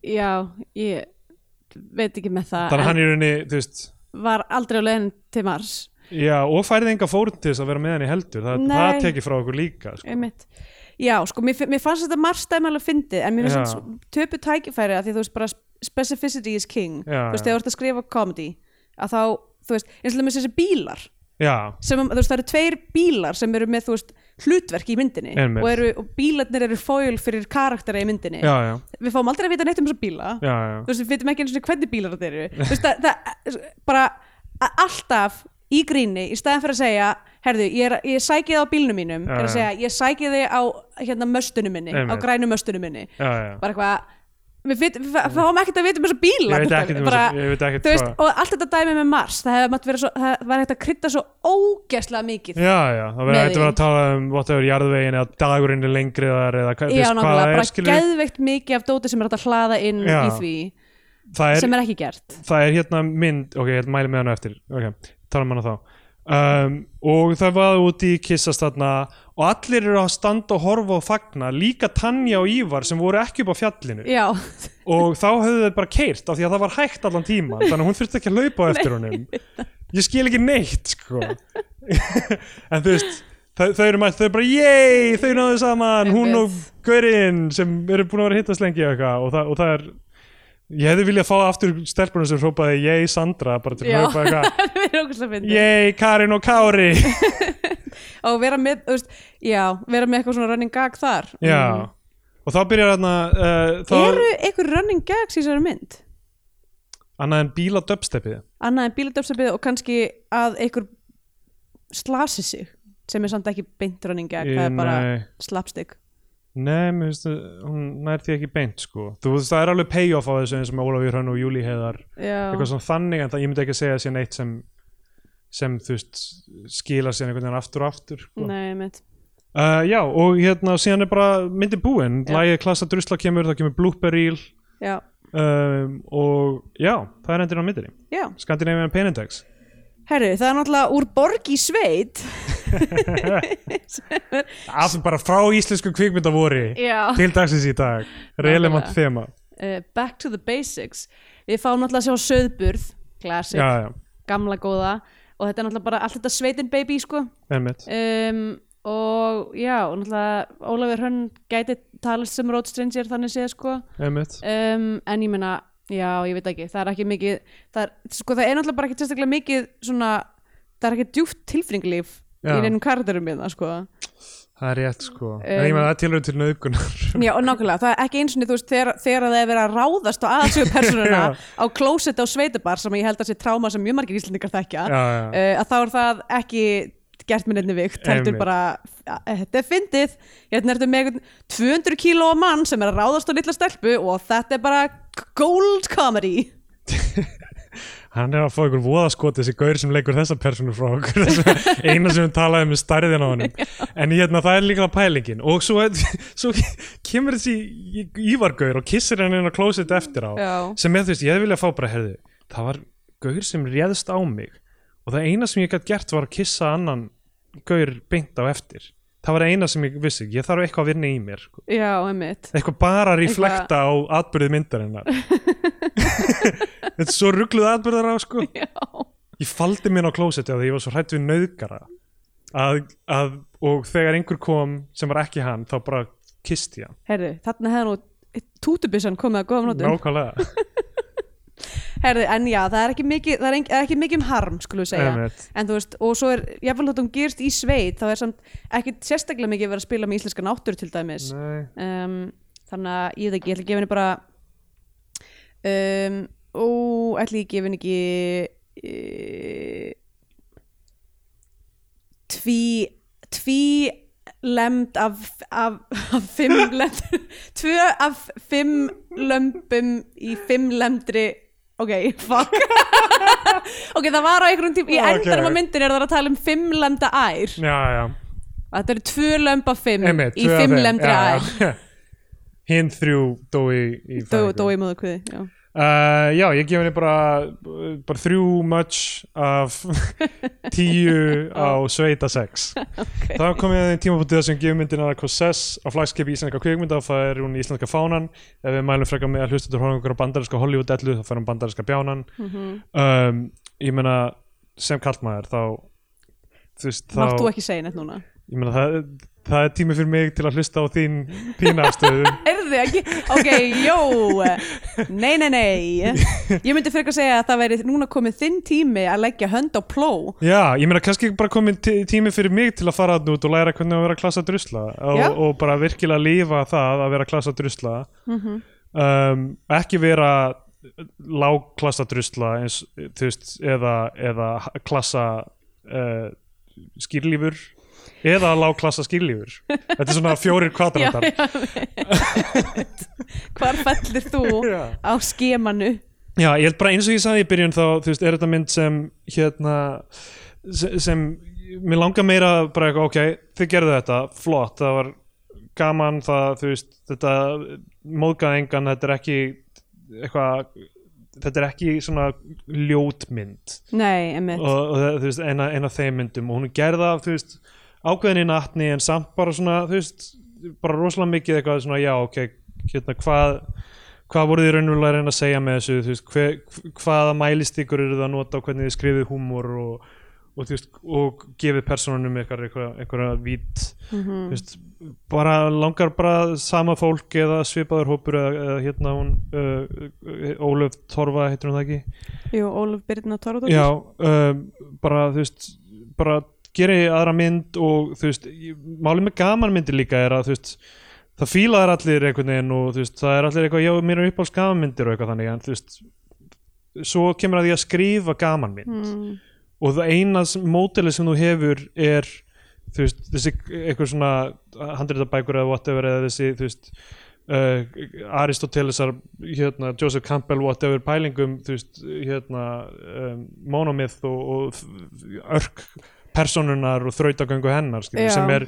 S1: Já, ég veit ekki með það, en
S2: þannig að hann er í rauninni, þú veist
S1: var aldrei á leiðin til Mars,
S2: já, og færið enga fórn til þess að vera með henni heldur það,
S1: Nei.
S2: það tekið frá okkur líka sko.
S1: einmitt. Já, sko, mér, fi- mér fannst þetta Mars dæmi alveg fyndið, en mér
S2: Já.
S1: finnst þetta töpu tækifæri að því þú veist bara specificity is king,
S2: Já,
S1: þú veist,
S2: já.
S1: þegar þú ert að skrifa comedy, að þá, þú veist, eins og með þessi bílar,
S2: já,
S1: sem, þú veist, það eru tveir bílar sem eru með, þú veist, hlutverk í myndinni
S2: Einmitt.
S1: og, eru, og bílarnir eru fóil fyrir karaktera í myndinni.
S2: já, já,
S1: Við fáum aldrei að vita neitt um þessa bíla.
S2: já, já.
S1: þú veist, við veitum ekki eins og hvernig bílar þetta eru þú veist, það, það bara a- alltaf í gríni í staðan fyrir að segja, herðu, ég, er, ég sæki þið á bílnum mínum,
S2: Já,
S1: er að
S2: já.
S1: segja ég sæki þið á hérna möstunum minni
S2: Einmitt.
S1: á grænu möstunum minni,
S2: já, já.
S1: bara eitthvað Við, vit, við við fáum ekkert að vita um þessa bíla
S2: Ég veit ekkert um
S1: bara,
S2: þessa- ég veit ekkert
S1: þú veist,
S2: hvað-
S1: og allt þetta dæmi með Mars það hefði mátt vera svo, það var hægt að krydda svo ógeðslega mikið
S2: Já, já, það verður
S1: Með
S2: eitthvað
S1: því.
S2: að tala um whatever, jarðvegin eða dagurinn er lengri þar eða hvað, þú
S1: já,
S2: veist, hvað
S1: náttúrulega,
S2: það er,
S1: bara
S2: skilur við.
S1: geðveikt mikið af dóti sem er hægt að hlaða inn
S2: Já.
S1: í því
S2: það er
S1: sem er ekki gert
S2: það er hérna mynd ok, ég mæli með hann á eftir okay. tala um hana þá um, og það var úti í kissast þarna og allir eru að standa og horfa og fagna líka Tanja og Ívar sem voru ekki upp á fjallinu
S1: já,
S2: og þá höfðu þau bara keirt af því að það var hægt allan tíma þannig að hún þurfti ekki að laupa á eftir honum ég skil ekki neitt sko en þú veist þau, þau eru mætt, þau eru bara yey þau náðu saman, hún og Gaurinn sem eru búin að vera að hittast lengi og eitthvað og, það- og það er ég hefði viljað fá aftur stelpunum sem hrópaði yey Sandra bara til
S1: Já.
S2: að hrópa eitthvað
S1: það er okkur slið fyndið
S2: yey Karin og Kári
S1: og vera með, þú veist, já, vera með eitthvað svona running gag þar
S2: já og þá byrjar hann að uh, þá
S1: Mm. Eru einhver running gags í þessari mynd?
S2: annað en bíla dubstepið
S1: Annað en bíladöfsabið og kannski að einhver slasi sig sem er samt ekki beint running gag, það er bara
S2: Nei.
S1: slapstick
S2: Nei, mér finnst að hún nær því ekki beint sko. Þú veist, það er alveg payoff á þessu eins og með Ólafur Hrönn og Júli heiðar
S1: Já,
S2: eitthvað svona þannig, en það, ég myndi ekki að segja sér neitt sem, sem þú veist skila sér einhvern veginn aftur og aftur sko.
S1: nei, mitt
S2: uh, Já, og hérna síðan er bara myndi búin, lægið klassa drusla kemur það kemur blooperíl
S1: Já,
S2: um, og já, það er endur á myndinni
S1: já
S2: Skandinavian Penindex
S1: Herru, það er náttúrulega úr borg í sveit
S2: Allt bara frá íslensku kvikmynda voru
S1: Já
S2: til dagsins í dag, relevant þema
S1: uh, Back to the basics Við fáum náttúrulega að sjá söðburð Classic,
S2: Já, já,
S1: gamla góða Og þetta er náttúrulega bara allt þetta sveitin baby sko.
S2: emmitt
S1: um, Og já, og náttúrulega Ólafur Hrönn gæti talast sem road stranger Þannig séð sko
S2: Emmitt
S1: um, En ég meina, já, ég veit ekki Það er ekki mikið Það er, sko, það er náttúrulega bara ekki sérstaklega mikið svona, Það er ekki djúft tilfinninglíf Í
S2: Já.
S1: neinum karakterum hérna sko
S2: Það er rétt sko, en ég meina það er tilhörðu til nöðgunar
S1: Já, og nákvæmlega, það er ekki eins og þú veist þegar, þegar það er verið að ráðast á aðsögu persónuna
S2: Já.
S1: á klósett á sveitabar sem ég held að sé tráma sem mjög margir íslendingar þekkja
S2: Já, já.
S1: uh, að þá er það ekki gert með nefni vikt, heldur
S2: Einmitt.
S1: bara að þetta er fyndið, hérna ertu með einhvern 200 kíló mann sem er að ráðast á litla stelpu og þetta er bara gold comedy
S2: Hann er að fá ykkur voðaskot þessi gaur sem leikur þessa personu frá okkur þessi eina sem við talaði með stærðin á hann en hérna það er líka pælingin og svo, svo kemur þessi ívargaur og kissir hann inn á klósett eftir á
S1: Já.
S2: sem ég þú veist, ég hefði viljað fá bara herðu, það var gaur sem réðst á mig og það eina sem ég gætt gert var að kissa annan gaur beint á eftir það var eina sem ég vissi, ég þarf eitthvað að vinna í mér sko.
S1: Já, emmitt
S2: eitthvað bara að reflekta á atbyrði myndarinnar þetta er svo ruggluð atbyrðar á sko ég faldi mér á klósetti að ég var svo hrætt við nauðgara að, að, og þegar einhver kom sem var ekki hann þá bara kisti hann
S1: Herðu, þarna hefði nú tútubissan komið að góða notum
S2: nákvæmlega
S1: Herðu, en já, það er ekki mikið, það er ekki, ekki mikið um harm, skulum við segja.
S2: Einmitt.
S1: En þú veist, og svo er, jáfnvel þótt hún gerist í sveit, þá er samt ekki sérstaklega mikið verið að spila með íslenska náttúru til dæmis.
S2: Nei.
S1: Um, þannig að ég veit ekki, ég ætla að gefa henni bara, um, ó, ætla ég að gefa henni ekki e, tví, tví lemd af, af, af fimm lemd, tvö af fimm lömbum í fimm lemdri ok, fuck ok, það var á einhverjum tíma, í
S2: Ok.
S1: endanum á myndin er það að tala um fimm lemda ær
S2: já, já,
S1: þetta eru tvö lömb af fimm
S2: einmitt
S1: í
S2: tvö af
S1: fimm
S2: þeim.
S1: lemdri
S2: Já,
S1: ær
S2: já. hinn þrjú dói í
S1: dói,
S2: fæðingu.
S1: dói móðakviði, já
S2: Uh, já, ég gef henni bara, bara þrjú much af tíu á sveita sex þá kom ég að þeim tímabútið þar sem gefur myndin aðra Kossess á flagskipi íslenska kvikmynda og það er hún íslenska fánan ef við mælum frekar með að hlusta til horfangur á bandarinska Hollywood-ellu þá fær hún bandarinska bjánan um, ég meina sem kallmaður þá þú veist, þá
S1: máttu ekki segja neitt núna
S2: ég meina það, það er tími fyrir mig til að hlusta á þín þín afstöðu
S1: Erðu ekki? Ok, jó Nei, nei, nei Ég myndi frekar segja að það væri núna komið þinn tími að leggja hönd á pló
S2: Já, ég meina kannski bara komin tí- tími fyrir mig til að fara þarna út og læra hvernig að vera klassa drusla
S1: Já.
S2: og, og bara virkilega lifa það að vera klassa drusla um, ekki vera lágklassa drusla eins, þú veist, eða, eða h- klassa uh, skýrlífur eða lágklassa skýrlífur þetta er svona fjórir kvadrantar
S1: Hvar fellir þú
S2: Já.
S1: á skemanu?
S2: Já, ég held bara eins og ég sagði í byrjun þá, þú veist, er þetta mynd sem hérna, sem, sem mér langar meira bara eitthvað, ok, þið gerðu þetta, flott, það var gaman, það, þú veist, þetta móðgaði engan, þetta er ekki eitthvað þetta er ekki svona ljótmynd
S5: nei, emmitt
S2: og, og það- þú veist, en að, en að þeim myndum og hún er gerða, þú veist, ákveðin í natni en samt bara svona, þú veist bara rosalega mikið eitthvað svona, já, ok hérna, hvað hvað voruð þið raunverulega að reyna að segja með þessu, þú veist hver, hvaða mælistikur eru það að nota og hvernig þið skrifið húmor og, og þú veist, og gefið personunum eitthvað, eitthvað, eitthvað vít
S1: Mhm.
S2: þú veist, bara langar bara sama fólk eða svipaður hópur eða, eða hérna hún uh, Ólöf Torfa, heitir hún það ekki
S5: Jú, Ólaf Birna Torfadóttir
S2: já, um, bara þú veist bara geri aðra mynd og þú veist, ég- málið með gaman myndir líka er að þú veist það fílaðar allir einhvern veginn og þú veist, það er allir eitthvað, já, mér er uppáls gaman myndir og eitthvað þannig, en þú veist svo kemur að því að skrifa gaman mynd
S5: Mm,
S2: og það eina mótilið sem þú hefur er þú veist, þessi eitthvað svona handritabækur eða whatever eða þessi þú veist Uh, Aristotelesar hérna, Joseph Campbell whatever pælingum þú veist, hérna, um, monomið og, og f- örk personunar og þrautagöngu hennar skilur,
S5: Já.
S2: sem er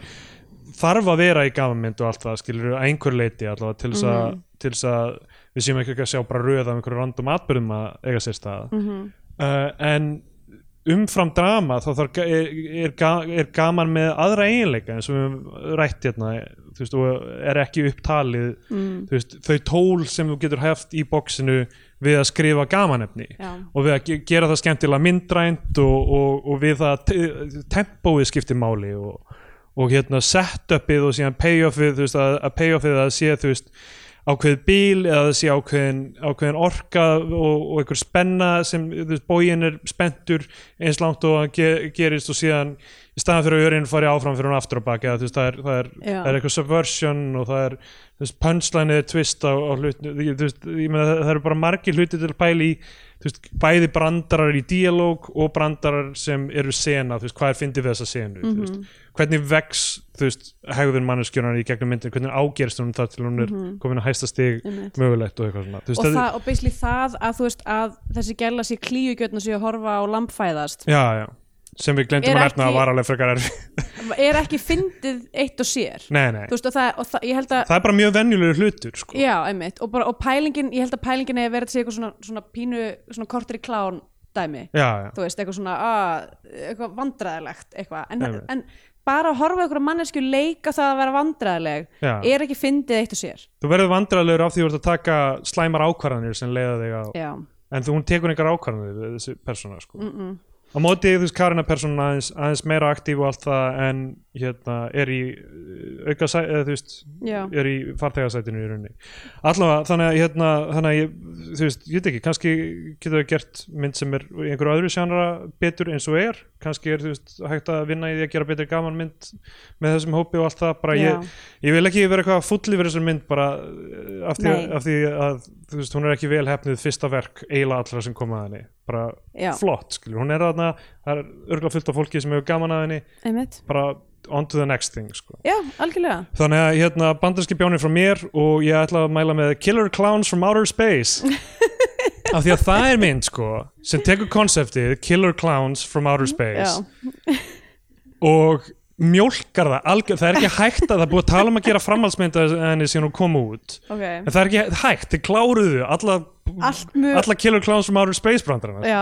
S2: þarf að vera í gafamynd og allt það skilur að einhver leiti allavega til þess
S5: Mhm.
S2: að- til þess að við séum ekki að sjá bara röð af einhverju random atbyrðum að eiga sér stað
S5: mhm.
S2: uh, en umfram drama þá þarf, er, er, ga- er gaman með aðra eiginleika eins og við höfum rætt hérna þú veist, og er ekki upptalið mm. veist, þau tól sem þú getur haft í boxinu við að skrifa gamanefni
S5: Já.
S2: og við að ge- gera það skemmtilega myndrænt og, og, og við að te- tempóið skiptir máli og, og hérna setupið og síðan payoffið þú veist, að, að payoffið að sé þú veist ákveðið bíl eða það sé ákveðin, ákveðin orka og, og einhver spenna sem þú veist, bógin er spendur eins langt og hann ge, gerist og síðan í staðan fyrir að örin fari áfram fyrir hann aftur á baki eða þú veist, það er, það er,
S5: Já.
S2: það er eitthvað subversion og það er þú veist, punchline eða twist á, á hlutinu Ég- þú veist, ég meina, það, það eru bara margir hluti til að pæla í þú veist, bæði brandarar í dialóg og brandarar sem eru sena þú veist, hvað er fyndið við þessa senu mm -hmm.
S5: Mhm.
S2: hvernig vex þú veist, hegðun manneskjörnar í gegnum myndin hvernig ágerst hún þar til hún er komin að hæsta stig mögulegt og eitthvað svona Þú
S5: Mhm. og,
S2: þetta-
S5: það, og basically það að þú veist að þessi gæla sé klíugjötn og sé að horfa á lampfæðast
S2: já, já. sem við glemtum
S5: Er
S2: að nefna
S5: ekki-
S2: að var alveg frekar erfi
S5: er ekki fyndið eitt og sér
S2: nei, nei.
S5: þú veist og það, og það ég held að
S2: það er bara mjög venjulegur hlutur sko.
S5: já, einmitt, og, bara, og pælingin, ég held að pælingin eða verið að sé eitthvað svona, svona pínu svona kortri klán dæmi
S2: já, já.
S5: þú veist, eitthvað svona að, eitthvað vandræðilegt eitthvað, en,
S2: Einmitt.
S5: en bara að horfa ykkur mannesku leika það að vera vandræðileg
S2: Já.
S5: er ekki fyndið eitt og sér
S2: þú verður vandræðilegur af því þú ert að taka slæmar ákvarðanir sem leiða þig á
S5: já,
S2: en þú, hún tekur einhver ákvarðanir við þessi persóna sko. á móti þú veist Karina persóna aðeins, aðeins meira aktíf og allt það en hérna er í uh, auka sæ- eða þú veist
S5: Já.
S2: er í farþegasætinu í rauninni allavega þannig að hérna þannig að ég, þú veist, ég veit ekki, kannski getur það gert mynd sem er í einhverju öðru sjánara betur eins og er, kannski er þú veist hægt að vinna í því að gera betur gaman mynd með þessum hópi og allt það bara
S5: Já.
S2: ég, ég vil ekki vera eitthvað fulli fyrir þessum mynd bara eh, af því,
S5: Nei.
S2: af því að þú veist, hún er ekki vel hefnið fyrsta verk eiginlega allra sem kom að henni bara
S5: Já.
S2: flott, skilur, hún er þarna það er örgulega fullt af fólki sem hefur gaman að henni
S5: einmitt
S2: bara on to the next thing sko.
S5: já, algjörlega
S2: Þannig að hérna bandarski bjónin frá mér og ég ætla að mæla með Killer Clowns from Outer Space af því að það er mynd sko sem tekur konseptið Killer Clowns from Outer Space
S5: Mm, já,
S2: og mjólkar það algjör, það er ekki hægt að það er búið að tala um að gera framhaldsmynd að henni síðan hún kom út en
S5: ok,
S2: það er ekki hægt, þið kláruðu alla,
S5: allt mjög
S2: alla Killer Clowns from Outer Space brandarana
S5: já,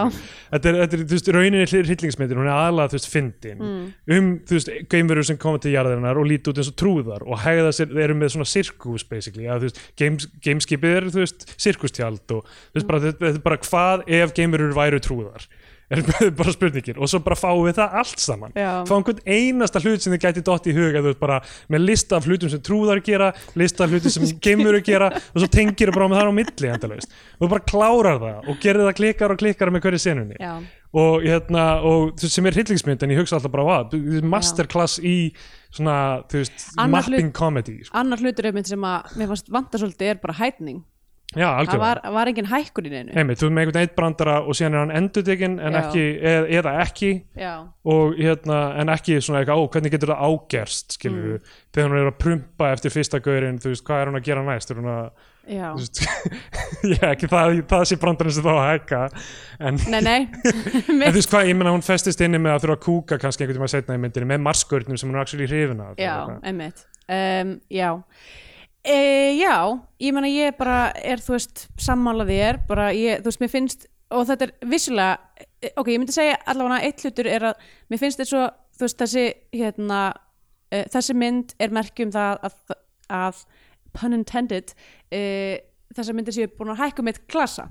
S2: þetta er, þetta er þú veist, rauninni hryllingsmyndin hún er aðalega, þú veist, fyndin
S5: Mm.
S2: um, þú veist, geimverur sem koma til jarðarinnar og líti út eins og trúðar og hegða sér þeir eru með svona sirkus, basically að, þú veist, games, gameskipið er, þú veist, sirkustjald og þú veist, bara, þetta þetta er bara hvað ef geimverur væru trúðar er bara spurningin og svo bara fáum við það allt saman
S5: Já.
S2: fáum hvern einasta hlut sem þið gæti dott í hug að þú veist bara með lista af hlutum sem trúðar gera lista af hlutum sem geimur gera og svo tengir bara með það á milli endalaust og þú bara klárar það og gerir það klikkar og klikkar með hverju senunni
S5: já,
S2: og hérna og þú veist, sem er hryllingsmynd en ég hugsa alltaf bara hvað, masterclass í svona, þú veist,
S5: Annar hlut-
S2: mapping comedy sko.
S5: annar hlutur einmitt sem að mér fannst vanda svolítið er bara hætning
S2: já,
S5: það
S2: algjörlega,
S5: var, var engin hækkun í neinu
S2: einmitt, þú er með einhvern eitt brandara og síðan er hann endurtekinn en
S5: Já.
S2: ekki, eð, eða ekki
S5: já,
S2: og hérna, en ekki svona eitthvað, ó, hvernig getur það ágerst skilur
S5: Mm.
S2: við, þegar hún er að prumpa eftir fyrsta gaurinn, þú veist, hvað er hún að gera næst er hún að,
S5: já,
S2: þú veist, já, ekki það, það sé brandarinn sem þá að hækka en
S5: nei, nei
S2: En þú veist hvað, ég meina hún festist inni með að þurfa að kúka kannski einhvern tíma setna í myndinni með marskörnum sem hún er actually hrifin af
S5: já,
S2: Eitthvað.
S5: einmitt um, já,
S1: E, já, ég meina ég bara er, þú veist, sammála þér bara ég, þú veist, mér finnst og þetta er vissulega, e, ok, ég myndi segja allavega eitt hlutur er að mér finnst þetta svo þú veist, þessi, hérna e, þessi mynd er merki um það að, að pun intended e, þessar myndir séu búin að hækka mitt klassa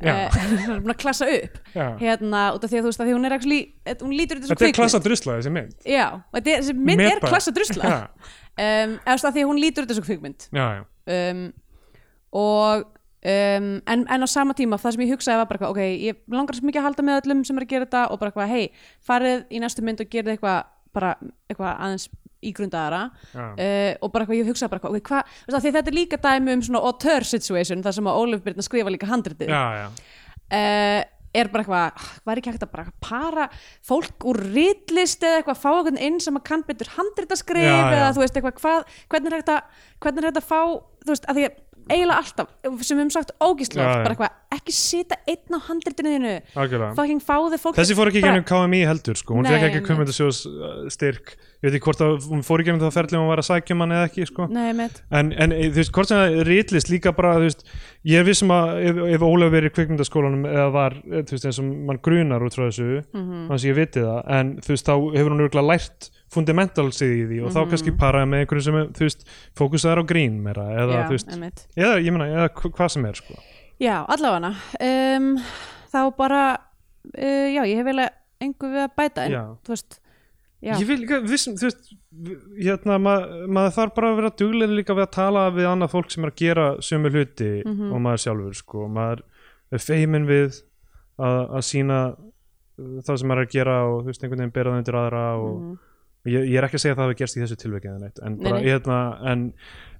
S1: e,
S2: Já.
S1: búin að klassa upp
S2: Já.
S1: hérna, út af því að þú veist, að því hún er actually, e, hún lítur þetta svo
S2: Þetta er
S1: kvikmynd
S2: klassa drusla þessi mynd
S1: já, og þetta er, þessi mynd er
S2: Metbar.
S1: klassa drusla
S2: Já.
S1: um, eða þú veist, að því að hún lítur þetta svo kvikmynd
S2: Já, já,
S1: um, og um, en, en á sama tíma það sem ég hugsaði var bara eitthvað, ok, ég langar svo mikið að halda með öllum sem er að gera þetta og bara eitthvað, hei, farið í næstu mynd og gerði eitthvað bara eitthvað aðeins ígrundaðara
S2: Já.
S1: uh, og bara eitthvað, ég hugsaði bara eitthvað, ok, hvað þú veist, af því þetta er líka dæmi um svona auteur situation þar sem að Ólef Byrna skrifa líka handritið
S2: já, já.
S1: uh, er bara eitthvað ah, væri ekki hægt að bara para fólk úr rýtlist eða eitthvað fá eitthvað inn sem að kann betur handritaskrif
S2: Já, já.
S1: eða þú veist eitthvað hvað, hvernig er hægt að hvernig er hægt að fá þú veist að því að eiginlega alltaf sem við höfum sagt ógísla
S2: Já, já.
S1: bara eitthvað ekki sita einn á handritinu þínu
S2: Algjörlega.
S1: fucking fáði fólk
S2: Þessi fór ekki í
S1: bara-
S2: gennum KMI heldur sko, hún
S1: Nei,
S2: fekk ekki
S1: einmitt.
S2: kvömyndasjóðs styrk, ég veit ekki hvort að hún fór í gennum það ferli að hún var að sækja um hann eða ekki sko.
S1: Nei, með
S2: en, en eh, þú veist, hvort sem það rítlist líka bara, þú veist, ég er vissum að ef, ef Ólaf verið í kvikmyndaskólanum eða var, eh, þú veist, eins og mann grunar út frá þessu, mm
S1: Mhm.
S2: þannig að ég viti það en þú veist, þá hefur hún örgulega lært fundamentalsið í því
S1: Mhm.
S2: og þá kannski paraði með einhverjum sem, er, þú veist, fókusaðar á grín meira, eða,
S1: Já,
S2: þú veist,
S1: einmitt.
S2: eða, ég meina, eða hv- hvað sem er, sko.
S1: Já, allavega um, þá bara uh, já, ég hef eiginlega engu við að bæta en
S2: Já.
S1: þú veist Já.
S2: Ég vil líka, vissum, þú veist, hérna, ma maður þarf bara að vera duglega líka við að tala við annað fólk sem er að gera sömu hluti
S1: Mhm.
S2: og maður sjálfur, sko, og maður er feiminn við að, að sína það sem maður er að gera og, þú veist, einhvern veginn bera það undir aðra og
S1: mm.
S2: ég, ég er ekki að segja að það hafi gerst í þessu tilveikið en, en,
S1: Mhm. Nei,
S2: bara,
S1: nei.
S2: hérna, en,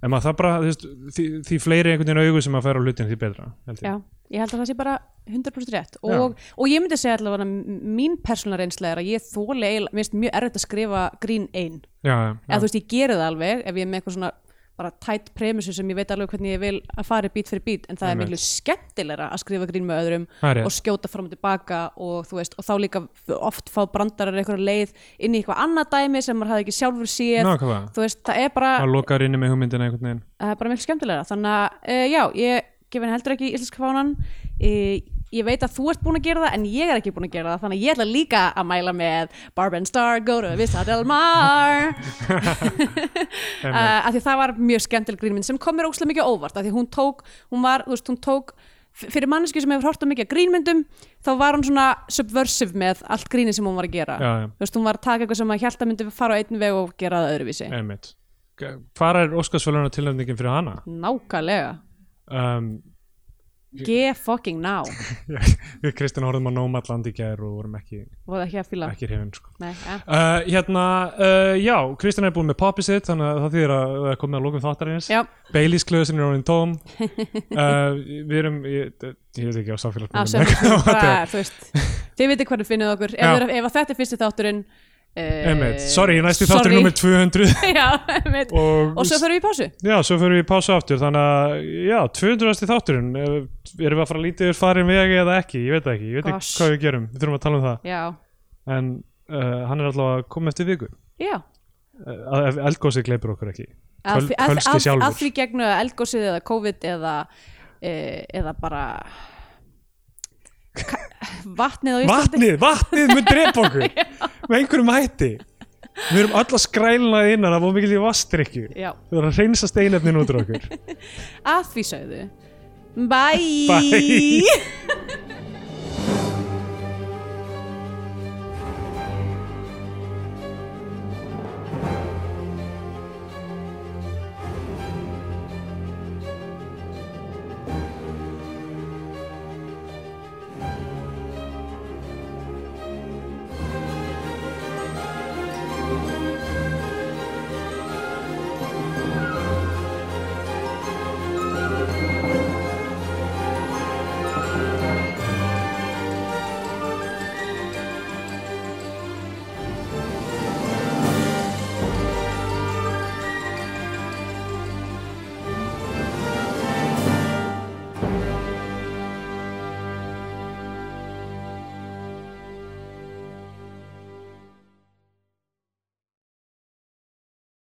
S2: en maður það bara, þú veist, því, því fleiri einhvern veginn augu sem maður fær á hlutin, því betra, held ég.
S1: Já, ég held að það sé bara 100% rétt
S2: Já.
S1: og, og ég myndi segja allavega að mín persónal reynsla er að ég þóli eiginlega, mér finnst mjög erfitt að skrifa grín ein,
S2: Já, já,
S1: eða þú veist ég geri það alveg ef ég er með eitthvað svona bara tætt premissu sem ég veit alveg hvernig ég vil að fara bít fyrir bít en það er
S2: Einmitt.
S1: miklu skemmtilegra að skrifa grín með öðrum
S2: Það er rétt.
S1: og skjóta fram og tilbaka og þú veist, og þá líka oft fá brandarar einhverja leið inn í eitthvað annað dæmi sem maður hafði ekki sjálfur séð
S2: nákvæmlega,
S1: þú veist, það er bara
S2: að loka rinni með hugmyndina einhvern veginn.
S1: það er bara miklu skemmtilega þannig að uh, já, ég gef henni heldur ekki íslenska fánan uh, ég veit að þú ert búin að gera það en ég er ekki búin að gera það þannig að ég ætla líka að mæla með Barb and Star go to Vista Del Mar uh, af því það var mjög skemmtileg grínmynd sem kom mér óslega mikið á óvart af því hún tók, hún var, þú veist, hún tók f- fyrir mannesku sem hefur hort á mikið af grínmyndum þá var hún svona subversive með allt gríni sem hún var að gera
S2: Já, já.
S1: þú veist, hún var að taka eitthvað sem að hjálta myndi fara á einn veg og gera það öðruvísi
S2: Einmitt. Hvar er Óskarsvölunar tilnefningin fyrir hana?
S1: nákvæmlega
S2: Um,
S1: G fucking now
S2: við Kristján horfðum á Nómatland í gær og vorum ekki,
S1: Voða ekki að fíla
S2: ekki hrifin sko.
S1: Nei, ja.
S2: uh, Hérna, uh, já, Kristján er búin með poppi sitt þannig að það þýðir að það er komið að lókum þáttarins
S1: Já,
S2: Baileys klöðusinn er orðin tóm uh, Við erum, ég, ég veit ekki
S1: á
S2: á samfélagsmiðlum.
S1: sömur
S2: Þetta
S1: bara,
S2: er-
S1: þú veist Þið vitið hvernig finnið okkur Ef,
S2: Já.
S1: þeir, ef að þetta er fyrsti þátturinn uh,
S2: Einmitt, sorry, næsti þáttur nummer 200
S1: Já, einmitt Og,
S2: og,
S1: svo þurfum við í pásu
S2: Já, svo fyrir við í pásu aftur þannig að, já, 200. þátturinn eh, erum við að fara lítið yfir farin vegi eða ekki, ég veit það ekki, ég veit ekki
S1: Gosh.
S2: hvað við gerum við þurfum að tala um það,
S1: Já,
S2: en uh, hann er alltaf að koma eftir viku
S1: já
S2: uh, eldgósið gleipur okkur ekki
S1: Að
S2: Köl,
S1: því- að-
S2: Kölski
S1: að-
S2: sjálfur
S1: Að því gegnu að eldgósið eða COVID eða uh, eða bara Ka- vatnið á Íslandi
S2: Vatnið, vatnið mun drepa okkur með einhverjum hætti við erum alla skrælnað innan af ómikil í vastrykju
S1: Já,
S2: við erum að reynsa steinefnin út úr okkur
S1: að því sögðu Bye,
S2: Bye.